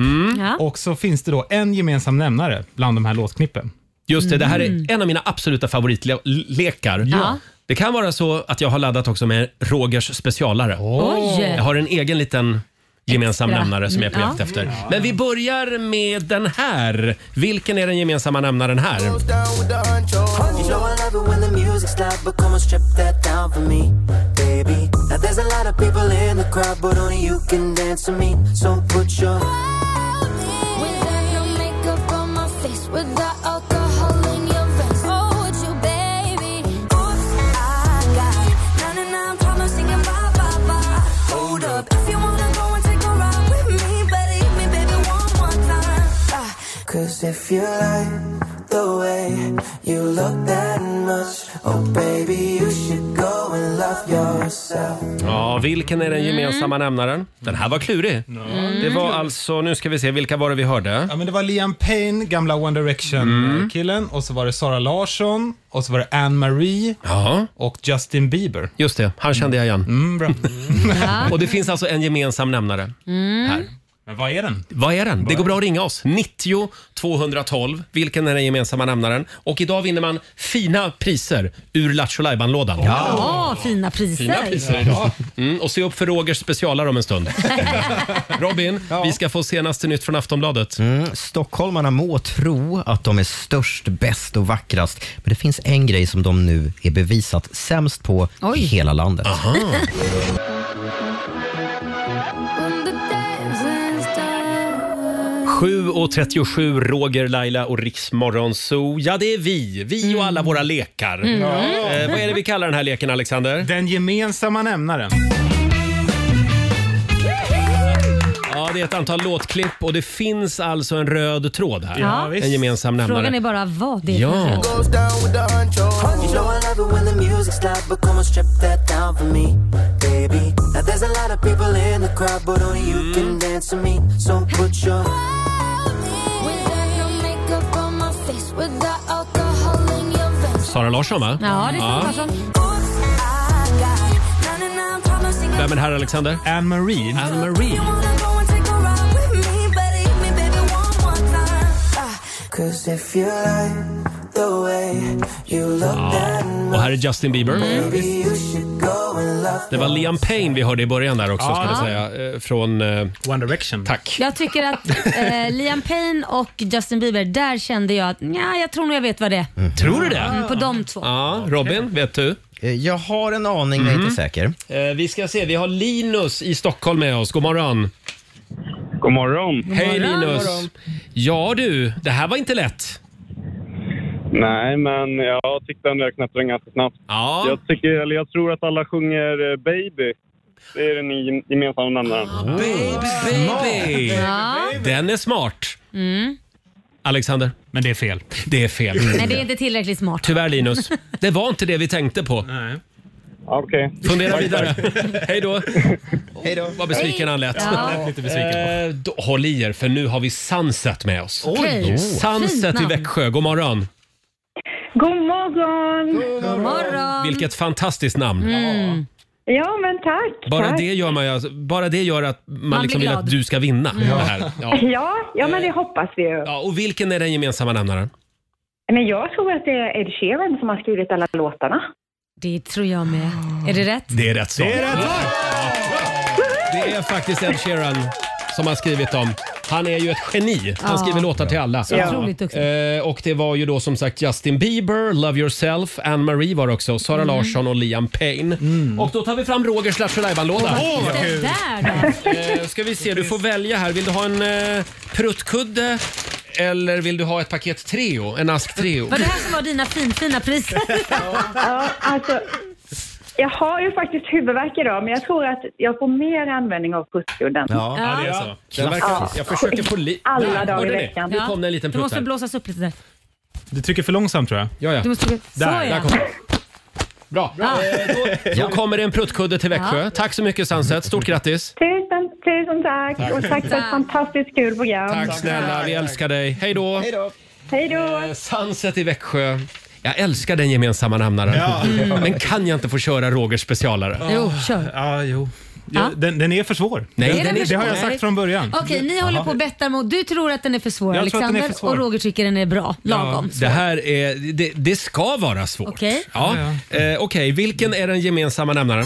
[SPEAKER 6] och så finns det då en gemensam nämnare bland de här låtknippen.
[SPEAKER 1] Just det, det här är en av mina absoluta favoritlekar.
[SPEAKER 6] Mm. Ja.
[SPEAKER 1] Det kan vara så att jag har laddat också med Rogers specialare.
[SPEAKER 6] Oj.
[SPEAKER 1] Jag har en egen liten gemensam
[SPEAKER 6] Extra.
[SPEAKER 1] nämnare som jag är på
[SPEAKER 6] Ja.
[SPEAKER 1] jakt efter. Men vi börjar med den här. Vilken är den gemensamma nämnaren här?
[SPEAKER 15] down with the honcho. You know I love it when the music's loud, but come and strip that down for me, baby. Now there's a lot of people in the crowd, but only you can dance to me. So put your
[SPEAKER 9] Without no makeup on my face, without alcohol in your veins. Oh, it's you, baby. Oops, I got 99 problems singing bye bye bye. Hold up, if you wanna go and take a ride with me, better you
[SPEAKER 15] Cause if you like the way you look that much, oh baby, you should go and love yourself.
[SPEAKER 1] Ja, vilken är den
[SPEAKER 6] Mm.
[SPEAKER 1] gemensamma nämnaren? Den här var klurig. Det var alltså, nu ska vi se, vilka var det vi hörde?
[SPEAKER 6] Ja, men det var Liam Payne, gamla One Direction-killen.
[SPEAKER 1] Mm.
[SPEAKER 6] Och så var det Sara Larsson. Och så var det Anne Marie. Och Justin Bieber.
[SPEAKER 1] Just det, han kände jag igen.
[SPEAKER 6] Mm, bra.
[SPEAKER 1] Och det finns alltså en gemensam nämnare.
[SPEAKER 2] Mm.
[SPEAKER 6] Här. Men vad är den?
[SPEAKER 1] Vad är den? Det går bra att ringa oss. 90 212. Vilken är den gemensamma nämnaren? Och idag vinner man fina priser ur Lattjo Lajban-lådan.
[SPEAKER 2] Ja, fina priser.
[SPEAKER 1] Fina priser idag. Mm, och se upp för Rogers specialare om en stund. Robin, vi ska få senaste nytt från Aftonbladet.
[SPEAKER 3] Mm, stockholmarna må tro att de är störst, bäst och vackrast, men det finns en grej som de nu är bevisat sämst på i hela landet.
[SPEAKER 9] When the dancing's done.
[SPEAKER 1] 7.37, Roger, Laila och Riksmorgon Zoo. Ja, det är vi. Vi och alla våra lekar.
[SPEAKER 6] Mm. Ja.
[SPEAKER 1] Eh, vad är det vi kallar den här leken, Alexander?
[SPEAKER 6] Den gemensamma nämnaren.
[SPEAKER 1] Ja, det är ett antal låtklipp och det finns alltså en röd tråd här.
[SPEAKER 2] Ja, visst.
[SPEAKER 1] en gemensam
[SPEAKER 2] Frågan är
[SPEAKER 1] nämnare.
[SPEAKER 2] bara vad det är
[SPEAKER 1] Ja.
[SPEAKER 2] för
[SPEAKER 15] Goes down with the honcho. You know I love it when the music's loud, but come on, strip that down for me, baby. Now there's a lot of people in the crowd, but only you can dance with me. So put your
[SPEAKER 9] Without no makeup on my face, without alcohol in your veins.
[SPEAKER 1] Sara Larsson, va?
[SPEAKER 9] Ja, det är Sara Larsson.
[SPEAKER 1] Vem är det här, Alexander?
[SPEAKER 6] Anne Marie.
[SPEAKER 1] Anne Marie.
[SPEAKER 15] Cause if you like the way you look that
[SPEAKER 1] Och här är Justin Bieber.
[SPEAKER 15] baby, you should go and love
[SPEAKER 1] Det var Liam Payne vi hörde i början där också,
[SPEAKER 6] Ja.
[SPEAKER 1] ska vi säga. eh, Från...
[SPEAKER 6] One Direction.
[SPEAKER 1] Tack.
[SPEAKER 2] Jag tycker att eh, Liam Payne och Justin Bieber, där kände jag att nja, jag tror nog jag vet vad det är.
[SPEAKER 1] Tror du det?
[SPEAKER 2] Mm, på de två.
[SPEAKER 1] Ja, Robin, vet du?
[SPEAKER 3] Eh, Jag har en aning, men jag är inte säker.
[SPEAKER 1] Eh, vi ska se, vi har Linus i Stockholm med oss. God morgon.
[SPEAKER 16] God morgon.
[SPEAKER 1] Hej
[SPEAKER 16] God morgon.
[SPEAKER 1] Linus.
[SPEAKER 16] God morgon.
[SPEAKER 1] Ja du, det här var inte lätt.
[SPEAKER 16] Nej, men jag tyckte ändå jag knäppte den ganska snabbt.
[SPEAKER 1] Ja.
[SPEAKER 16] Jag, tycker, eller jag tror att alla sjunger eh, Baby. Det är den gem- gemensamma nämnaren.
[SPEAKER 1] Baby!
[SPEAKER 2] Ja.
[SPEAKER 1] Den är smart.
[SPEAKER 2] Mm.
[SPEAKER 1] Alexander?
[SPEAKER 6] Men det är fel.
[SPEAKER 1] Det är fel.
[SPEAKER 2] Nej, det är inte tillräckligt smart.
[SPEAKER 1] Tyvärr Linus, det var inte det vi tänkte på.
[SPEAKER 16] Okej.
[SPEAKER 1] Fundera
[SPEAKER 16] Tack,
[SPEAKER 1] vidare. Hej då.
[SPEAKER 3] Hej då.
[SPEAKER 1] Vad besviken han lät.
[SPEAKER 2] Ja. Lät
[SPEAKER 6] lite besviken.
[SPEAKER 1] Eh, då, håll i er för nu har vi Sunset med oss.
[SPEAKER 2] Oj. Okej. Fint
[SPEAKER 1] Sunset i
[SPEAKER 2] namn.
[SPEAKER 1] Växjö, god morgon.
[SPEAKER 12] God morgon! God
[SPEAKER 2] morgon!
[SPEAKER 1] Vilket fantastiskt namn.
[SPEAKER 12] Um, Mm. Ja, men tack.
[SPEAKER 1] Bara
[SPEAKER 12] tack.
[SPEAKER 1] det, gör man, ju- alltså, bara det gör att man,
[SPEAKER 12] Man
[SPEAKER 1] liksom
[SPEAKER 12] blir
[SPEAKER 1] vill
[SPEAKER 12] glad.
[SPEAKER 1] att du ska vinna. Det här.
[SPEAKER 12] Ja.
[SPEAKER 1] Ja. Eh,
[SPEAKER 12] Ja, men det hoppas vi ju.
[SPEAKER 1] Ja, och vilken är den gemensamma nämnaren?
[SPEAKER 12] Men jag tror att det är Ed Sheeran som har skrivit alla låtarna.
[SPEAKER 2] Det tror jag med. Är det rätt?
[SPEAKER 1] Det är rätt svar. Det är, faktiskt Ed Sheeran som har skrivit dem. Han är ju ett geni. Han
[SPEAKER 2] Ja.
[SPEAKER 1] skriver låtar till alla.
[SPEAKER 2] Så otroligt duktig.
[SPEAKER 1] Eh, och det var ju då som sagt Justin Bieber, Love Yourself, Anne Marie var det också, Sara
[SPEAKER 2] Mm.
[SPEAKER 1] Larsson och Liam Payne. Och då tar vi fram Rogers Lattjo Lajban-låda.
[SPEAKER 2] Åh, vad kul. där då?
[SPEAKER 1] Eh, ska vi se, du får välja här. Vill du ha en eh, pruttkudde eller vill du ha ett paket Treo? En ask Treo?
[SPEAKER 2] Var det här som var dina finfina priser?
[SPEAKER 12] Ja, alltså, jag har ju faktiskt huvudvärk idag, men jag tror att jag får mer användning av pusskudden.
[SPEAKER 1] Ja, ja, det är så. Den verkar,
[SPEAKER 12] Ja.
[SPEAKER 1] jag försöker få li-
[SPEAKER 12] Alla
[SPEAKER 1] Där,
[SPEAKER 12] dagar i
[SPEAKER 1] hörde ni?
[SPEAKER 12] veckan.
[SPEAKER 1] Nu kom det en liten
[SPEAKER 2] Du
[SPEAKER 1] prutt
[SPEAKER 2] måste
[SPEAKER 1] här.
[SPEAKER 2] blåsas upp lite där.
[SPEAKER 6] Du trycker för långsamt tror jag.
[SPEAKER 1] Ja, ja.
[SPEAKER 2] Du måste... Så
[SPEAKER 1] Där, där
[SPEAKER 2] ja.
[SPEAKER 1] kom den. Bra. Eh,
[SPEAKER 2] Ja.
[SPEAKER 1] Då kommer det en pruttkudde till Växjö.
[SPEAKER 12] Ja.
[SPEAKER 1] Tack så mycket Sunset. Stort grattis.
[SPEAKER 12] Tusen, tusen tack,
[SPEAKER 1] Tack.
[SPEAKER 12] och tack för ett fantastiskt kul program.
[SPEAKER 1] Tack snälla, vi älskar dig. Hej då.
[SPEAKER 12] Hej då!
[SPEAKER 1] Eh, Sunset i Växjö. Jag älskar den gemensamma nämnaren.
[SPEAKER 6] Ja. Mm.
[SPEAKER 1] Men kan jag inte få köra Rogers specialare?
[SPEAKER 2] Jo, kör.
[SPEAKER 6] Ja, Ah, jo. Ja,
[SPEAKER 2] Ja.
[SPEAKER 6] Den, den är för svår.
[SPEAKER 1] Nej,
[SPEAKER 6] Den-
[SPEAKER 1] den är
[SPEAKER 6] det
[SPEAKER 1] för
[SPEAKER 6] har
[SPEAKER 1] svår.
[SPEAKER 6] jag sagt från början.
[SPEAKER 2] Okej, ni håller på och bettar mot... Du tror att den är för svår,
[SPEAKER 6] Jag tror att den är
[SPEAKER 2] Alexander.
[SPEAKER 6] för svår.
[SPEAKER 2] Och Roger tycker den är bra. Lagom.
[SPEAKER 1] Det här är, det, det ska vara svårt.
[SPEAKER 2] Okej.
[SPEAKER 1] Ja. Eh, Okej, vilken är den gemensamma nämnaren?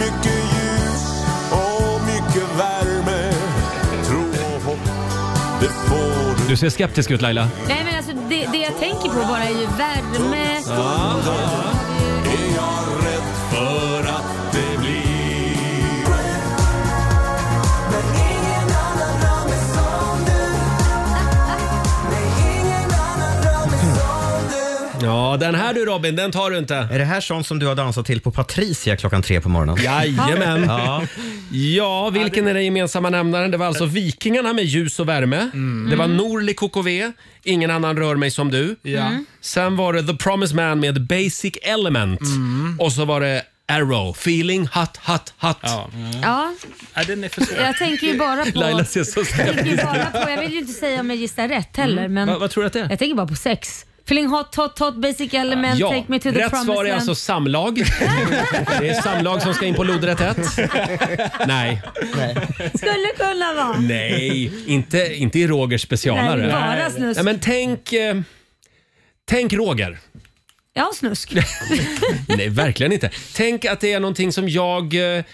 [SPEAKER 7] Mycket ljus och mycket värme. Tro och hopp, det får
[SPEAKER 1] Du ser skeptisk ut Laila.
[SPEAKER 2] Nej men alltså det, det jag tänker på bara är ju värme.
[SPEAKER 7] Ja. Är jag rädd för att det blir? Men ingen
[SPEAKER 1] Ja, den här du Robin, den tar du inte. Är
[SPEAKER 3] det här sånt som du har dansat till på Patricia klockan tre på morgonen?
[SPEAKER 1] Jajamän.
[SPEAKER 3] Ja.
[SPEAKER 1] Ja, vilken är den gemensamma nämnaren? Det var alltså Vikingarna med ljus och värme. Det var
[SPEAKER 8] Mm.
[SPEAKER 1] Norli KKV, Ingen annan rör mig som du.
[SPEAKER 8] Ja. Mm.
[SPEAKER 1] Sen var det The Promised Man med Basic Element. Och så var det Arrow, Feeling Hot Hot Hot. Ja.
[SPEAKER 2] Ja,
[SPEAKER 6] Ja, den är för svår.
[SPEAKER 2] jag tänker ju bara på...
[SPEAKER 1] Laila ser så
[SPEAKER 2] Jag tänker ju
[SPEAKER 1] skeptisk
[SPEAKER 2] bara på, jag vill ju inte säga om jag gissar rätt heller, men
[SPEAKER 1] Mm. Vad- vad tror du att det är?
[SPEAKER 2] jag tänker bara på sex. Feeling hot, hot, hot, basic element, take me to the
[SPEAKER 1] rätt
[SPEAKER 2] promised
[SPEAKER 1] svar är
[SPEAKER 2] land.
[SPEAKER 1] alltså samlag. Det är samlag som ska in på lodrätt 1. Nej.
[SPEAKER 2] Skulle kunna vara.
[SPEAKER 1] Nej, inte, inte i Rogers specialare.
[SPEAKER 2] Nej, bara snusk.
[SPEAKER 1] Nej, men tänk, eh, tänk Roger.
[SPEAKER 2] Ja, snusk. Eh,
[SPEAKER 1] Nej, verkligen inte. Tänk att det är någonting som jag... eh,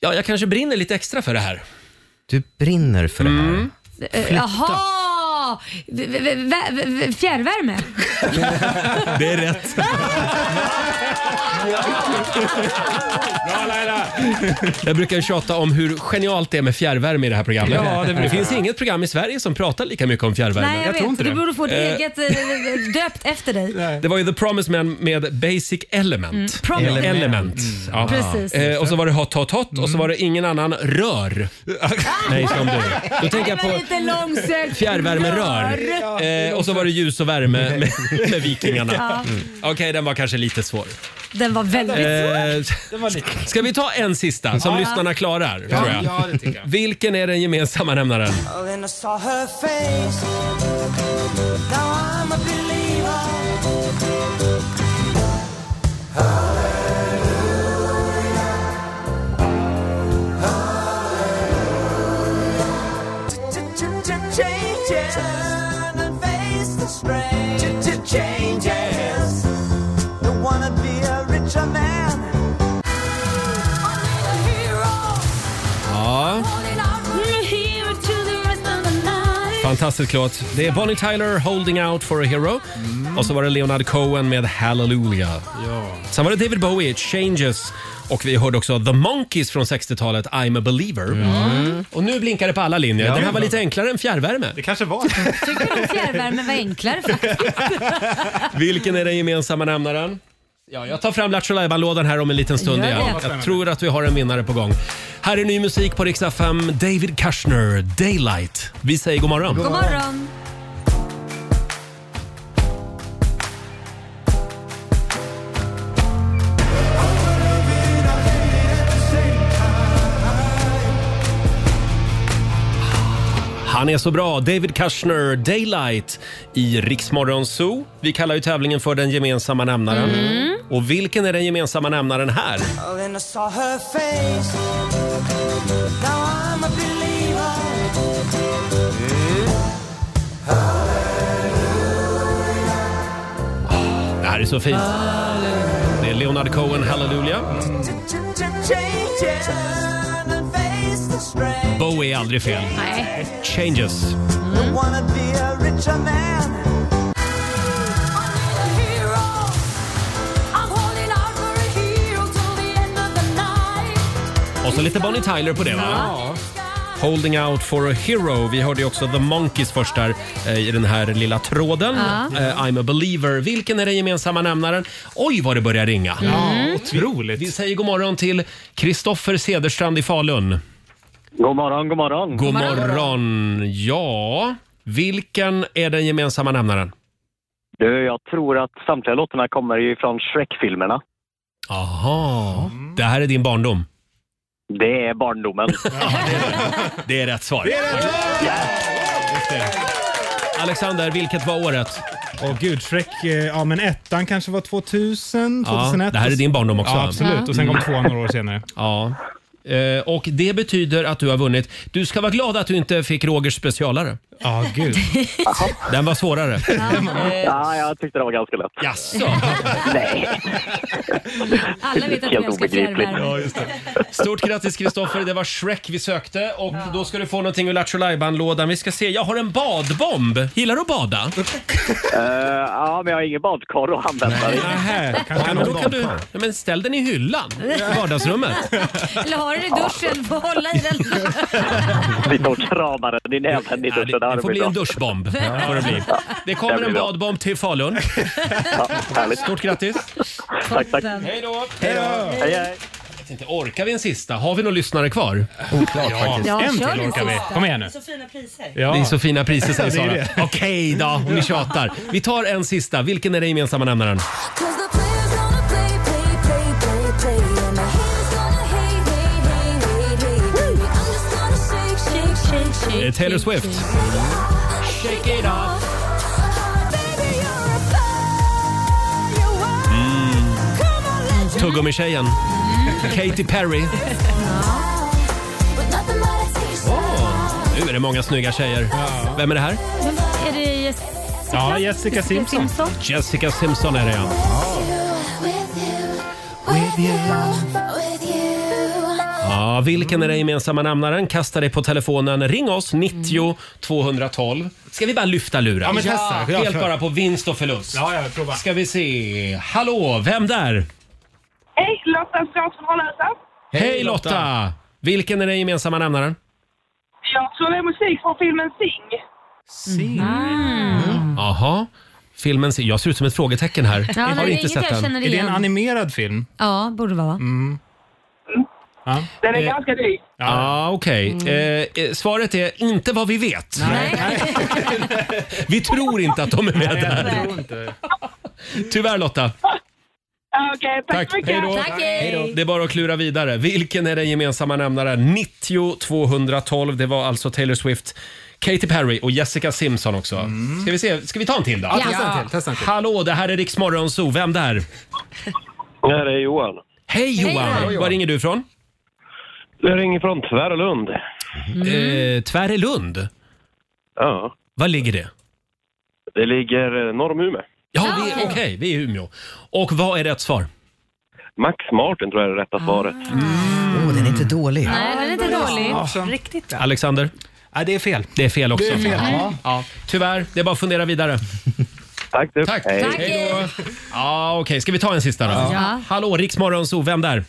[SPEAKER 1] Ja, jag kanske brinner lite extra för det här.
[SPEAKER 3] Du brinner för det här.
[SPEAKER 1] Mm.
[SPEAKER 2] Eh, Jaha! V- v- v- v- Fjärrvärme?
[SPEAKER 1] Det är rätt. Bra Laila! Jag brukar ju tjata om hur genialt det är med fjärrvärme i det här programmet.
[SPEAKER 6] Ja, det brukar
[SPEAKER 1] det finns
[SPEAKER 6] jag.
[SPEAKER 1] inget program i Sverige som pratar lika mycket om fjärrvärme.
[SPEAKER 2] Nej, jag, vet. Du borde få ett
[SPEAKER 1] Eh,
[SPEAKER 2] eget eh, döpt efter dig.
[SPEAKER 1] Det var ju The Promised Man med Basic Element.
[SPEAKER 2] Mm, Promised.
[SPEAKER 1] Element.
[SPEAKER 2] Element.
[SPEAKER 1] Ja.
[SPEAKER 2] Precis.
[SPEAKER 1] Eh, och så var det Hot Hot Hot och så var det Ingen annan rör. Nej, som du. Då tänker jag
[SPEAKER 2] Det var
[SPEAKER 1] på
[SPEAKER 2] lite långsökt.
[SPEAKER 1] fjärrvärmerör.
[SPEAKER 2] Rör.
[SPEAKER 1] Eh, och så var det ljus och värme med, med Vikingarna.
[SPEAKER 2] Ja.
[SPEAKER 1] Mm. Okej, den var kanske lite svår.
[SPEAKER 2] Den var väldigt svår.
[SPEAKER 1] Eh, ska vi ta en sista som
[SPEAKER 15] Ja.
[SPEAKER 1] lyssnarna klarar?
[SPEAKER 15] Ja,
[SPEAKER 1] tror jag.
[SPEAKER 15] ja, det tycker jag.
[SPEAKER 1] Vilken är den gemensamma nämnaren?
[SPEAKER 15] Oh, then I saw her face. Now I'm a believer. Changes. Turn and face the strange. Changes. Don't wanna be a richer man.
[SPEAKER 1] Ja, fantastisk låt. Det är Bonnie Tyler, Holding Out for a Hero. Och så var det Leonard Cohen med Hallelujah.
[SPEAKER 6] Ja.
[SPEAKER 1] Sen var det David Bowie, Changes. Och vi hörde också The Monkeys från 60-talet, I'm a believer. Och nu blinkar det på alla linjer. Den här var lite enklare än fjärrvärme. Det
[SPEAKER 6] Mm. kanske var.
[SPEAKER 2] Tycker du fjärrvärmen var enklare faktiskt?
[SPEAKER 1] Vilken är den gemensamma nämnaren? Ja, jag tar fram Lattjo Lajban-lådan här om en liten stund
[SPEAKER 2] Gör
[SPEAKER 1] igen.
[SPEAKER 2] det.
[SPEAKER 1] Jag tror att vi har en vinnare på gång. Här är ny musik på riksdag 5, David Kushner, Daylight. Vi säger god morgon.
[SPEAKER 2] God morgon.
[SPEAKER 1] Han är så bra, David Kushner, Daylight i Riksmorgon Zoo. Vi kallar ju tävlingen för den gemensamma nämnaren. Och vilken är den gemensamma nämnaren här?
[SPEAKER 15] Oh, then I saw her face. Now I'm a believer.
[SPEAKER 1] Det här är så fint. Det är Leonard Cohen, Hallelujah.
[SPEAKER 15] Changes. Turn and face the strange.
[SPEAKER 1] Bowie är aldrig fel.
[SPEAKER 15] Nej.
[SPEAKER 1] Changes.
[SPEAKER 15] Don't wanna be a richer man. oh.
[SPEAKER 1] Och så lite Bonnie Tyler på det va?
[SPEAKER 15] Ja.
[SPEAKER 1] Holding out for a hero. Vi hörde ju också The Monkeys först där eh, i den här lilla tråden.
[SPEAKER 2] Ja.
[SPEAKER 1] Eh, I'm a believer. Vilken är den gemensamma nämnaren? Oj vad det börjar ringa.
[SPEAKER 2] Ja,
[SPEAKER 1] otroligt. Vi, vi säger god morgon till Kristoffer Cederstrand i Falun.
[SPEAKER 17] God morgon, god morgon.
[SPEAKER 1] God morgon. Ja, vilken är den gemensamma nämnaren?
[SPEAKER 17] Du, jag tror att samtliga låtarna kommer ju från Shrek-filmerna.
[SPEAKER 1] Aha, det här är din barndom.
[SPEAKER 17] Det är barndomen.
[SPEAKER 1] Det är rätt svar. Alexander, vilket var året?
[SPEAKER 6] Åh gud, Shrek, eh, ja men ettan kanske var 2000,
[SPEAKER 1] Ja,
[SPEAKER 6] 2001.
[SPEAKER 1] det här är din barndom också.
[SPEAKER 6] Ja, absolut. Och sen kom
[SPEAKER 1] Mm.
[SPEAKER 6] tvåan några år senare.
[SPEAKER 1] Ja. Eh, och det betyder att du har vunnit. Du ska vara glad att du inte fick Rogers specialare. Ja, gud. Den var svårare.
[SPEAKER 17] ja, jag tyckte det var ganska lätt.
[SPEAKER 1] Eh, Jaså?
[SPEAKER 17] Nej.
[SPEAKER 2] Alla vet att
[SPEAKER 17] Helt
[SPEAKER 2] vi älskar
[SPEAKER 17] obegripligt.
[SPEAKER 2] fjärrvärme.
[SPEAKER 1] Stort grattis Kristoffer, det var Shrek vi sökte och då ska du få någonting ur Lattjo lådan Vi ska se, jag har en badbomb. Gillar du att bada?
[SPEAKER 17] Eh, ja, men jag har ingen badkar att använda.
[SPEAKER 1] Nähä, ja, men då kan du, ja, men ställ den i hyllan i vardagsrummet.
[SPEAKER 2] Eller har har den i duschen, får hålla i den.
[SPEAKER 17] Sitta och krama den, din jävla i duschen.
[SPEAKER 1] Det får bli en duschbomb.
[SPEAKER 17] Ja.
[SPEAKER 1] Får det, bli. det
[SPEAKER 17] Det
[SPEAKER 1] kommer
[SPEAKER 17] blir
[SPEAKER 1] en
[SPEAKER 17] bra.
[SPEAKER 1] badbomb till Falun. Stort grattis!
[SPEAKER 17] Tack, tack.
[SPEAKER 1] Hej då!
[SPEAKER 17] Hej då! Hej, hej.
[SPEAKER 1] Jag vet inte, Orkar vi en sista? Har vi någon lyssnare kvar?
[SPEAKER 6] Oklart faktiskt.
[SPEAKER 1] en
[SPEAKER 6] kör
[SPEAKER 1] till
[SPEAKER 6] den
[SPEAKER 1] orkar vi.
[SPEAKER 6] sista.
[SPEAKER 1] Kom igen nu.
[SPEAKER 5] Så fina priser.
[SPEAKER 1] Ja. Det är så fina priser säger
[SPEAKER 6] Det är
[SPEAKER 1] Sara.
[SPEAKER 6] det.
[SPEAKER 1] Okej då, om ni tjatar. Vi tar en sista. Vilken är den gemensamma nämnaren?
[SPEAKER 9] Cause the players gonna play, play, play, play, play. And the haters gonna hate, hate, hate, hate, hate. Baby, I'm just gonna shake, shake, shake, shake.
[SPEAKER 1] Eh, Taylor Swift.
[SPEAKER 9] Shake it off.
[SPEAKER 1] Mm. Tuggummi-tjejen. Katy Perry. Nu är det många snygga tjejer. Vem är det här?
[SPEAKER 2] Är det Jessica?
[SPEAKER 1] Ja, Jessica
[SPEAKER 2] Simpson. Simpson.
[SPEAKER 1] Jessica Simpson är det ja. ja vilken är den gemensamma nämnaren? Kasta dig på telefonen. Ring oss, 90 212. Ska vi bara lyfta luren?
[SPEAKER 6] Ja, men testa. Ja,
[SPEAKER 1] Helt
[SPEAKER 6] kör.
[SPEAKER 1] bara på vinst och förlust. Ja, ja, prova. Ska vi se. Hallå, vem där?
[SPEAKER 4] Hej, Lotta Strauss från Holländsson.
[SPEAKER 1] Hej, Lotta. Vilken är den gemensamma nämnaren?
[SPEAKER 4] Jag tror det är musik från filmen Sing.
[SPEAKER 1] Sing?
[SPEAKER 2] Ah.
[SPEAKER 1] Mm. Jaha. Filmen, ser- jag ser ut som ett frågetecken här.
[SPEAKER 2] Ja,
[SPEAKER 1] jag
[SPEAKER 2] nej,
[SPEAKER 1] har
[SPEAKER 2] det är
[SPEAKER 1] inte
[SPEAKER 2] inget
[SPEAKER 1] sett
[SPEAKER 2] jag
[SPEAKER 1] den.
[SPEAKER 2] känner Är det en igen.
[SPEAKER 1] animerad film?
[SPEAKER 2] Ja, borde vara va?
[SPEAKER 1] Mm. Ja.
[SPEAKER 4] Den är
[SPEAKER 1] Eh,
[SPEAKER 4] ganska dyr.
[SPEAKER 1] Ja, Ah, okej. Eh, eh, svaret är inte vad vi vet. vi tror inte att de är med där. Tyvärr Lotta.
[SPEAKER 4] Okej, tack så mycket.
[SPEAKER 1] Hej då. Det är bara att klura vidare. Vilken är den gemensamma nämnaren? 90 212. Det var alltså Taylor Swift, Katy Perry och Jessica Simpson också. Ska, vi se? Ska vi ta en till då?
[SPEAKER 6] Mm. Ja, testa en till, testa en till.
[SPEAKER 1] Hallå, det här är Rix Morgonzoo. Vem där?
[SPEAKER 16] Det här är Johan.
[SPEAKER 1] Hej Johan!
[SPEAKER 16] Hej, Johan.
[SPEAKER 1] Var ringer du ifrån?
[SPEAKER 16] Jag ringer från Tvärlund.
[SPEAKER 1] Eh, Tvärelund?
[SPEAKER 16] Ja.
[SPEAKER 1] Var ligger det?
[SPEAKER 16] Det ligger eh, norr om Umeå.
[SPEAKER 1] Ja,
[SPEAKER 6] Ah,
[SPEAKER 1] vi- okej, vi är i Umeå. Och vad är rätt svar?
[SPEAKER 16] Max Martin tror jag är det
[SPEAKER 6] Ah.
[SPEAKER 16] rätta svaret.
[SPEAKER 3] Oh, den är
[SPEAKER 1] Mm.
[SPEAKER 3] inte dålig.
[SPEAKER 2] Nej, den är inte dålig.
[SPEAKER 5] Riktigt bra.
[SPEAKER 1] Alexander?
[SPEAKER 6] Nej, det är fel.
[SPEAKER 1] Det är fel också.
[SPEAKER 6] Det är fel, ja.
[SPEAKER 1] Ja. Tyvärr, det är bara att fundera vidare.
[SPEAKER 16] Tack du.
[SPEAKER 1] Tack.
[SPEAKER 16] Hej.
[SPEAKER 2] Tack.
[SPEAKER 1] då. Ja, okej. Ska vi ta en sista då?
[SPEAKER 18] Ja.
[SPEAKER 1] Hallå, Riksmorgonzoo. Vem där?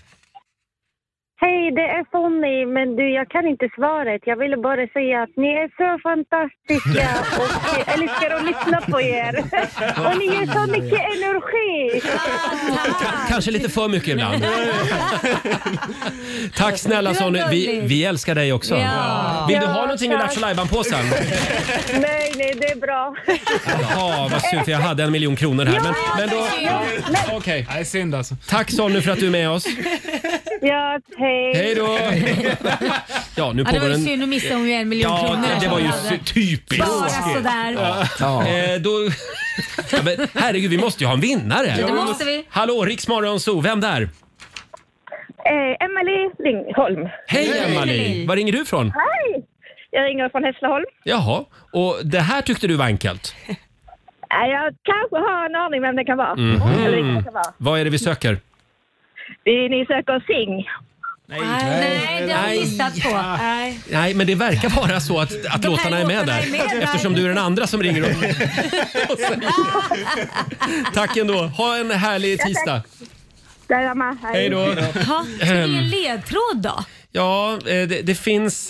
[SPEAKER 18] Hej, det är Fonny, men du, jag kan inte svaret. Jag ville bara säga att ni är så fantastiska och jag älskar att lyssna på er. Och ni ger så mycket energi!
[SPEAKER 1] Kanske lite för mycket ibland. Tack snälla
[SPEAKER 18] Du är
[SPEAKER 1] Sonny. Vi,
[SPEAKER 18] gullig.
[SPEAKER 1] vi älskar dig också.
[SPEAKER 18] Ja.
[SPEAKER 1] Vill du
[SPEAKER 18] Ja,
[SPEAKER 1] ha någonting i
[SPEAKER 18] tack.
[SPEAKER 1] Lattjo Lajban-påsen?
[SPEAKER 18] Nej, nej, det är bra.
[SPEAKER 1] Jaha, vad synd för jag hade en miljon kronor här. Men, men då... Okej.
[SPEAKER 6] Nej, synd alltså.
[SPEAKER 1] Tack Sonny för att du är med oss.
[SPEAKER 18] Ja, hej.
[SPEAKER 1] Hej då! Ja, nu
[SPEAKER 2] Ja, det
[SPEAKER 1] pågår
[SPEAKER 2] var ju
[SPEAKER 1] en...
[SPEAKER 2] synd, nu missade hon ju en miljon
[SPEAKER 1] Ja,
[SPEAKER 2] kronor.
[SPEAKER 1] det var ju
[SPEAKER 2] som hon hade.
[SPEAKER 1] sy- typiskt.
[SPEAKER 2] Bara sådär.
[SPEAKER 1] Ja. Eh, då... ja, men, herregud, vi måste ju ha en vinnare.
[SPEAKER 18] Ja, det måste vi.
[SPEAKER 1] Hallå, Riksmorgonzoo, vem där?
[SPEAKER 18] Eh, Emily Lindholm.
[SPEAKER 1] Hej Emily! Var ringer du ifrån?
[SPEAKER 18] Hej! Jag ringer från Hässleholm.
[SPEAKER 1] Jaha, och det här tyckte du var enkelt?
[SPEAKER 18] Eh, Jag kanske har en aning vem det kan vara. Eller vilken det kan vara.
[SPEAKER 1] Mhm. Vad är det vi söker?
[SPEAKER 18] Vi- Ni söker Sing.
[SPEAKER 2] Nej, det har vi gissat på. Nej.
[SPEAKER 1] Nej, men det verkar vara så att, att
[SPEAKER 2] här
[SPEAKER 1] låtarna är med
[SPEAKER 2] låtarna
[SPEAKER 1] där.
[SPEAKER 2] är med där.
[SPEAKER 1] Eftersom du är den andra som ringer upp. Och sen- Tack ändå. Ha en härlig
[SPEAKER 18] Ja, tack.
[SPEAKER 1] tisdag.
[SPEAKER 18] Detsamma.
[SPEAKER 1] Hej då.
[SPEAKER 2] Ha, ska vi ge en ledtråd då?
[SPEAKER 1] Ja, eh, det, det finns...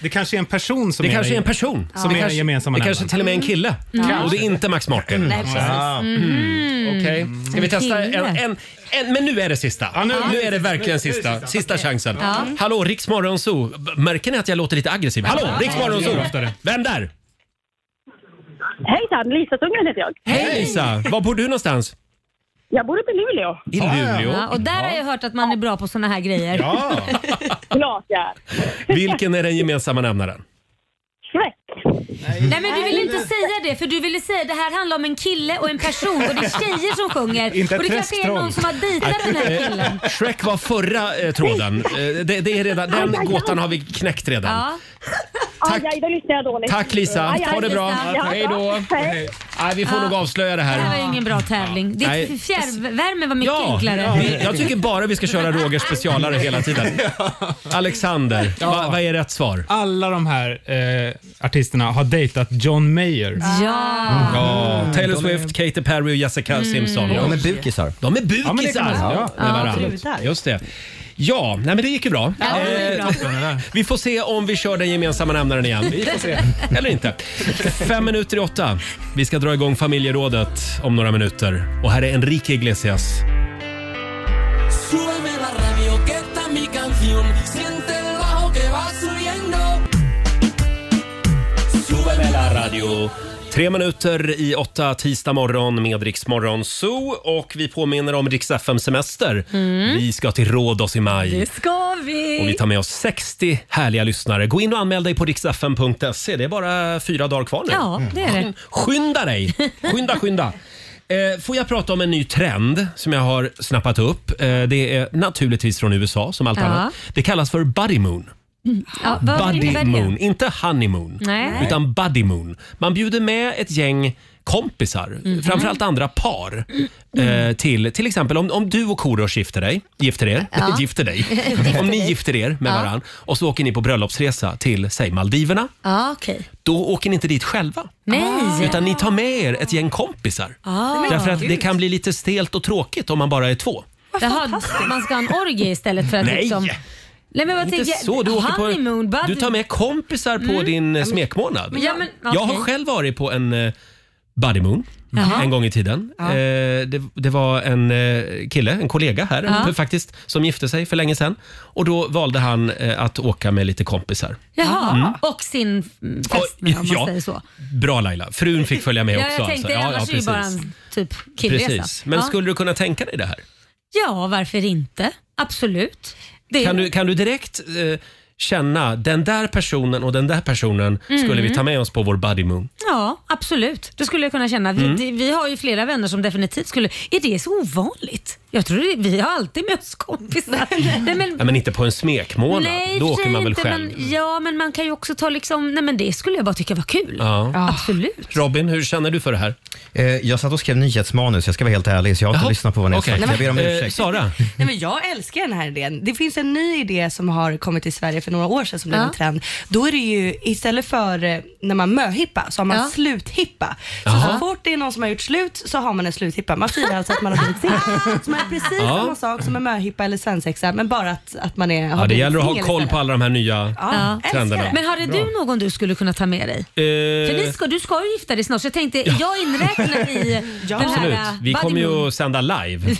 [SPEAKER 1] Det kanske är en person
[SPEAKER 6] som
[SPEAKER 1] Det
[SPEAKER 6] är
[SPEAKER 1] kanske är
[SPEAKER 6] den-
[SPEAKER 1] en person.
[SPEAKER 6] som
[SPEAKER 1] det
[SPEAKER 6] är den
[SPEAKER 1] kanske,
[SPEAKER 6] gemensamma
[SPEAKER 1] Det kanske
[SPEAKER 6] nämnaren.
[SPEAKER 1] till och med är en kille.
[SPEAKER 6] Mm.
[SPEAKER 1] Och det är inte Max Martin.
[SPEAKER 6] Nej, precis.
[SPEAKER 1] Ah.
[SPEAKER 6] Mhm.
[SPEAKER 1] Mm. Okej, ska vi
[SPEAKER 6] En
[SPEAKER 1] testa en,
[SPEAKER 6] kille.
[SPEAKER 1] en, en... Men nu är det sista. nu, är det verkligen
[SPEAKER 6] nu är det
[SPEAKER 1] sista. Sista,
[SPEAKER 6] sista.
[SPEAKER 1] chansen.
[SPEAKER 6] Ja.
[SPEAKER 2] Mm.
[SPEAKER 1] Hallå, Rix Morgonzoo. B- Märker ni att jag låter lite aggressiv? Hallå,
[SPEAKER 18] Ja.
[SPEAKER 1] Rix
[SPEAKER 18] Ja, det
[SPEAKER 1] Morgonzoo.
[SPEAKER 18] gör du
[SPEAKER 1] Vem där?
[SPEAKER 18] Hejsan, Lisa Sundgren heter jag.
[SPEAKER 1] Hej Lisa! Var bor du någonstans?
[SPEAKER 18] Jag bor uppe i Luleå.
[SPEAKER 1] I Luleå.
[SPEAKER 2] Ja, och där har jag hört att man är bra på såna här grejer.
[SPEAKER 1] Ja.
[SPEAKER 18] Klart jag är.
[SPEAKER 1] Vilken är den gemensamma nämnaren?
[SPEAKER 2] Nej men du ville inte säga det för du ville säga det här handlar om en kille och en person och det är tjejer som sjunger.
[SPEAKER 1] Inte ett
[SPEAKER 2] och det kanske är
[SPEAKER 1] träsktroll.
[SPEAKER 2] någon som har dejtat den här killen.
[SPEAKER 1] Eh, Shrek var förra eh, tråden. Eh, det, det är redan, den gåtan har vi knäckt redan.
[SPEAKER 2] Ja.
[SPEAKER 18] Tack. Aj, aj, då lyssnar jag dåligt.
[SPEAKER 1] Tack Lisa,
[SPEAKER 18] Aj, aj,
[SPEAKER 1] ha det bra.
[SPEAKER 18] Lisa. Ja,
[SPEAKER 1] Hej då.
[SPEAKER 18] Hej.
[SPEAKER 1] Nej, vi får
[SPEAKER 2] Ja.
[SPEAKER 1] nog avslöja det
[SPEAKER 2] Det här var ju
[SPEAKER 1] här.
[SPEAKER 2] ingen bra tävling. Det
[SPEAKER 1] Nej.
[SPEAKER 2] fjärrvärme var mycket
[SPEAKER 1] Ja,
[SPEAKER 2] enklare.
[SPEAKER 1] vi, jag tycker bara vi ska köra Rogers specialare hela tiden. Alexander,
[SPEAKER 6] Ja.
[SPEAKER 1] va- vad är rätt svar?
[SPEAKER 6] Alla de här eh, artisterna har dejtat John Mayer. Mm.
[SPEAKER 2] Ja.
[SPEAKER 1] Ja, Taylor Swift, Katy Perry och Jessica Simpson.
[SPEAKER 3] Mm. De är bukisar.
[SPEAKER 1] De är bukisar!
[SPEAKER 3] Ja, men det kan man säga.
[SPEAKER 1] med varandra.
[SPEAKER 3] Ja, brudar.
[SPEAKER 1] Just det. Ja, nej men det gick ju bra.
[SPEAKER 2] Ja, det gick
[SPEAKER 1] Eh,
[SPEAKER 2] bra.
[SPEAKER 1] toppen, det där. vi får se om vi kör den gemensamma nämnaren igen.
[SPEAKER 2] Vi får se.
[SPEAKER 1] Eller inte. Fem minuter i åtta. Vi ska dra igång familjerådet om några minuter. Och här är Enrique Iglesias.
[SPEAKER 7] Súbeme la radio, que está mi canción. Siente el bajo que va subiendo. Súbeme la radio.
[SPEAKER 1] Tre minuter i åtta tisdag morgon med Rix Morgon Zoo och vi påminner om Rix FM semester.
[SPEAKER 2] Mm.
[SPEAKER 1] Vi ska till Rhodos i maj
[SPEAKER 2] Det ska vi!
[SPEAKER 1] och vi tar med oss 60 härliga lyssnare. Gå in och anmäl dig på rixfm.se. Det är bara fyra dagar kvar nu. Mm.
[SPEAKER 2] Ja, det är det.
[SPEAKER 1] Skynda dig! Skynda, skynda! Eh, Får jag prata om en ny trend som jag har snappat upp? Eh, Det är naturligtvis från USA som allt
[SPEAKER 2] Ja.
[SPEAKER 1] annat. Det kallas för Buddy Moon.
[SPEAKER 2] Mm. Ja, vad
[SPEAKER 1] Buddy
[SPEAKER 2] innebär det?
[SPEAKER 1] Moon, inte honeymoon,
[SPEAKER 2] Nej.
[SPEAKER 1] utan buddy moon. Man bjuder med ett gäng kompisar,
[SPEAKER 2] Mhm.
[SPEAKER 1] framförallt andra par, eh, till till exempel om, om du och Korosh gifter dig, gifter er,
[SPEAKER 2] Ja.
[SPEAKER 1] gifter dig,
[SPEAKER 2] Gifter
[SPEAKER 1] om ni
[SPEAKER 2] dig.
[SPEAKER 1] gifter er med
[SPEAKER 2] Ja.
[SPEAKER 1] varann och så åker ni på bröllopsresa till, säg Maldiverna,
[SPEAKER 2] Ja, okej.
[SPEAKER 1] då åker ni inte dit själva. Ah.
[SPEAKER 2] Nej.
[SPEAKER 1] Utan ni tar med er ett gäng kompisar.
[SPEAKER 2] Ah.
[SPEAKER 1] Därför att det kan bli lite stelt och tråkigt om man bara är två.
[SPEAKER 2] Jaha, man ska ha en orgie istället för att
[SPEAKER 1] Nej.
[SPEAKER 2] liksom... Nej! men vad
[SPEAKER 1] Inte
[SPEAKER 2] tänker-
[SPEAKER 1] så. Du, åker
[SPEAKER 2] honeymoon,
[SPEAKER 1] på,
[SPEAKER 2] buddy.
[SPEAKER 1] du tar med kompisar på
[SPEAKER 2] Mm.
[SPEAKER 1] din eh,
[SPEAKER 2] Ja, men-
[SPEAKER 1] smekmånad.
[SPEAKER 2] Men ja, men,
[SPEAKER 1] Jag har
[SPEAKER 2] okej.
[SPEAKER 1] själv varit på en eh, bodymoon
[SPEAKER 2] Jaha.
[SPEAKER 1] en gång i tiden.
[SPEAKER 2] Ja.
[SPEAKER 1] Eh, det, det var en eh, kille, en kollega här
[SPEAKER 2] Ja.
[SPEAKER 1] för, faktiskt, som gifte sig för länge sedan. Och då valde han eh, att åka med lite kompisar.
[SPEAKER 2] Jaha,
[SPEAKER 1] Mm.
[SPEAKER 2] och sin mm, fästmö om man
[SPEAKER 1] ja. alltså.
[SPEAKER 2] säger så.
[SPEAKER 1] Bra Laila, frun fick följa med
[SPEAKER 2] Ja,
[SPEAKER 1] också.
[SPEAKER 2] jag tänkte annars är det ju bara en typ killresa.
[SPEAKER 1] Precis. Men
[SPEAKER 2] ja.
[SPEAKER 1] skulle du kunna tänka dig det här?
[SPEAKER 2] ja, varför inte? Absolut. Det...
[SPEAKER 1] Kan du, kan du direkt eh, känna den där personen och den där personen skulle
[SPEAKER 2] Mm.
[SPEAKER 1] vi ta med oss på vår bodymoon?
[SPEAKER 2] Ja, absolut. Det skulle jag kunna känna. Vi,
[SPEAKER 1] Mm.
[SPEAKER 2] det- vi har ju flera vänner som definitivt skulle... Är det så ovanligt? Jag tror det, vi har alltid med oss kompisar. nej, men,
[SPEAKER 1] Ja, men inte på en smekmånad.
[SPEAKER 2] nej,
[SPEAKER 1] Då
[SPEAKER 2] för
[SPEAKER 1] åker
[SPEAKER 2] sig
[SPEAKER 1] man väl
[SPEAKER 2] inte,
[SPEAKER 1] själv.
[SPEAKER 2] Men, ja, men man kan ju också ta liksom... Nej, men det skulle jag bara tycka var kul.
[SPEAKER 1] Ja.
[SPEAKER 2] Absolut.
[SPEAKER 1] Robin, hur känner du för det här?
[SPEAKER 3] Eh, Jag satt och skrev nyhetsmanus, jag ska vara helt ärlig, så jag har inte lyssnat på vad ni har
[SPEAKER 1] okej.
[SPEAKER 3] sagt. Jag ber om
[SPEAKER 1] Eh,
[SPEAKER 3] ursäkt.
[SPEAKER 1] Sara?
[SPEAKER 5] Nej, men jag älskar den här idén. Det finns en ny idé som har kommit till Sverige för några år sedan som blev
[SPEAKER 2] Ja.
[SPEAKER 5] en trend. Då är det ju istället för eh, när man möhippa så har man
[SPEAKER 2] Ja.
[SPEAKER 5] sluthippa. Så,
[SPEAKER 2] Jaha.
[SPEAKER 5] så fort det är någon som har gjort slut så har man en sluthippa. Man firar alltså att man har blivit singel. Så man är precis
[SPEAKER 1] Ja.
[SPEAKER 5] samma sak som en möhippa eller svensexa men bara att, att man är, har
[SPEAKER 1] Ja, det
[SPEAKER 5] blivit
[SPEAKER 1] gäller att ha
[SPEAKER 5] singel
[SPEAKER 1] koll
[SPEAKER 5] istället.
[SPEAKER 1] på alla de här nya
[SPEAKER 5] Ja.
[SPEAKER 1] trenderna.
[SPEAKER 2] Men hade
[SPEAKER 1] Bra.
[SPEAKER 2] du någon du skulle kunna ta med dig?
[SPEAKER 1] Eh,
[SPEAKER 2] För ni ska, du ska ju gifta dig snart så jag tänkte, jag inräknar i den här
[SPEAKER 1] Absolut.
[SPEAKER 2] eh,
[SPEAKER 1] Vi kommer ju
[SPEAKER 2] bodymoon.
[SPEAKER 1] att sända live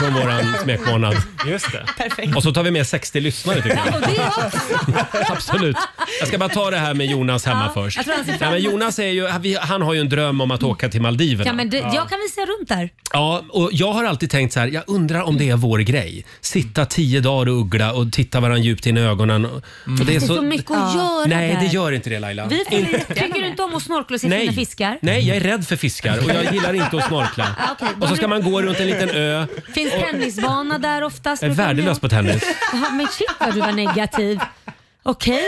[SPEAKER 1] från våran smekmånad. Just det.
[SPEAKER 5] Perfekt.
[SPEAKER 1] Och så tar vi med 60 lyssnare tycker jag.
[SPEAKER 2] Ja, och det också.
[SPEAKER 1] Absolut. Jag ska bara ta det här med Jonas hemma
[SPEAKER 2] Ja,
[SPEAKER 1] först.
[SPEAKER 2] jag tror han ser fram
[SPEAKER 1] Nej, men
[SPEAKER 2] emot- Mm.
[SPEAKER 1] Jonas är ju, vi- han har ju en dröm om att åka till Maldiverna.
[SPEAKER 2] Ja, men det, jag kan visa runt där.
[SPEAKER 1] Ja, och jag har alltid tänkt så här, jag undrar om det är vår grej. Sitta tio dagar och uggla och titta varandra djupt in i ögonen. Och, och
[SPEAKER 2] Det är så mycket att göra
[SPEAKER 1] Nej,
[SPEAKER 2] där.
[SPEAKER 1] det gör inte det Laila.
[SPEAKER 2] Vi
[SPEAKER 1] In-
[SPEAKER 2] får, tycker du inte om att snorkla och se fina fiskar?
[SPEAKER 1] Nej, jag är rädd för fiskar och jag gillar inte att snorkla.
[SPEAKER 2] Ja, okej. Äh,
[SPEAKER 1] Och så ska man gå runt en liten ö.
[SPEAKER 2] Finns tennisbana där oftast?
[SPEAKER 1] Jag är värdelös på tennis.
[SPEAKER 2] Jaha, men shit vad du var negativ. Okej.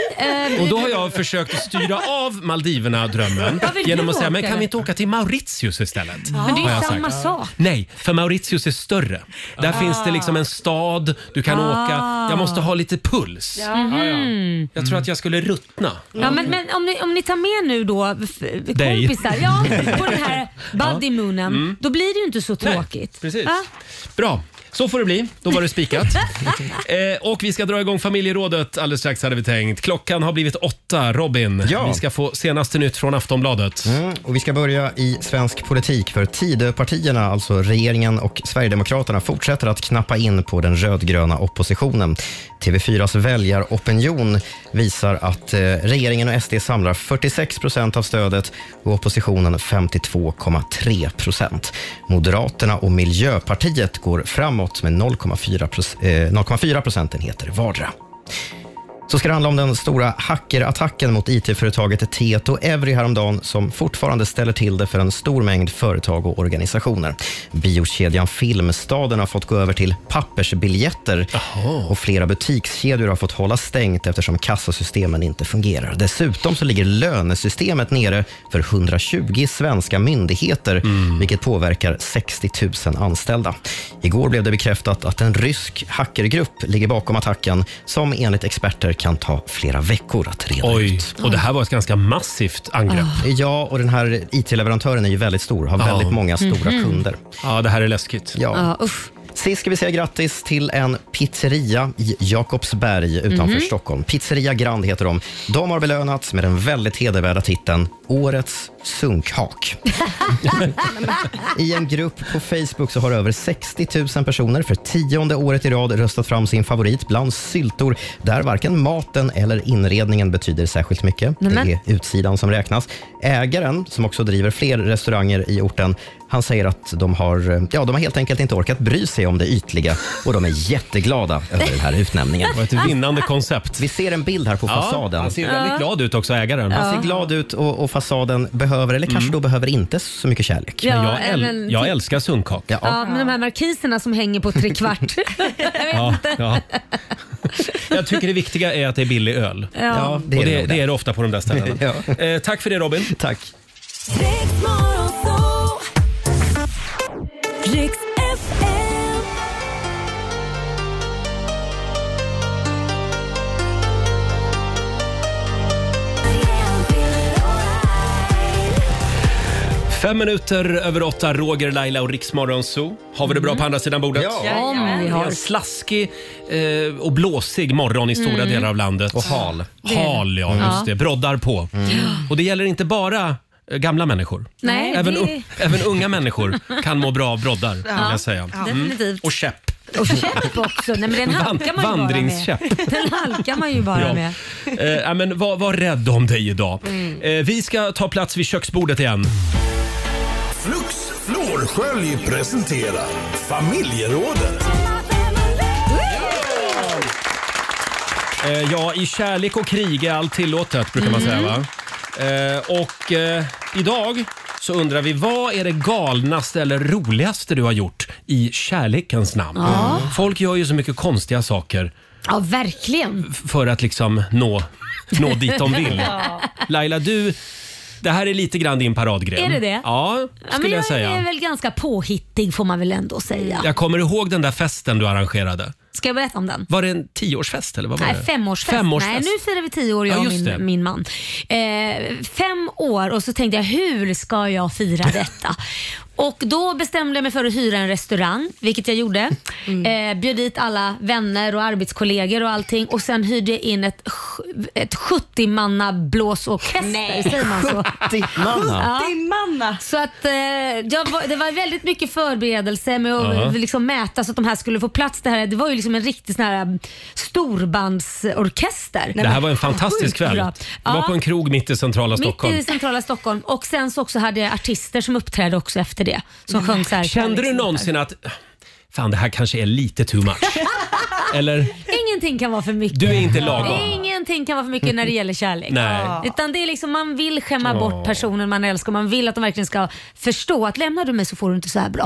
[SPEAKER 2] eh,
[SPEAKER 1] Och då har jag försökt att styra av Maldiverna-drömmen
[SPEAKER 2] Vad vill du
[SPEAKER 1] genom att säga, men
[SPEAKER 2] åka
[SPEAKER 1] kan
[SPEAKER 2] då?"
[SPEAKER 1] vi inte åka till Mauritius istället?
[SPEAKER 2] Men det är ju
[SPEAKER 1] Har jag
[SPEAKER 2] samma
[SPEAKER 1] sagt.
[SPEAKER 2] sak.
[SPEAKER 1] Nej, för Mauritius är större. Där finns det liksom en stad, du kan
[SPEAKER 2] Ah.
[SPEAKER 1] åka. Jag måste ha lite puls.
[SPEAKER 2] Mhm.
[SPEAKER 1] Jag tror att jag skulle ruttna.
[SPEAKER 2] Ja, men, men om, ni, om ni tar med nu då f-
[SPEAKER 1] Dig.
[SPEAKER 2] kompisar ja, på den här bodymoonen,
[SPEAKER 1] Mm.
[SPEAKER 2] då blir det ju inte så
[SPEAKER 1] Nej,
[SPEAKER 2] tråkigt. Ah.
[SPEAKER 1] precis.
[SPEAKER 2] Va?
[SPEAKER 1] Bra, så får det bli. Då var det spikat. eh, och vi ska dra igång familjerådet alldeles strax hade vi tänkt. Klockan har blivit åtta. Robin, vi ska få senaste nytt från Aftonbladet.
[SPEAKER 3] Mm, och vi ska börja i svensk politik för Tidöpartierna, alltså regeringen och Sverigedemokraterna, fortsätter att knappa in på den rödgröna oppositionen. TV4s väljaropinion visar att eh, regeringen och SD samlar 46 procent av stödet och oppositionen 52,3 procent. Moderaterna och Miljöpartiet går framåt med 0,4 proc- eh, 0,4 procentenheter vardera. Så ska det handla om den stora hackerattacken mot it-företaget Tieto Every häromdagen som fortfarande ställer till det för en stor mängd företag och organisationer. Biokedjan Filmstaden har fått gå över till pappersbiljetter och flera butikskedjor har fått hålla stängt eftersom kassasystemen inte fungerar. Dessutom så ligger lönesystemet nere för 120 svenska myndigheter,
[SPEAKER 1] Mm.
[SPEAKER 3] vilket påverkar 60 000 anställda. Igår blev det bekräftat att en rysk hackergrupp ligger bakom attacken som enligt experter kan ta flera veckor att reda
[SPEAKER 1] Oj, och det här var ett ganska massivt angrepp.
[SPEAKER 3] Ja, och den här IT-leverantören Ah. är ju väldigt stor, har
[SPEAKER 1] Ja.
[SPEAKER 3] väldigt många stora
[SPEAKER 2] Mhm.
[SPEAKER 3] kunder.
[SPEAKER 1] Ja, det här är läskigt.
[SPEAKER 3] Ja.
[SPEAKER 2] Ja, usch.
[SPEAKER 3] Sist ska vi säga grattis till en pizzeria i Jakobsberg utanför
[SPEAKER 10] Mhm.
[SPEAKER 3] Stockholm. Pizzeria Grand heter de. De har belönats med den väldigt hedervärda titeln Årets sunkhak. I en grupp på Facebook så har över 60 000 personer för tionde året i rad röstat fram sin favorit bland syltor där varken maten eller inredningen betyder särskilt mycket.
[SPEAKER 2] Nämen.
[SPEAKER 3] Det är utsidan som räknas. Ägaren, som också driver fler restauranger i orten, han säger att de har, ja, de har helt enkelt inte orkat bry sig om det ytliga och de är jätteglada över den här utnämningen.
[SPEAKER 1] Det var ett vinnande koncept.
[SPEAKER 3] Vi ser en bild här på
[SPEAKER 1] Ja,
[SPEAKER 3] fasaden.
[SPEAKER 1] han ser ju väldigt Ja. glad ut också, ägaren. Mm.
[SPEAKER 3] Han
[SPEAKER 1] Ja.
[SPEAKER 3] ser glad ut och, och fasaden behöver, eller kanske då behöver inte så mycket kärlek.
[SPEAKER 2] Ja, Men jag äl- även- jag
[SPEAKER 1] älskar sunkak.
[SPEAKER 3] Ja.
[SPEAKER 2] Ja, men de här markiserna som hänger på trekvart.
[SPEAKER 1] Ja, ja. Jag tycker det viktiga är att det är billig öl.
[SPEAKER 2] Ja. Ja,
[SPEAKER 1] det
[SPEAKER 2] det
[SPEAKER 1] är, och
[SPEAKER 2] är det
[SPEAKER 1] det,
[SPEAKER 2] nog
[SPEAKER 1] det
[SPEAKER 2] det.
[SPEAKER 1] är det ofta på de där ställena. eh, tack för det Robin.
[SPEAKER 3] Tack.
[SPEAKER 9] Riks FM.
[SPEAKER 1] Fem minuter över åtta, Roger, Laila och Riksmorgon Zoo. Har vi det bra på andra sidan bordet?
[SPEAKER 2] Ja. Ja, men vi har.
[SPEAKER 1] Det är En slaskig eh, och blåsig morgon i stora
[SPEAKER 2] Mm.
[SPEAKER 1] delar av landet. Och
[SPEAKER 3] hal.
[SPEAKER 2] Det Mm. är det.
[SPEAKER 1] Hal, ja.
[SPEAKER 2] Mm.
[SPEAKER 1] Just det. Broddar på. Och det gäller inte bara eh, gamla människor.
[SPEAKER 2] Nej,
[SPEAKER 1] även,
[SPEAKER 2] det-
[SPEAKER 1] u- även unga människor kan må bra av broddar.
[SPEAKER 2] Ja,
[SPEAKER 1] vill jag säga. Mm.
[SPEAKER 2] ja, definitivt.
[SPEAKER 1] Och käpp.
[SPEAKER 2] Och käpp också. Nej, men den halkar man ju bara
[SPEAKER 1] Vandringskäpp.
[SPEAKER 2] med. Den halkar man ju bara
[SPEAKER 1] Ja.
[SPEAKER 2] med.
[SPEAKER 1] Eh, ja, men var, var rädd om dig idag.
[SPEAKER 2] Mm.
[SPEAKER 1] Eh, vi ska ta plats vid köksbordet igen.
[SPEAKER 10] Flux Florskölj presenterar Familjerådet.
[SPEAKER 1] Eh, ja, i kärlek och krig är allt tillåtet brukar man säga va?
[SPEAKER 2] Mm.
[SPEAKER 1] Eh, och eh, idag så undrar vi vad är det galnaste eller roligaste du har gjort i kärlekens namn?
[SPEAKER 2] Ja.
[SPEAKER 1] Folk gör ju så mycket konstiga saker
[SPEAKER 2] Ja, verkligen.
[SPEAKER 1] f- för att liksom nå, nå dit de vill.
[SPEAKER 2] Ja.
[SPEAKER 1] Laila, du, det här är lite grann din paradgren.
[SPEAKER 2] Är det det?
[SPEAKER 1] Ja,
[SPEAKER 2] Ja,
[SPEAKER 1] skulle
[SPEAKER 2] men
[SPEAKER 1] jag
[SPEAKER 2] jag
[SPEAKER 1] säga. Mm.
[SPEAKER 2] är väl ganska påhittig får man väl ändå säga.
[SPEAKER 1] Jag kommer ihåg den där festen du arrangerade.
[SPEAKER 2] Ska jag berätta om den?
[SPEAKER 1] Var det en tioårsfest eller vad var
[SPEAKER 2] Nej,
[SPEAKER 1] det?
[SPEAKER 2] femårsfest.
[SPEAKER 1] Femårsfest.
[SPEAKER 2] Nej, nu firar vi tio år,
[SPEAKER 1] Ja,
[SPEAKER 2] jag och
[SPEAKER 1] just det.
[SPEAKER 2] min, min man. Eh, fem år och så tänkte jag, hur ska jag fira detta? Och Då bestämde jag mig för att hyra en restaurang, vilket jag gjorde.
[SPEAKER 1] Mm.
[SPEAKER 2] Eh, bjöd dit alla vänner och arbetskollegor och allting och sen hyrde jag in ett, sj- ett 70-manna blåsorkester.
[SPEAKER 5] Nej.
[SPEAKER 2] Säger man så?
[SPEAKER 5] 70-manna?
[SPEAKER 2] Ja. Så att, eh, jag var, det var väldigt mycket förberedelse med att
[SPEAKER 5] Ja.
[SPEAKER 2] liksom mäta så att de här skulle få plats. Det, här, det var ju liksom en riktig sån här storbandsorkester.
[SPEAKER 1] det här var en fantastisk
[SPEAKER 2] Sjukt
[SPEAKER 1] kväll.
[SPEAKER 2] bra.
[SPEAKER 1] Det var
[SPEAKER 2] Ja.
[SPEAKER 1] på en krog mitt i centrala Stockholm.
[SPEAKER 2] Mitt i centrala Stockholm. Och sen så också hade jag artister som uppträdde också efter det. Som sjöng så här.
[SPEAKER 1] Kände du någonsin att fan det här kanske är lite too much? Eller?
[SPEAKER 2] Ingenting kan vara för mycket.
[SPEAKER 1] Du är inte lagom.
[SPEAKER 2] Ingenting kan vara för mycket när det gäller kärlek.
[SPEAKER 1] Nej.
[SPEAKER 2] Utan det är liksom, man vill skämma
[SPEAKER 1] Ja.
[SPEAKER 2] bort personen man älskar. Man vill att de verkligen ska förstå att lämnar du mig så får du inte så här bra.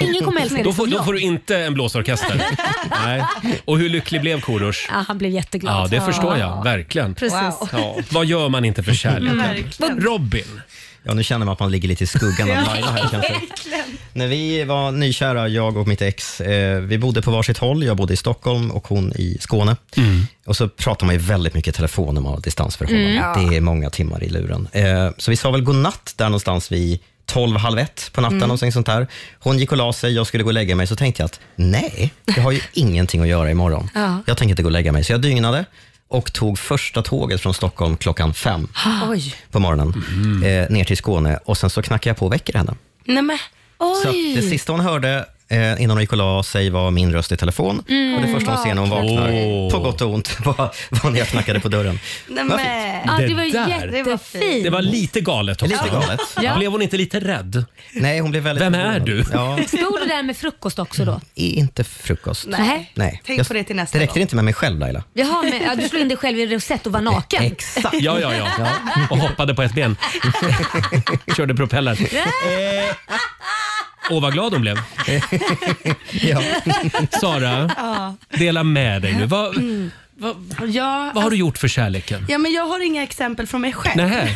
[SPEAKER 2] Ingen kommer älska dig
[SPEAKER 1] Då
[SPEAKER 2] som
[SPEAKER 1] får, då
[SPEAKER 2] jag.
[SPEAKER 1] får du inte en blåsorkester. Nej. Och hur lycklig blev Korosh?
[SPEAKER 2] Ja, han blev jätteglad.
[SPEAKER 1] Ja, det förstår jag. Verkligen.
[SPEAKER 2] Precis. Wow.
[SPEAKER 1] Ja, vad gör man inte för
[SPEAKER 2] Mm.
[SPEAKER 1] kärleken?
[SPEAKER 2] Verkligen.
[SPEAKER 1] Robin.
[SPEAKER 3] Ja, nu känner man att man ligger lite i skuggan av Laila här kanske. När vi var nykära, jag och mitt ex, eh, vi bodde på varsitt håll. Jag bodde i Stockholm och hon i Skåne. Och så pratar man ju väldigt mycket i telefon när man har ett distansförhållande.
[SPEAKER 10] Mm. Ja.
[SPEAKER 3] Det är många timmar i luren. Eh, så vi sa väl godnatt där någonstans vid 12, halv ett på natten.
[SPEAKER 10] Mm.
[SPEAKER 3] någonting sånt där. Hon gick och la sig, jag skulle gå och lägga mig. Så tänkte jag att nej, jag har ju ingenting att göra imorgon.
[SPEAKER 10] Ja.
[SPEAKER 3] Jag tänker inte gå och lägga mig. Så jag dygnade och tog första tåget från Stockholm klockan fem
[SPEAKER 5] Oj.
[SPEAKER 3] på morgonen eh, ner till Skåne och sen så knackade jag på och väcker henne.
[SPEAKER 5] Nej men, oj.
[SPEAKER 3] Så att det sista hon hörde eh, innan hon gick och la sig var min röst i telefon
[SPEAKER 5] Mm.
[SPEAKER 3] och det första hon ser när hon vaknar, på gott och ont, var, var när jag knackade på dörren.
[SPEAKER 5] Nej,
[SPEAKER 3] Vad
[SPEAKER 5] men.
[SPEAKER 3] fint.
[SPEAKER 2] Ja, det var
[SPEAKER 3] Det
[SPEAKER 2] ju
[SPEAKER 3] där.
[SPEAKER 2] jättefint.
[SPEAKER 1] Det var lite galet också.
[SPEAKER 3] Lite galet.
[SPEAKER 2] Ja.
[SPEAKER 1] Blev hon inte lite rädd?
[SPEAKER 3] Nej, hon blev väldigt
[SPEAKER 1] Vem är du?
[SPEAKER 3] Ja,
[SPEAKER 2] Stod du där med frukost också då?
[SPEAKER 3] i- inte frukost.
[SPEAKER 2] Nej.
[SPEAKER 3] Nej.
[SPEAKER 2] Tänk på det till nästa
[SPEAKER 3] Det räckte
[SPEAKER 2] gång.
[SPEAKER 3] inte med mig själv Laila.
[SPEAKER 2] Jaha, men, ja, du slog in dig själv i rosett och var naken.
[SPEAKER 3] Exakt.
[SPEAKER 1] Ja, ja, ja. Och hoppade på ett ben. Körde propeller. Åh, vad glad hon blev. Sara,
[SPEAKER 5] Ja. Mm.
[SPEAKER 1] dela med dig nu. Vad,
[SPEAKER 2] Mm.
[SPEAKER 5] Ja, alltså-
[SPEAKER 1] vad har du gjort för kärleken?
[SPEAKER 5] Ja, men jag har inga exempel från mig själv.
[SPEAKER 1] Nähä.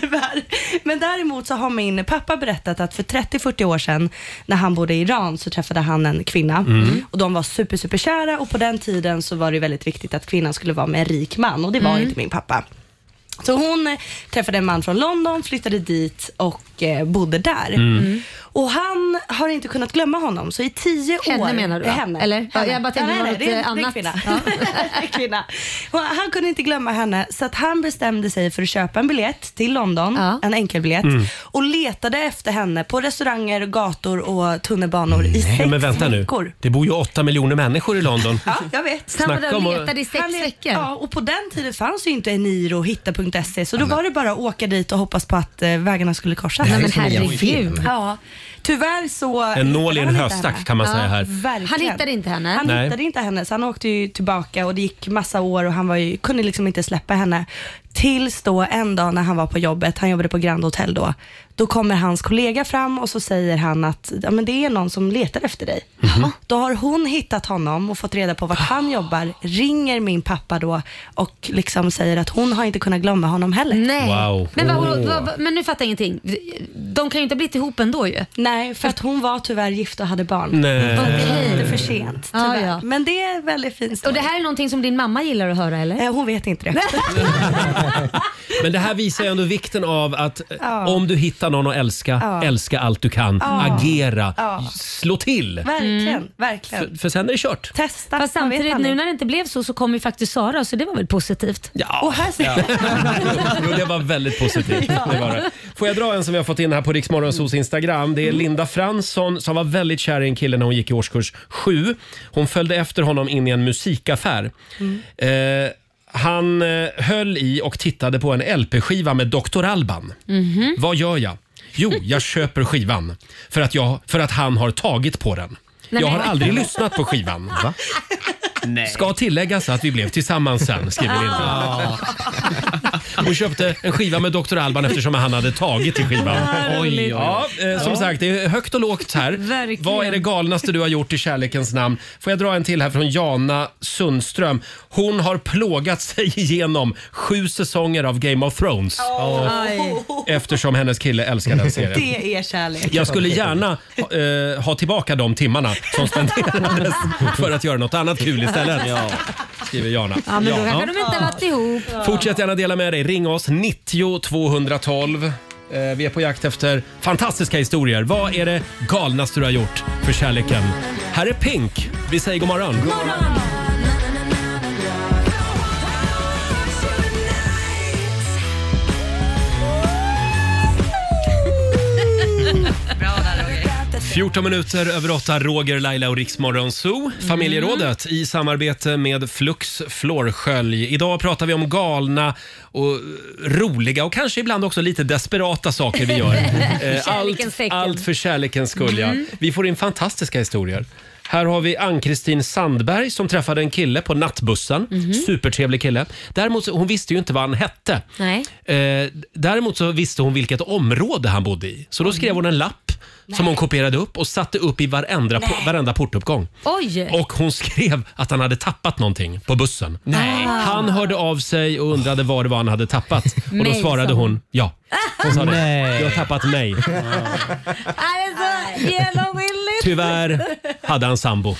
[SPEAKER 5] Tyvärr. Men däremot så har min pappa berättat att för 30-40 år sedan när han bodde i Iran så träffade han en kvinna
[SPEAKER 19] Mm.
[SPEAKER 5] och de var super, super kära och på den tiden så var det väldigt viktigt att kvinnan skulle vara med en rik man och det var
[SPEAKER 19] Mm.
[SPEAKER 5] inte min pappa. Så hon eh, träffade en man från London, flyttade dit och eh, bodde där.
[SPEAKER 19] Mm.
[SPEAKER 5] Och han har inte kunnat glömma honom. Så i tio
[SPEAKER 2] Henne
[SPEAKER 5] år...
[SPEAKER 2] menar du, va?
[SPEAKER 5] Henne.
[SPEAKER 2] Eller? Ja, jag bara tänkte
[SPEAKER 5] nej,
[SPEAKER 2] det var
[SPEAKER 5] nej,
[SPEAKER 2] något,
[SPEAKER 5] det är, det är
[SPEAKER 2] eh,
[SPEAKER 5] kvinna.
[SPEAKER 2] annat. Ja.
[SPEAKER 5] Det är kvinna. Och han kunde inte glömma henne så att han bestämde sig för att köpa en biljett till London, en enkelbiljett,
[SPEAKER 1] Mm.
[SPEAKER 5] och letade efter henne på restauranger, gator och tunnelbanor i
[SPEAKER 1] Nej,
[SPEAKER 5] sex
[SPEAKER 1] men vänta nu.
[SPEAKER 5] veckor.
[SPEAKER 1] Det bor ju åtta miljoner människor i London.
[SPEAKER 5] Ja, jag vet.
[SPEAKER 1] Så han var där och Snacka om att- letade
[SPEAKER 2] i sex
[SPEAKER 5] Han let- Ja, och på den tiden fanns ju inte Eniro och hitta.se, E, så då var det bara att åka dit och hoppas på att eh, vägarna skulle korsas.
[SPEAKER 2] Det här är Nej, men som en herregud. film.
[SPEAKER 5] Ja, tyvärr så...
[SPEAKER 1] En nål i en
[SPEAKER 5] hittade han inte
[SPEAKER 1] höstack,
[SPEAKER 5] henne.
[SPEAKER 1] kan man säga här.
[SPEAKER 5] Verkligen.
[SPEAKER 2] Han hittade inte henne.
[SPEAKER 5] Han
[SPEAKER 1] Nej.
[SPEAKER 5] hittade inte henne, så han åkte ju tillbaka och det gick massa år och han var ju, kunde liksom inte släppa henne. Tills då en dag när han var på jobbet, han jobbade på Grand Hotel då, då kommer hans kollega fram och så säger han att ja, men det är någon som letar efter dig. Mm-hmm. Då har hon hittat honom och fått reda på vart
[SPEAKER 2] Ah.
[SPEAKER 5] han jobbar, ringer min pappa då och liksom säger att hon har inte kunnat glömma honom heller.
[SPEAKER 2] Nej.
[SPEAKER 1] Wow.
[SPEAKER 2] Men, vad,
[SPEAKER 1] Åh.
[SPEAKER 2] vad, vad, men nu fattar jag ingenting. De kan ju inte ha blivit ihop ändå ju.
[SPEAKER 5] Nej, för att hon var tyvärr gift och hade barn.
[SPEAKER 1] Nej.
[SPEAKER 5] Och det är lite för sent.
[SPEAKER 2] Ja,
[SPEAKER 5] tyvärr.
[SPEAKER 2] ja.
[SPEAKER 5] Men det är väldigt fint.
[SPEAKER 2] Och det här är någonting som din mamma gillar att höra eller?
[SPEAKER 5] Eh, Hon vet inte det.
[SPEAKER 1] Men det här visar ju ändå vikten av att eh,
[SPEAKER 5] Ja.
[SPEAKER 1] om du hittar någon att älska,
[SPEAKER 5] Ja.
[SPEAKER 1] älska allt du kan.
[SPEAKER 5] Ja.
[SPEAKER 1] Agera,
[SPEAKER 5] Ja.
[SPEAKER 1] slå till.
[SPEAKER 5] Verkligen, verkligen.
[SPEAKER 1] För sen är det kört.
[SPEAKER 5] Testa.
[SPEAKER 2] Mm. Fast
[SPEAKER 5] man vet
[SPEAKER 2] samtidigt
[SPEAKER 5] aldrig.
[SPEAKER 2] nu när det inte blev så så kom ju faktiskt Sara så det var väl positivt.
[SPEAKER 1] Ja.
[SPEAKER 5] Och här ser
[SPEAKER 1] Jo, det var väldigt positivt. Det var det. Får jag dra en som vi har fått in här på Riksmorgonsos Instagram? Det är
[SPEAKER 7] Mm.
[SPEAKER 1] Linda Fransson som var väldigt kär i en kille när hon gick i årskurs 7. Hon följde efter honom in i en musikaffär.
[SPEAKER 7] Mm.
[SPEAKER 1] Eh, han eh, höll i och tittade på en LP-skiva med Dr. Alban.
[SPEAKER 7] Mhm.
[SPEAKER 1] Vad gör jag? Jo, jag köper skivan för att, jag, för att han har tagit på den.
[SPEAKER 7] Nej,
[SPEAKER 1] jag har
[SPEAKER 7] men-
[SPEAKER 1] aldrig lyssnat på skivan. Ska tilläggas att vi blev tillsammans sen, skriver
[SPEAKER 7] Ah.
[SPEAKER 1] Linda. Hon köpte en skiva med Dr. Alban eftersom han hade tagit i skivan.
[SPEAKER 7] Vad roligt.
[SPEAKER 1] Ja, eh, som
[SPEAKER 7] Ja.
[SPEAKER 1] sagt, det är högt och lågt här. Vad är det galnaste du har gjort i kärlekens namn? Får jag dra en till här från Jana Sundström. Hon har plågat sig igenom sju säsonger av Game of Thrones.
[SPEAKER 5] Aj.
[SPEAKER 1] Eftersom hennes kille älskar den serien.
[SPEAKER 5] Det är kärlek.
[SPEAKER 1] Jag skulle gärna eh, ha tillbaka de timmarna som spenderades för att göra något annat kul istället.
[SPEAKER 7] Ja.
[SPEAKER 1] Skriver Jana.
[SPEAKER 2] Ja men då
[SPEAKER 1] Jana.
[SPEAKER 2] kanske de inte har varit ihop.
[SPEAKER 1] Fortsätt gärna dela med dig. Ring oss, 90 212. Eh, vi är på jakt efter fantastiska historier. Vad är det galnaste du har gjort för kärleken? Här är Pink. Vi säger god morgon.
[SPEAKER 5] Bra där
[SPEAKER 1] 14 minuter över 8, Roger, Laila och Riksmorgon Zoo. Familjerådet i samarbete med Flux Flårskölj. Idag pratar vi om galna och roliga och kanske ibland också lite desperata saker vi gör. Eh,
[SPEAKER 2] Kärlekens
[SPEAKER 1] allt,
[SPEAKER 2] tecken.
[SPEAKER 1] allt för kärlekens skull, ja.
[SPEAKER 2] Mm.
[SPEAKER 1] Vi får in fantastiska historier. Här har vi Ann-Kristin Sandberg som träffade en kille på nattbussen.
[SPEAKER 2] Mhm.
[SPEAKER 1] Supertrevlig kille. Däremot så- hon visste ju inte vad han hette.
[SPEAKER 2] Nej.
[SPEAKER 1] Eh, däremot så visste hon vilket område han bodde i. Så då skrev hon en lapp som hon kopierade upp och satte upp i varenda, po- varenda portuppgång.
[SPEAKER 2] Oj!
[SPEAKER 1] Och hon skrev att han hade tappat någonting på bussen.
[SPEAKER 2] Nej. Ah.
[SPEAKER 1] Han hörde av sig och undrade vad det var han hade tappat. Och då
[SPEAKER 2] Mig,
[SPEAKER 1] svarade
[SPEAKER 2] sa
[SPEAKER 1] hon ja. Hon sa det.
[SPEAKER 7] Nej.
[SPEAKER 1] Du har tappat mig.
[SPEAKER 2] Nej, det är så genomskinligt.
[SPEAKER 1] Tyvärr hade han sambo.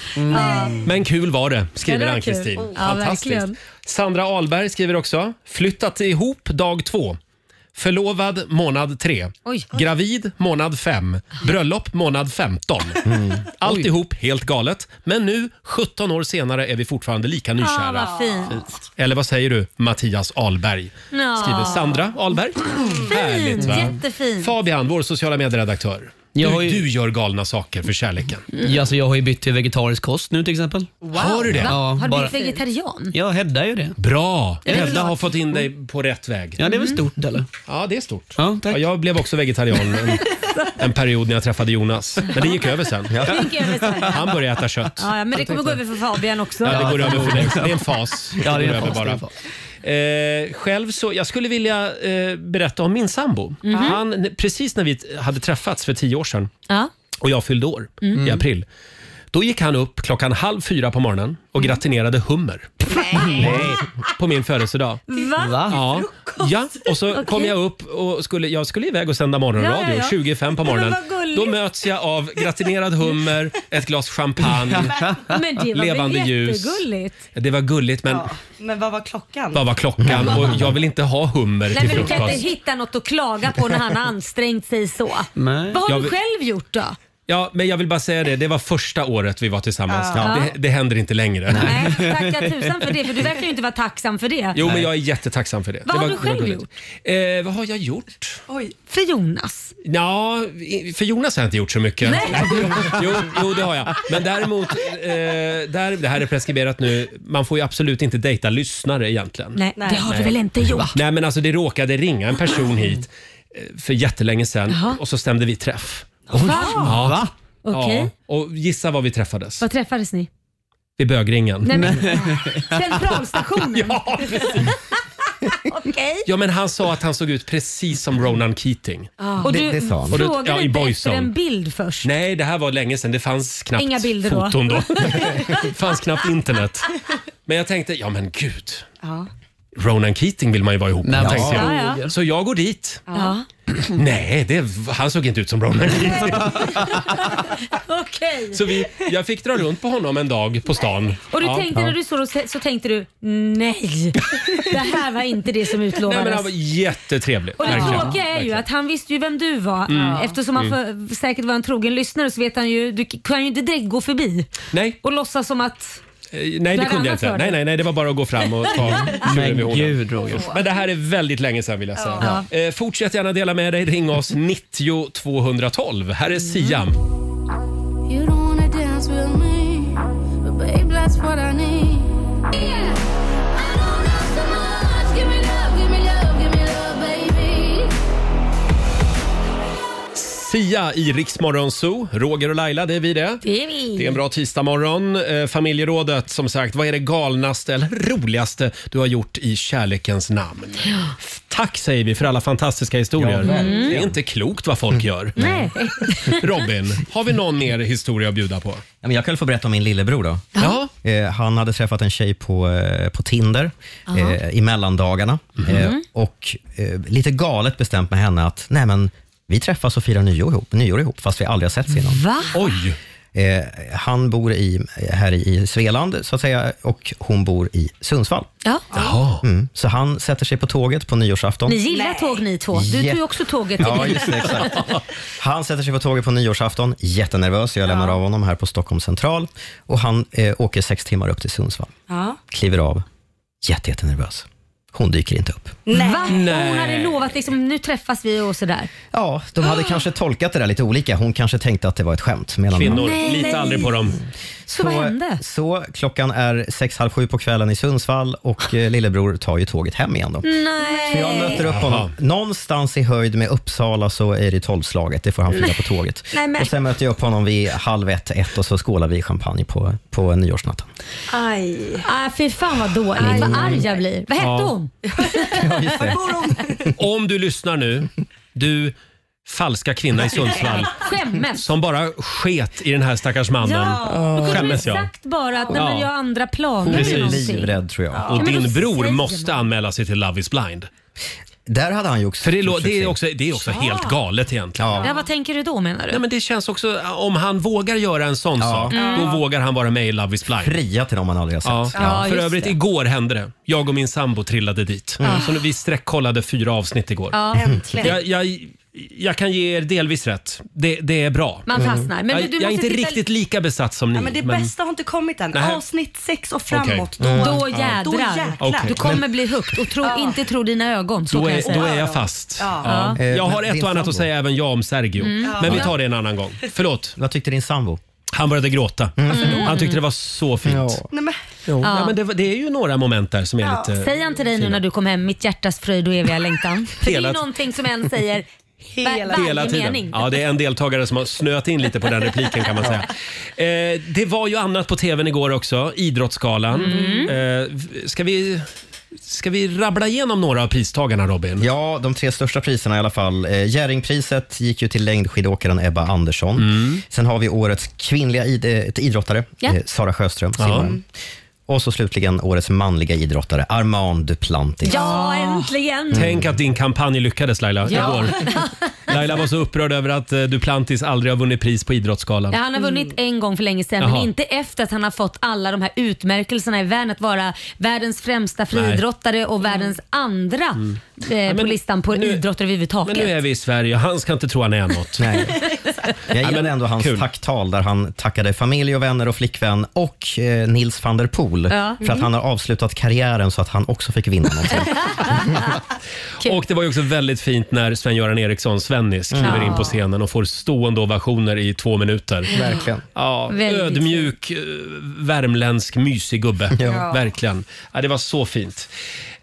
[SPEAKER 1] Men kul var det, skriver
[SPEAKER 2] Ja, Mm. det var
[SPEAKER 1] Ann-Kristin.
[SPEAKER 2] kul. Ja,
[SPEAKER 1] Fantastiskt.
[SPEAKER 2] verkligen.
[SPEAKER 1] Sandra Ahlberg skriver också. Flyttat ihop dag två. Förlovad månad tre.
[SPEAKER 2] Oj.
[SPEAKER 1] Gravid månad fem. Bröllop månad 15.
[SPEAKER 8] Mm.
[SPEAKER 1] Alltihop helt galet. Men nu, 17 år senare, är vi fortfarande lika
[SPEAKER 2] Ja,
[SPEAKER 1] nykära.
[SPEAKER 2] Ah, vad fint.
[SPEAKER 1] Eller vad säger du, Mattias Ahlberg?
[SPEAKER 2] Ja.
[SPEAKER 1] Skriver Sandra Ahlberg. Härligt va?
[SPEAKER 2] Jättefint.
[SPEAKER 1] Fabian, vår sociala medieredaktör.
[SPEAKER 8] Jag har
[SPEAKER 1] Du,
[SPEAKER 8] ju-
[SPEAKER 1] du gör galna saker för kärleken.
[SPEAKER 8] Ja, alltså jag har ju bytt till vegetarisk kost nu till exempel.
[SPEAKER 1] Har du det?
[SPEAKER 2] Va?
[SPEAKER 8] Ja,
[SPEAKER 2] har du
[SPEAKER 8] bara-
[SPEAKER 2] blivit vegetarian?
[SPEAKER 8] Jag hävdar ju det.
[SPEAKER 1] Bra!
[SPEAKER 8] Är det
[SPEAKER 1] Hedda
[SPEAKER 8] väl-
[SPEAKER 1] har fått in dig på rätt väg.
[SPEAKER 8] Ja, det är väl stort eller?
[SPEAKER 1] Ja, det är stort. Ja, jag blev också vegetarian en, en period när jag träffade Jonas. Men det gick över sen.
[SPEAKER 2] gick över sen, ja.
[SPEAKER 1] Han började äta kött.
[SPEAKER 2] Ja, ja, men det kommer gå över för Fabian också.
[SPEAKER 1] Ja, det går över för dig också. Det är en fas.
[SPEAKER 8] Ja, det är en
[SPEAKER 1] går över
[SPEAKER 8] fas, det är en
[SPEAKER 1] Eh, själv så, jag skulle vilja eh, berätta om min sambo.
[SPEAKER 2] Mhm.
[SPEAKER 1] Han, n- precis när vi t- hade träffats för tio år sedan
[SPEAKER 2] Ja.
[SPEAKER 1] och jag fyllde år
[SPEAKER 2] Mm.
[SPEAKER 1] i april. Då gick han upp klockan halv fyra på morgonen och
[SPEAKER 2] Mhm.
[SPEAKER 1] gratinerade hummer. Nej. På min födelsedag.
[SPEAKER 2] Va?
[SPEAKER 1] Ja. ja, och så kom jag upp och skulle, jag skulle iväg och sända morgonradio
[SPEAKER 2] Ja, ja, ja.
[SPEAKER 1] 25 på morgonen.
[SPEAKER 2] Men vad gulligt.
[SPEAKER 1] Då möts jag av gratinerad hummer, ett glas champagne,
[SPEAKER 2] Men det var
[SPEAKER 1] levande
[SPEAKER 2] väl
[SPEAKER 1] ljus.
[SPEAKER 2] jättegulligt?
[SPEAKER 1] Det var gulligt men
[SPEAKER 5] Men vad var klockan?
[SPEAKER 1] vad var klockan? Och jag vill inte ha hummer
[SPEAKER 2] Nej,
[SPEAKER 1] till
[SPEAKER 2] men du kan inte
[SPEAKER 1] frukost.
[SPEAKER 2] hitta något att klaga på när han har ansträngt sig så.
[SPEAKER 1] Nej.
[SPEAKER 2] Vad har
[SPEAKER 1] Jag
[SPEAKER 2] du
[SPEAKER 1] vill-
[SPEAKER 2] själv gjort då?
[SPEAKER 1] Ja, men jag vill bara säga det. Det var första året vi var tillsammans.
[SPEAKER 2] Ja.
[SPEAKER 1] Det, det händer inte längre.
[SPEAKER 2] Tacka tusan för det, för du verkar ju inte vara tacksam för det.
[SPEAKER 1] Jo, men jag är jättetacksam för det.
[SPEAKER 2] Vad
[SPEAKER 1] det
[SPEAKER 2] har
[SPEAKER 1] var-
[SPEAKER 2] du själv
[SPEAKER 1] det var gulligt. Eh, vad har jag gjort?
[SPEAKER 2] Oj. För Jonas.
[SPEAKER 1] Ja, i- för Jonas har jag inte gjort så mycket. Jo, jo, det har jag. Men däremot, eh, där, det här är preskriberat nu. Man får ju absolut inte dejta lyssnare egentligen.
[SPEAKER 2] Nej, det har du väl inte
[SPEAKER 1] Va?
[SPEAKER 2] gjort?
[SPEAKER 1] Nej, men alltså det råkade ringa en person hit eh, för jättelänge sedan
[SPEAKER 2] Ah. Jaha.
[SPEAKER 1] och så stämde vi träff.
[SPEAKER 2] Oj.
[SPEAKER 1] Ja.
[SPEAKER 2] Va?
[SPEAKER 1] Ja.
[SPEAKER 2] Okej.
[SPEAKER 1] Och gissa var vi träffades?
[SPEAKER 2] Var träffades ni?
[SPEAKER 1] Vid bögringen.
[SPEAKER 2] Nej, men- Centralstationen? ja, Okej.
[SPEAKER 1] Ja, men han sa att han såg ut precis som Ronan Keating.
[SPEAKER 2] Ah. Och du
[SPEAKER 1] Och då-
[SPEAKER 2] frågade
[SPEAKER 1] ja, i
[SPEAKER 2] inte efter
[SPEAKER 1] Boyzone.
[SPEAKER 2] en bild först?
[SPEAKER 1] Nej, det här var länge sedan. Det fanns knappt
[SPEAKER 2] Inga bilder då.
[SPEAKER 1] foton då. Det fanns knappt internet. Men jag tänkte, ja men gud.
[SPEAKER 2] Ja.
[SPEAKER 1] Ronan Keating vill man ju vara ihop med.
[SPEAKER 8] Nej,
[SPEAKER 1] tänkte
[SPEAKER 8] men-
[SPEAKER 1] jag.
[SPEAKER 8] Ja, ja.
[SPEAKER 1] Så jag går dit.
[SPEAKER 2] Ja.
[SPEAKER 1] Nej, det, han såg inte ut som Ronan Keating.
[SPEAKER 2] Okej.
[SPEAKER 1] Så vi, jag fick dra runt på honom en dag på stan.
[SPEAKER 2] Och du
[SPEAKER 1] Ja.
[SPEAKER 2] tänkte
[SPEAKER 1] Ja.
[SPEAKER 2] när du såg och så tänkte du nej, det här var inte det som
[SPEAKER 1] Nej,
[SPEAKER 2] utlovades.
[SPEAKER 1] men han var jättetrevlig.
[SPEAKER 2] och det
[SPEAKER 1] verkligen.
[SPEAKER 2] tråkiga är ju att han visste ju vem du var.
[SPEAKER 1] Mm.
[SPEAKER 2] Eftersom han för, säkert var en trogen lyssnare så vet han ju, du kan ju inte direkt gå förbi
[SPEAKER 1] Nej.
[SPEAKER 2] och låtsas som att...
[SPEAKER 1] Eh, Nej, det
[SPEAKER 2] Bland
[SPEAKER 1] kunde jag
[SPEAKER 2] annat
[SPEAKER 1] inte.
[SPEAKER 2] var det.
[SPEAKER 1] Nej, nej, nej, det var bara att gå fram och ta tjuren vid
[SPEAKER 8] Men
[SPEAKER 1] hornen.
[SPEAKER 8] gud Roger.
[SPEAKER 1] Men det här är väldigt länge sedan vill jag säga.
[SPEAKER 8] Ja.
[SPEAKER 1] Eh, fortsätt gärna dela med dig. Ring oss
[SPEAKER 2] Mm.
[SPEAKER 1] 90 212. Här är Siam.
[SPEAKER 9] You don't wanna dance with me, but babe, that's what I need.
[SPEAKER 1] Sia i Riksmorgon Zoo. Roger och Laila, det är vi det.
[SPEAKER 2] Det är vi.
[SPEAKER 1] Det är en bra tisdagmorgon. Eh, Familjerådet, som sagt, vad är det galnaste eller roligaste du har gjort i kärlekens namn? Tack säger vi för alla fantastiska historier. Mm.
[SPEAKER 2] Ja, verkligen.
[SPEAKER 1] Det är inte klokt vad folk gör.
[SPEAKER 2] Nej.
[SPEAKER 1] Robin, har vi någon mer historia att bjuda på?
[SPEAKER 3] Ja, men jag kan få berätta om min lillebror. Då. Eh, han hade träffat en tjej på, eh, på Tinder
[SPEAKER 15] Aha.
[SPEAKER 3] eh, i mellandagarna eh,
[SPEAKER 15] Mhm.
[SPEAKER 3] och eh, lite galet bestämt med henne att Nej, men, vi träffas och firar nyår ihop, nyår ihop fast vi aldrig har setts innan.
[SPEAKER 2] Va?
[SPEAKER 1] Oj!
[SPEAKER 3] Eh, han bor i, här i Svealand så att säga och hon bor i Sundsvall.
[SPEAKER 2] Ja.
[SPEAKER 3] Mm, så han sätter sig på tåget på nyårsafton.
[SPEAKER 2] Ni gillar tåg ni två. Du tog ju
[SPEAKER 3] Jätte-
[SPEAKER 2] också tåget till
[SPEAKER 3] Ja,
[SPEAKER 2] dig.
[SPEAKER 3] just det, exakt. Han sätter sig på tåget på nyårsafton, jättenervös. Jag lämnar av honom här på Stockholm central och han eh, åker sex timmar upp till Sundsvall.
[SPEAKER 5] Ja.
[SPEAKER 3] Kliver av, jätte, jättenervös. Hon dyker inte upp.
[SPEAKER 2] Nej. Va?
[SPEAKER 3] Nej.
[SPEAKER 2] Hon hade lovat liksom, nu träffas vi och sådär.
[SPEAKER 3] Ja, De
[SPEAKER 1] Ah.
[SPEAKER 3] hade kanske tolkat det där lite olika. Hon kanske tänkte att det var ett skämt. Medan
[SPEAKER 1] Kvinnor, Nej. lita aldrig på dem.
[SPEAKER 2] Så, vad hände?
[SPEAKER 3] Så klockan är sex, halv sju på kvällen i Sundsvall och eh, lillebror tar ju tåget hem igen. Då.
[SPEAKER 2] Nej.
[SPEAKER 3] Så jag möter upp honom. Någonstans i höjd med Uppsala så är det tolvslaget. Det får han fira på tåget.
[SPEAKER 2] Nej, men-
[SPEAKER 3] Och sen möter jag upp honom vid halv ett, ett och så skålar vi i champagne på, på nyårsnatten.
[SPEAKER 2] Aj. Ah, fy fan vad dåligt. Vad arg jag blir. Vad hette
[SPEAKER 1] Ja.
[SPEAKER 2] hon?
[SPEAKER 1] Om du lyssnar nu, du falska kvinna i Sundsvall.
[SPEAKER 2] Skämmes.
[SPEAKER 1] Som bara sket i den här stackars mannen.
[SPEAKER 2] Ja, då kunde du
[SPEAKER 1] Skämmes jag.
[SPEAKER 2] sagt bara att nej, men
[SPEAKER 1] Ja.
[SPEAKER 2] jag har andra planer. eller
[SPEAKER 1] Precis.
[SPEAKER 2] någonting.
[SPEAKER 3] tror jag.
[SPEAKER 2] Ja,
[SPEAKER 1] Och
[SPEAKER 2] men då
[SPEAKER 1] din bror
[SPEAKER 2] säger man.
[SPEAKER 1] måste anmäla sig till Love is blind.
[SPEAKER 3] Där hade han ju också
[SPEAKER 1] För det, lå- det är också, det är också helt galet egentligen.
[SPEAKER 2] Ja, vad tänker du då menar du?
[SPEAKER 1] Nej, men det känns också, eh, om han vågar göra en sån sak,
[SPEAKER 2] Mm.
[SPEAKER 1] då vågar han vara med i Love is blind.
[SPEAKER 3] Fria till dem man aldrig har
[SPEAKER 1] Ja.
[SPEAKER 3] sett.
[SPEAKER 2] Ja,
[SPEAKER 1] För
[SPEAKER 2] just
[SPEAKER 1] övrigt,
[SPEAKER 2] det.
[SPEAKER 1] igår hände det. Jag och min sambo trillade dit.
[SPEAKER 2] Mm.
[SPEAKER 1] Så nu- vi sträckkollade fyra avsnitt igår.
[SPEAKER 2] Ja, äntligen.
[SPEAKER 1] Jag, jag, jag kan ge er delvis rätt. Det, det är bra. Mm.
[SPEAKER 5] Man fastnar. Men du-
[SPEAKER 1] jag,
[SPEAKER 5] du
[SPEAKER 1] jag är
[SPEAKER 5] måste
[SPEAKER 1] inte
[SPEAKER 5] titta-
[SPEAKER 1] riktigt lika besatt som ni.
[SPEAKER 5] Ja, men det bästa har inte kommit än.
[SPEAKER 1] Nähä.
[SPEAKER 5] Avsnitt sex och framåt.
[SPEAKER 1] Okej.
[SPEAKER 5] Då,
[SPEAKER 1] Mm.
[SPEAKER 2] Då jädrar.
[SPEAKER 5] Då jäklar.
[SPEAKER 1] Okej.
[SPEAKER 2] Du kommer bli hooked och tro, inte tro dina ögon. Så
[SPEAKER 1] Då
[SPEAKER 2] kan jag
[SPEAKER 1] är,
[SPEAKER 2] säga.
[SPEAKER 1] då är jag fast.
[SPEAKER 2] Ja.
[SPEAKER 1] Ja. Eh,
[SPEAKER 2] Ja.
[SPEAKER 1] Jag har
[SPEAKER 2] Men
[SPEAKER 1] ett
[SPEAKER 2] din
[SPEAKER 1] och annat att
[SPEAKER 2] sambo?
[SPEAKER 1] säga även jag om Sergio.
[SPEAKER 2] Mm.
[SPEAKER 1] Men vi
[SPEAKER 2] Ja.
[SPEAKER 1] tar det en annan gång. Förlåt.
[SPEAKER 3] Vad tyckte din sambo?
[SPEAKER 1] Han började gråta.
[SPEAKER 2] Mm.
[SPEAKER 1] Han tyckte det var så fint.
[SPEAKER 5] Nej, men,
[SPEAKER 1] Jo.
[SPEAKER 2] Ja.
[SPEAKER 1] Ja, men det, var- det är ju några moment där som är lite...
[SPEAKER 2] Säger han till dig nu
[SPEAKER 1] fina.
[SPEAKER 2] när du kom hem, mitt hjärtas fröjd och eviga längtan? För det är
[SPEAKER 1] Hela-
[SPEAKER 2] ju någonting som en säger hela,
[SPEAKER 1] Hela tiden.
[SPEAKER 2] mening.
[SPEAKER 1] Ja, det är en deltagare som har snöat in lite på den repliken kan man säga. Eh, det var ju annat på tvn igår också, Idrottsgalan.
[SPEAKER 2] Mm.
[SPEAKER 1] Eh, v- ska, vi, ska vi rabbla igenom några av pristagarna Robin?
[SPEAKER 3] Ja, de tre största priserna i alla fall. Eh, Jerringpriset gick ju till längdskidåkaren Ebba Andersson.
[SPEAKER 1] Mm.
[SPEAKER 3] Sen har vi årets kvinnliga id- eh, idrottare,
[SPEAKER 15] Ja.
[SPEAKER 3] eh, Sara Sjöström,
[SPEAKER 15] Ja.
[SPEAKER 3] simmaren. Och så slutligen årets manliga idrottare, Armand Duplantis.
[SPEAKER 2] Ja, äntligen!
[SPEAKER 1] Mm. Tänk att din kampanj lyckades Laila
[SPEAKER 2] Ja.
[SPEAKER 1] igår. Laila var så upprörd över att eh, Duplantis aldrig har vunnit pris på Idrottsgalan. Mm.
[SPEAKER 2] Ja, han har vunnit en gång för länge sedan,
[SPEAKER 1] Jaha.
[SPEAKER 2] men inte efter att han har fått alla de här utmärkelserna i världen. Att vara världens främsta friidrottare och världens andra
[SPEAKER 1] Mm.
[SPEAKER 2] eh, på listan på idrotter
[SPEAKER 1] Men nu
[SPEAKER 2] överhuvudtaget.
[SPEAKER 1] är vi i Sverige och han ska inte tro han är något.
[SPEAKER 3] Nej. Jag gillade ändå hans
[SPEAKER 1] kul.
[SPEAKER 3] tacktal där han tackade familj och vänner och flickvän och eh, Nils van der Poel
[SPEAKER 2] Ja.
[SPEAKER 3] för att
[SPEAKER 2] Mm.
[SPEAKER 3] han har avslutat karriären så att han också fick vinna någonting.
[SPEAKER 1] Och det var ju också väldigt fint när Sven-Göran Eriksson, Svennis, kliver
[SPEAKER 2] Mm.
[SPEAKER 1] in på scenen och får stående ovationer i två minuter.
[SPEAKER 3] Verkligen.
[SPEAKER 1] Ja,
[SPEAKER 2] Väldigt
[SPEAKER 1] ödmjuk, eh, värmländsk, mysig gubbe.
[SPEAKER 2] Ja.
[SPEAKER 1] Verkligen. Ja, det var så fint.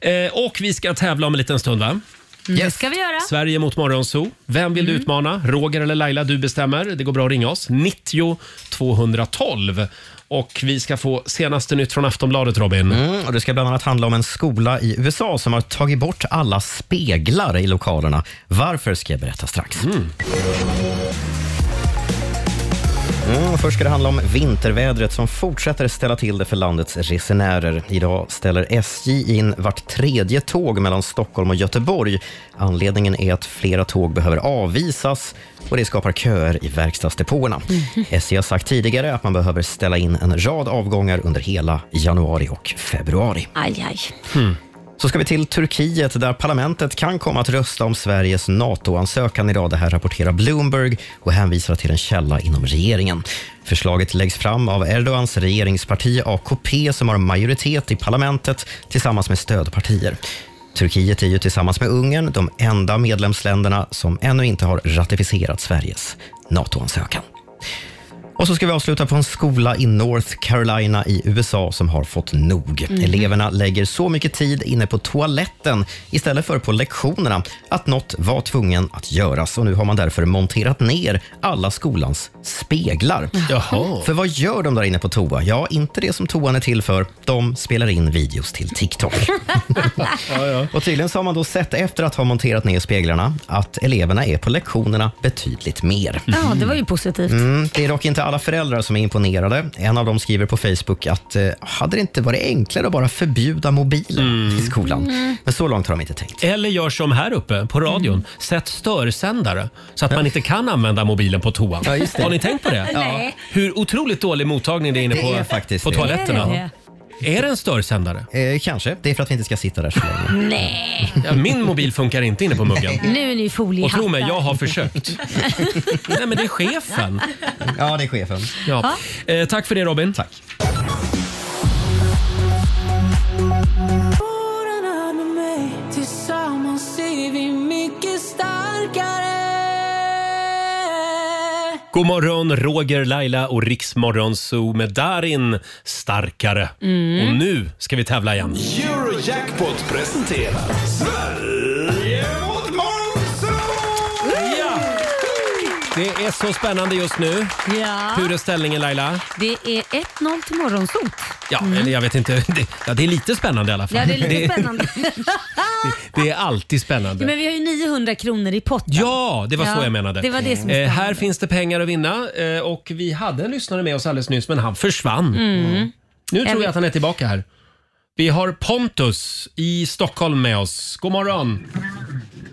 [SPEAKER 1] Eh, och vi ska tävla om en liten stund,
[SPEAKER 2] Mm.
[SPEAKER 1] va?
[SPEAKER 2] Det ska vi göra.
[SPEAKER 1] Sverige mot Morgonzoo. Vem
[SPEAKER 2] Mm.
[SPEAKER 1] vill du utmana? Roger eller Laila? Du bestämmer. Det går bra att ringa oss. 90 212. Och vi ska få senaste nytt från Aftonbladet, Robin.
[SPEAKER 3] Mm, och det ska bland annat handla om en skola i USA som har tagit bort alla speglar i lokalerna. Varför ska jag berätta strax. Mm, först ska det handla om vintervädret som fortsätter ställa till det för landets resenärer. Idag ställer SJ in vart tredje tåg mellan Stockholm och Göteborg. Anledningen är att flera tåg behöver avvisas och det skapar köer i verkstadsdepåerna. SJ har sagt tidigare att man behöver ställa in en rad avgångar under hela januari och februari.
[SPEAKER 2] Aj, aj.
[SPEAKER 3] Så ska vi till Turkiet där parlamentet kan komma att rösta om Sveriges NATO-ansökan idag. Det här rapporterar Bloomberg och hänvisar till en källa inom regeringen. Förslaget läggs fram av Erdogans regeringsparti AKP som har majoritet i parlamentet tillsammans med stödpartier. Turkiet är ju tillsammans med Ungern de enda medlemsländerna som ännu inte har ratificerat Sveriges NATO-ansökan. Och så ska vi avsluta på en skola i North Carolina i USA som har fått nog.
[SPEAKER 2] Mm.
[SPEAKER 10] Mhm.
[SPEAKER 3] Eleverna lägger så mycket tid inne på toaletten istället för på lektionerna att något var tvungen att göras. Och nu har man därför monterat ner alla skolans speglar.
[SPEAKER 1] Jaha.
[SPEAKER 3] För vad gör de där inne på toa? Ja, inte det som toan är till för. De spelar in videos till TikTok. Och tydligen så har man då sett efter att ha monterat ner speglarna att eleverna är på lektionerna betydligt mer.
[SPEAKER 2] Ja, det var ju positivt.
[SPEAKER 3] Mm, det är dock inte alla föräldrar som är imponerade. En av dem skriver på Facebook att eh, hade det inte varit enklare att bara förbjuda mobilen i skolan? Men så långt har de inte tänkt.
[SPEAKER 1] Eller gör som här uppe på radion.
[SPEAKER 3] Mm.
[SPEAKER 1] Sätt störsändare så att man inte kan använda mobilen på toan.
[SPEAKER 3] Ja, just det.
[SPEAKER 1] Har ni tänkt på det?
[SPEAKER 3] Nej.
[SPEAKER 1] Hur otroligt dålig mottagning det är inne
[SPEAKER 3] Det
[SPEAKER 1] på,
[SPEAKER 3] är faktiskt
[SPEAKER 1] på
[SPEAKER 3] det.
[SPEAKER 1] toaletterna.
[SPEAKER 2] Är
[SPEAKER 1] Är det en störsändare?
[SPEAKER 3] Eh, kanske. Det är för att vi inte ska sitta där så länge.
[SPEAKER 1] Mm.
[SPEAKER 2] Nej,
[SPEAKER 1] Ja, min mobil funkar inte inne på muggen.
[SPEAKER 2] nu är ni
[SPEAKER 1] Och
[SPEAKER 2] foliehattar.
[SPEAKER 1] tro mig, jag har försökt. Nej, men det är chefen.
[SPEAKER 3] Ja, det är chefen.
[SPEAKER 1] Ja. Eh, tack för det Robin.
[SPEAKER 3] Tack.
[SPEAKER 15] Åren med mig, tillsammans är vi mycket starkare.
[SPEAKER 1] God morgon Roger, Laila och Riksmorgon Zoo med Darin starkare.
[SPEAKER 10] Mm.
[SPEAKER 1] Och nu ska vi tävla igen.
[SPEAKER 2] Mm.
[SPEAKER 10] Eurojackpot presenterar Sverige mot Monzo!
[SPEAKER 1] Ja! Det är så spännande just nu.
[SPEAKER 2] Ja.
[SPEAKER 1] Hur är ställningen Laila?
[SPEAKER 2] Det är 1-0 till morgonsot.
[SPEAKER 1] Ja, eller jag vet inte. Det, ja, det är lite spännande i alla fall.
[SPEAKER 2] Mm. Ja, det är lite spännande.
[SPEAKER 1] Det är alltid
[SPEAKER 2] Ja, men
[SPEAKER 1] spännande.
[SPEAKER 2] vi har ju 900 kronor i potten.
[SPEAKER 1] Ja, det var så
[SPEAKER 2] Ja,
[SPEAKER 1] jag menade.
[SPEAKER 2] Det var det som
[SPEAKER 1] eh,
[SPEAKER 2] eh,
[SPEAKER 1] här finns det pengar att vinna eh, och vi hade en lyssnare med oss alldeles nyss men han försvann.
[SPEAKER 2] Mm.
[SPEAKER 1] Nu
[SPEAKER 2] Jag
[SPEAKER 1] tror jag
[SPEAKER 2] vet-
[SPEAKER 1] att han är tillbaka här. Vi har Pontus i Stockholm med oss. God morgon!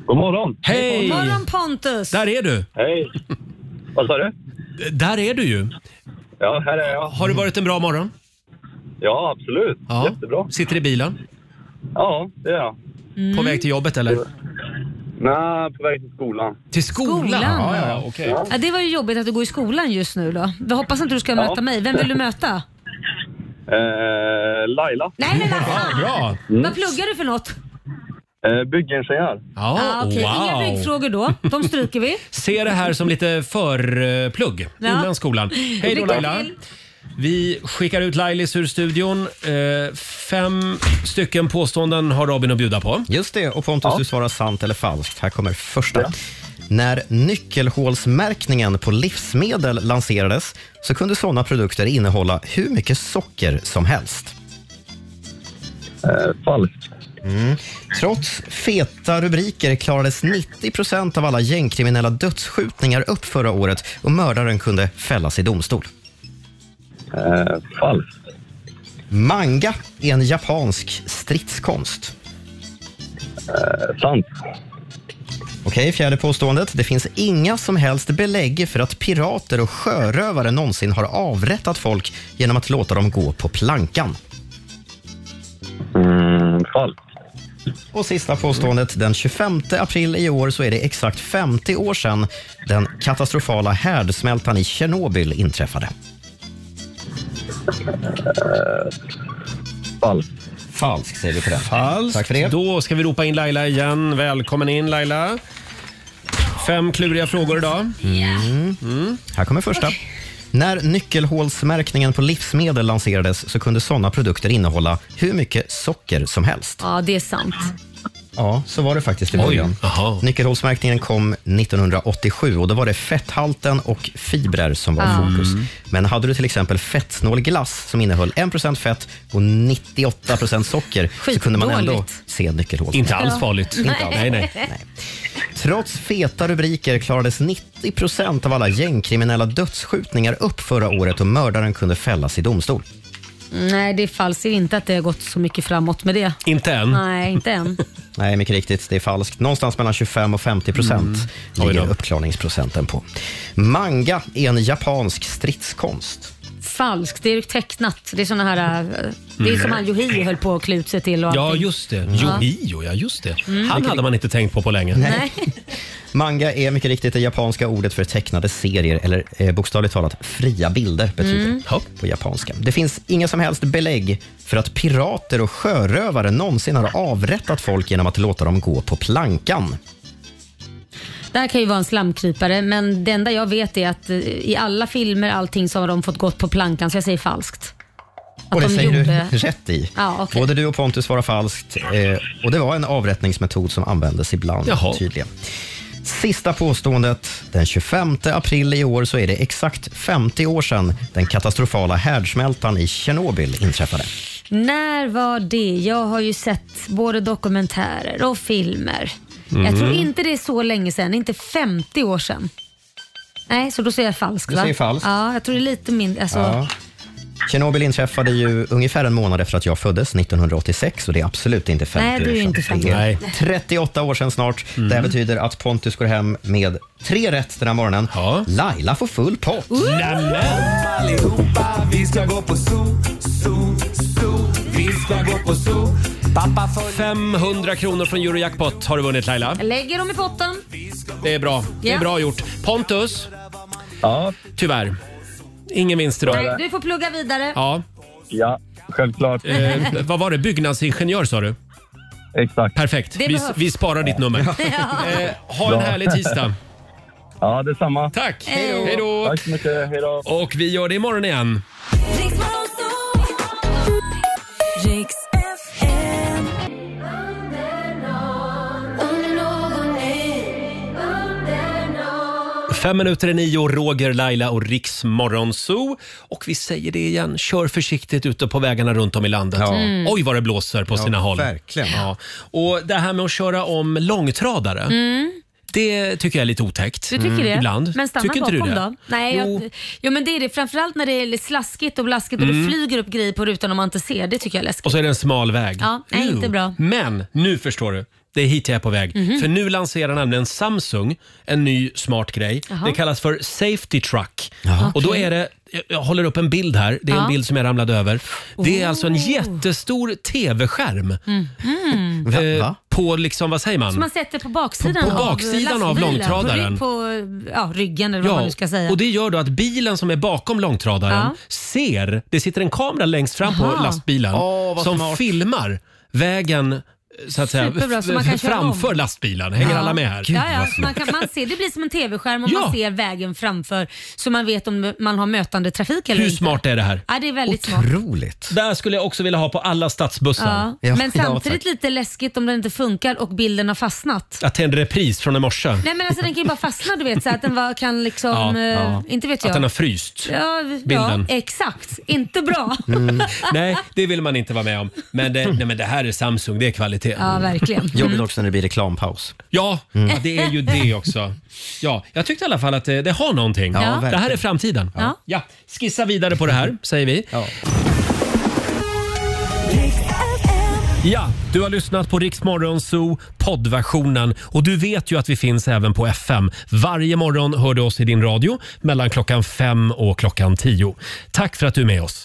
[SPEAKER 1] God morgon! Hej!
[SPEAKER 2] Morgon Pontus!
[SPEAKER 1] Där är du! Hej! Vad sa du? Där är du ju! Ja, här är jag. Har det varit en bra morgon?
[SPEAKER 16] Ja, absolut.
[SPEAKER 1] Ja.
[SPEAKER 16] Jättebra.
[SPEAKER 1] Sitter i bilen?
[SPEAKER 16] Ja, det är jag.
[SPEAKER 2] Mm.
[SPEAKER 1] På väg till jobbet eller?
[SPEAKER 16] Nej, på väg till skolan.
[SPEAKER 1] Till skolan?
[SPEAKER 2] Skolan.
[SPEAKER 1] Ja, ja, ja, okej.
[SPEAKER 2] Ja, det var ju jobbigt att du går i skolan just nu då. Jag hoppas inte du ska möta mig. Vem vill du möta?
[SPEAKER 16] Eh, Laila.
[SPEAKER 2] Nej, nej, nej.
[SPEAKER 1] Ja, bra.
[SPEAKER 2] Vad pluggar du för något?
[SPEAKER 16] Eh, byggingenjör.
[SPEAKER 1] Ja,
[SPEAKER 2] ah, okej. Inga
[SPEAKER 1] wow.
[SPEAKER 2] byggfrågor då. De stryker vi.
[SPEAKER 1] Se det här som lite förplugg
[SPEAKER 2] Ja.
[SPEAKER 1] innan skolan. Hej då
[SPEAKER 2] Lycka
[SPEAKER 1] Laila.
[SPEAKER 2] till.
[SPEAKER 1] Vi skickar ut Lailis ur studion. Eh, fem stycken påståenden har Robin att bjuda på.
[SPEAKER 3] Just det, och Pontus du svarar sant eller falskt. Här kommer första. När nyckelhålsmärkningen på livsmedel lanserades så kunde sådana produkter innehålla hur mycket socker som helst. Eh, falskt. Mm. Trots feta rubriker klarades 90 av alla gängkriminella dödsskjutningar upp förra året och mördaren kunde fällas i domstol. Eh, falskt. Manga är en
[SPEAKER 16] Eh,
[SPEAKER 3] japansk stridskonst. sant. Okej, Okej, fjärde påståendet. Det finns inga som helst belägg för att pirater och sjörövare någonsin har avrättat folk genom att låta dem gå på plankan.
[SPEAKER 16] Mm, falskt.
[SPEAKER 3] Och sista påståendet. Den 25 april i år så är det exakt 50 år sedan den katastrofala härdsmältan i Tjernobyl inträffade.
[SPEAKER 16] Mm.
[SPEAKER 1] Falskt. Falskt säger vi på den. Falskt.
[SPEAKER 3] Tack för det.
[SPEAKER 1] Då ska vi ropa in Laila igen. Välkommen in Laila. Fem kluriga frågor idag.
[SPEAKER 3] Mm. Här kommer första. När nyckelhålsmärkningen på livsmedel lanserades så kunde sådana produkter innehålla hur mycket socker som helst.
[SPEAKER 2] Ja, det är sant.
[SPEAKER 3] Ja, så var det faktiskt i
[SPEAKER 2] Oj,
[SPEAKER 3] början. Nyckelhålsmärkningen kom 1987 och då var det fetthalten och fibrer som var i
[SPEAKER 2] Ja.
[SPEAKER 3] fokus.
[SPEAKER 2] Mm.
[SPEAKER 3] Men hade du till exempel fettsnål glass som innehöll 1 fett och 98 socker så kunde man ändå
[SPEAKER 1] Skitdåligt.
[SPEAKER 3] se nyckelhål.
[SPEAKER 1] Inte alls Ja. farligt.
[SPEAKER 3] Inte alls.
[SPEAKER 1] Nej. Nej,
[SPEAKER 3] Trots feta rubriker klarades 90 av alla gängkriminella dödsskjutningar upp förra året och mördaren kunde fällas i domstol.
[SPEAKER 2] Nej, det är falskt. Jag ser inte att det har gått så mycket framåt med det.
[SPEAKER 1] Inte än.
[SPEAKER 2] Nej, inte än.
[SPEAKER 3] Nej, mycket riktigt. Det är falskt. Någonstans mellan 25 och 50 procent
[SPEAKER 1] Mm.
[SPEAKER 3] ligger uppklarningsprocenten på. Manga är en japansk stridskonst.
[SPEAKER 2] Falskt. Det är ju tecknat. Det är såna här... äh, Det är som
[SPEAKER 1] Mm.
[SPEAKER 2] han Yohio höll på att klä ut sig till och
[SPEAKER 1] Ja,
[SPEAKER 2] allting.
[SPEAKER 1] just det.
[SPEAKER 2] Ja.
[SPEAKER 1] Johio, ja just det.
[SPEAKER 2] Mm.
[SPEAKER 1] Han hade man inte tänkt på på länge.
[SPEAKER 2] Nej.
[SPEAKER 3] Manga är mycket riktigt det japanska ordet för tecknade serier eller eh, bokstavligt talat fria bilder betyder
[SPEAKER 2] Mm.
[SPEAKER 3] det på japanska. Det finns inga som helst belägg för att pirater och sjörövare någonsin har avrättat folk genom att låta dem gå på plankan.
[SPEAKER 2] Det här kan ju vara en slamkrypare, men det enda jag vet är att eh, i alla filmer allting så har de fått gått på plankan, så jag säger falskt. Att
[SPEAKER 3] Och det
[SPEAKER 2] de
[SPEAKER 3] säger
[SPEAKER 2] gjorde-
[SPEAKER 3] du rätt i.
[SPEAKER 2] Ja, okej.
[SPEAKER 3] Både du och Pontus svarar falskt eh, och det var en avrättningsmetod som användes ibland
[SPEAKER 2] Jaha.
[SPEAKER 3] tydligen. Sista påståendet. Den 25 april i år så är det exakt 50 år sedan den katastrofala härdsmältan i Tjernobyl inträffade.
[SPEAKER 2] När var det? Jag har ju sett både dokumentärer och filmer. Jag
[SPEAKER 3] Mm.
[SPEAKER 2] tror inte det är så länge sedan, inte 50 år sedan. Nej, så då säger jag falskt
[SPEAKER 3] Du
[SPEAKER 2] va?
[SPEAKER 3] säger falskt.
[SPEAKER 2] Ja, jag tror det är lite mindre. Alltså,
[SPEAKER 3] Ja. Tjernobyl inträffade ju ungefär en månad efter att jag föddes 1986 och det är absolut inte 50
[SPEAKER 2] Nej, det är
[SPEAKER 3] år sedan.
[SPEAKER 2] inte 50.
[SPEAKER 3] Det är
[SPEAKER 2] Nej. Mm.
[SPEAKER 3] 38 år sedan snart. Det här betyder att Pontus går hem med tre rätt den här morgonen. Laila får full pott.
[SPEAKER 7] Allihopa, vi ska gå på zoo, zoo, zoo. Vi ska gå på zoo. Pappa får...
[SPEAKER 1] 500 kronor från Eurojackpot har du vunnit Laila.
[SPEAKER 2] Jag lägger dem i potten.
[SPEAKER 1] Det är bra. Det är
[SPEAKER 2] Ja.
[SPEAKER 1] bra gjort. Pontus. Ja. Tyvärr. Ingen vinst idag.
[SPEAKER 2] Nej, du får plugga vidare.
[SPEAKER 1] Ja. Ja, självklart. Eh, vad var det? Byggnadsingenjör sa du? Exakt. Perfekt.
[SPEAKER 2] Det
[SPEAKER 1] Vi,
[SPEAKER 2] behövs.
[SPEAKER 1] vi sparar ditt nummer. Eh, ha en
[SPEAKER 7] Bra.
[SPEAKER 1] härlig tisdag.
[SPEAKER 7] Ja, detsamma.
[SPEAKER 1] Tack!
[SPEAKER 7] Hej då.
[SPEAKER 1] Hej då! Tack så mycket. Hej då. Och vi gör det imorgon igen. Fem minuter i nio, Roger, Laila och Riks Morgonzoo. Och vi säger det igen, kör försiktigt ute på vägarna runt om i landet.
[SPEAKER 7] Ja. Mm.
[SPEAKER 1] Oj vad det blåser på
[SPEAKER 7] Ja,
[SPEAKER 1] sina håll.
[SPEAKER 7] verkligen.
[SPEAKER 1] Ja. Och det här med att köra om långtradare.
[SPEAKER 2] Mm.
[SPEAKER 1] Det tycker jag är lite otäckt.
[SPEAKER 2] Du tycker det?
[SPEAKER 1] Mm, Ibland.
[SPEAKER 2] Men stanna
[SPEAKER 1] tycker inte
[SPEAKER 2] bakom
[SPEAKER 1] du det?
[SPEAKER 2] då? Nej,
[SPEAKER 1] Jo.
[SPEAKER 2] jag, jo, men det är det. Framförallt när det är slaskigt och blaskigt och
[SPEAKER 1] Mm.
[SPEAKER 2] det flyger upp grejer på rutan och man inte ser. Det tycker jag är läskigt.
[SPEAKER 1] Och så är det en smal väg.
[SPEAKER 2] Ja, nej,
[SPEAKER 1] Ew.
[SPEAKER 2] inte bra.
[SPEAKER 1] Men nu förstår du. Det är hit jag är på väg.
[SPEAKER 2] Mhm.
[SPEAKER 1] För nu lanserar nämligen Samsung en ny smart grej.
[SPEAKER 2] Jaha.
[SPEAKER 1] Det kallas för Safety Truck.
[SPEAKER 7] Jaha.
[SPEAKER 1] Och då
[SPEAKER 7] Okej.
[SPEAKER 1] är det, jag- jag håller upp en bild här. Det är
[SPEAKER 7] Ja.
[SPEAKER 1] en bild som jag ramlade över.
[SPEAKER 2] Oh.
[SPEAKER 1] Det är alltså en jättestor TV-skärm.
[SPEAKER 2] Mhm.
[SPEAKER 1] Eh, På liksom, vad säger man?
[SPEAKER 2] Som man sätter på baksidan,
[SPEAKER 1] På- på baksidan av
[SPEAKER 2] lastbilen.
[SPEAKER 1] långtradaren.
[SPEAKER 2] På, rygg- på ja, ryggen eller vad man nu ska säga.
[SPEAKER 1] och det gör då att bilen som är bakom långtradaren
[SPEAKER 2] Ja.
[SPEAKER 1] ser, det sitter en kamera längst fram på
[SPEAKER 2] Jaha.
[SPEAKER 1] lastbilen
[SPEAKER 2] Åh, vad
[SPEAKER 1] som
[SPEAKER 2] smart.
[SPEAKER 1] filmar vägen så att säga,
[SPEAKER 2] Superbra, så man kan köra
[SPEAKER 1] framför
[SPEAKER 2] om.
[SPEAKER 1] lastbilen. Hänger
[SPEAKER 2] Ja.
[SPEAKER 1] alla med här?
[SPEAKER 2] Ja, ja, så man kan, man ser, det blir som en tv-skärm och
[SPEAKER 1] Ja.
[SPEAKER 2] man ser vägen framför så man vet om man har mötande trafik eller
[SPEAKER 1] Hur
[SPEAKER 2] inte.
[SPEAKER 1] smart är det här?
[SPEAKER 2] Ja, det är väldigt smart.
[SPEAKER 3] Otroligt.
[SPEAKER 1] Där skulle jag också vilja ha på alla stadsbussar.
[SPEAKER 2] Ja. Men samtidigt lite läskigt om den inte funkar och bilden har fastnat.
[SPEAKER 1] Att det är en repris från i morse.
[SPEAKER 2] Nej men alltså den kan ju bara fastna du vet så att den var, kan liksom,
[SPEAKER 1] Ja,
[SPEAKER 2] eh,
[SPEAKER 1] ja.
[SPEAKER 2] inte vet jag.
[SPEAKER 1] Att den har fryst.
[SPEAKER 2] ja,
[SPEAKER 1] bilden.
[SPEAKER 2] Ja, exakt. Inte bra.
[SPEAKER 1] Mm. nej, det vill man inte vara med om. Men det, nej, men det här är Samsung, det är kvalitet.
[SPEAKER 2] Ja, verkligen. Mm.
[SPEAKER 3] Jobbigt också när det blir reklampaus. Mm.
[SPEAKER 1] Ja, ja, det är ju det också. Ja, jag tyckte i alla fall att det, det har någonting.
[SPEAKER 7] Ja,
[SPEAKER 1] det här är
[SPEAKER 7] verkligen.
[SPEAKER 1] framtiden.
[SPEAKER 7] Ja.
[SPEAKER 1] Ja, skissa vidare på det här, säger vi. Ja, du har lyssnat på Rix Morgon Zoo poddversionen och du vet ju att vi finns även på FM. Varje morgon hör du oss i din radio mellan klockan fem och klockan tio. Tack för att du är med oss.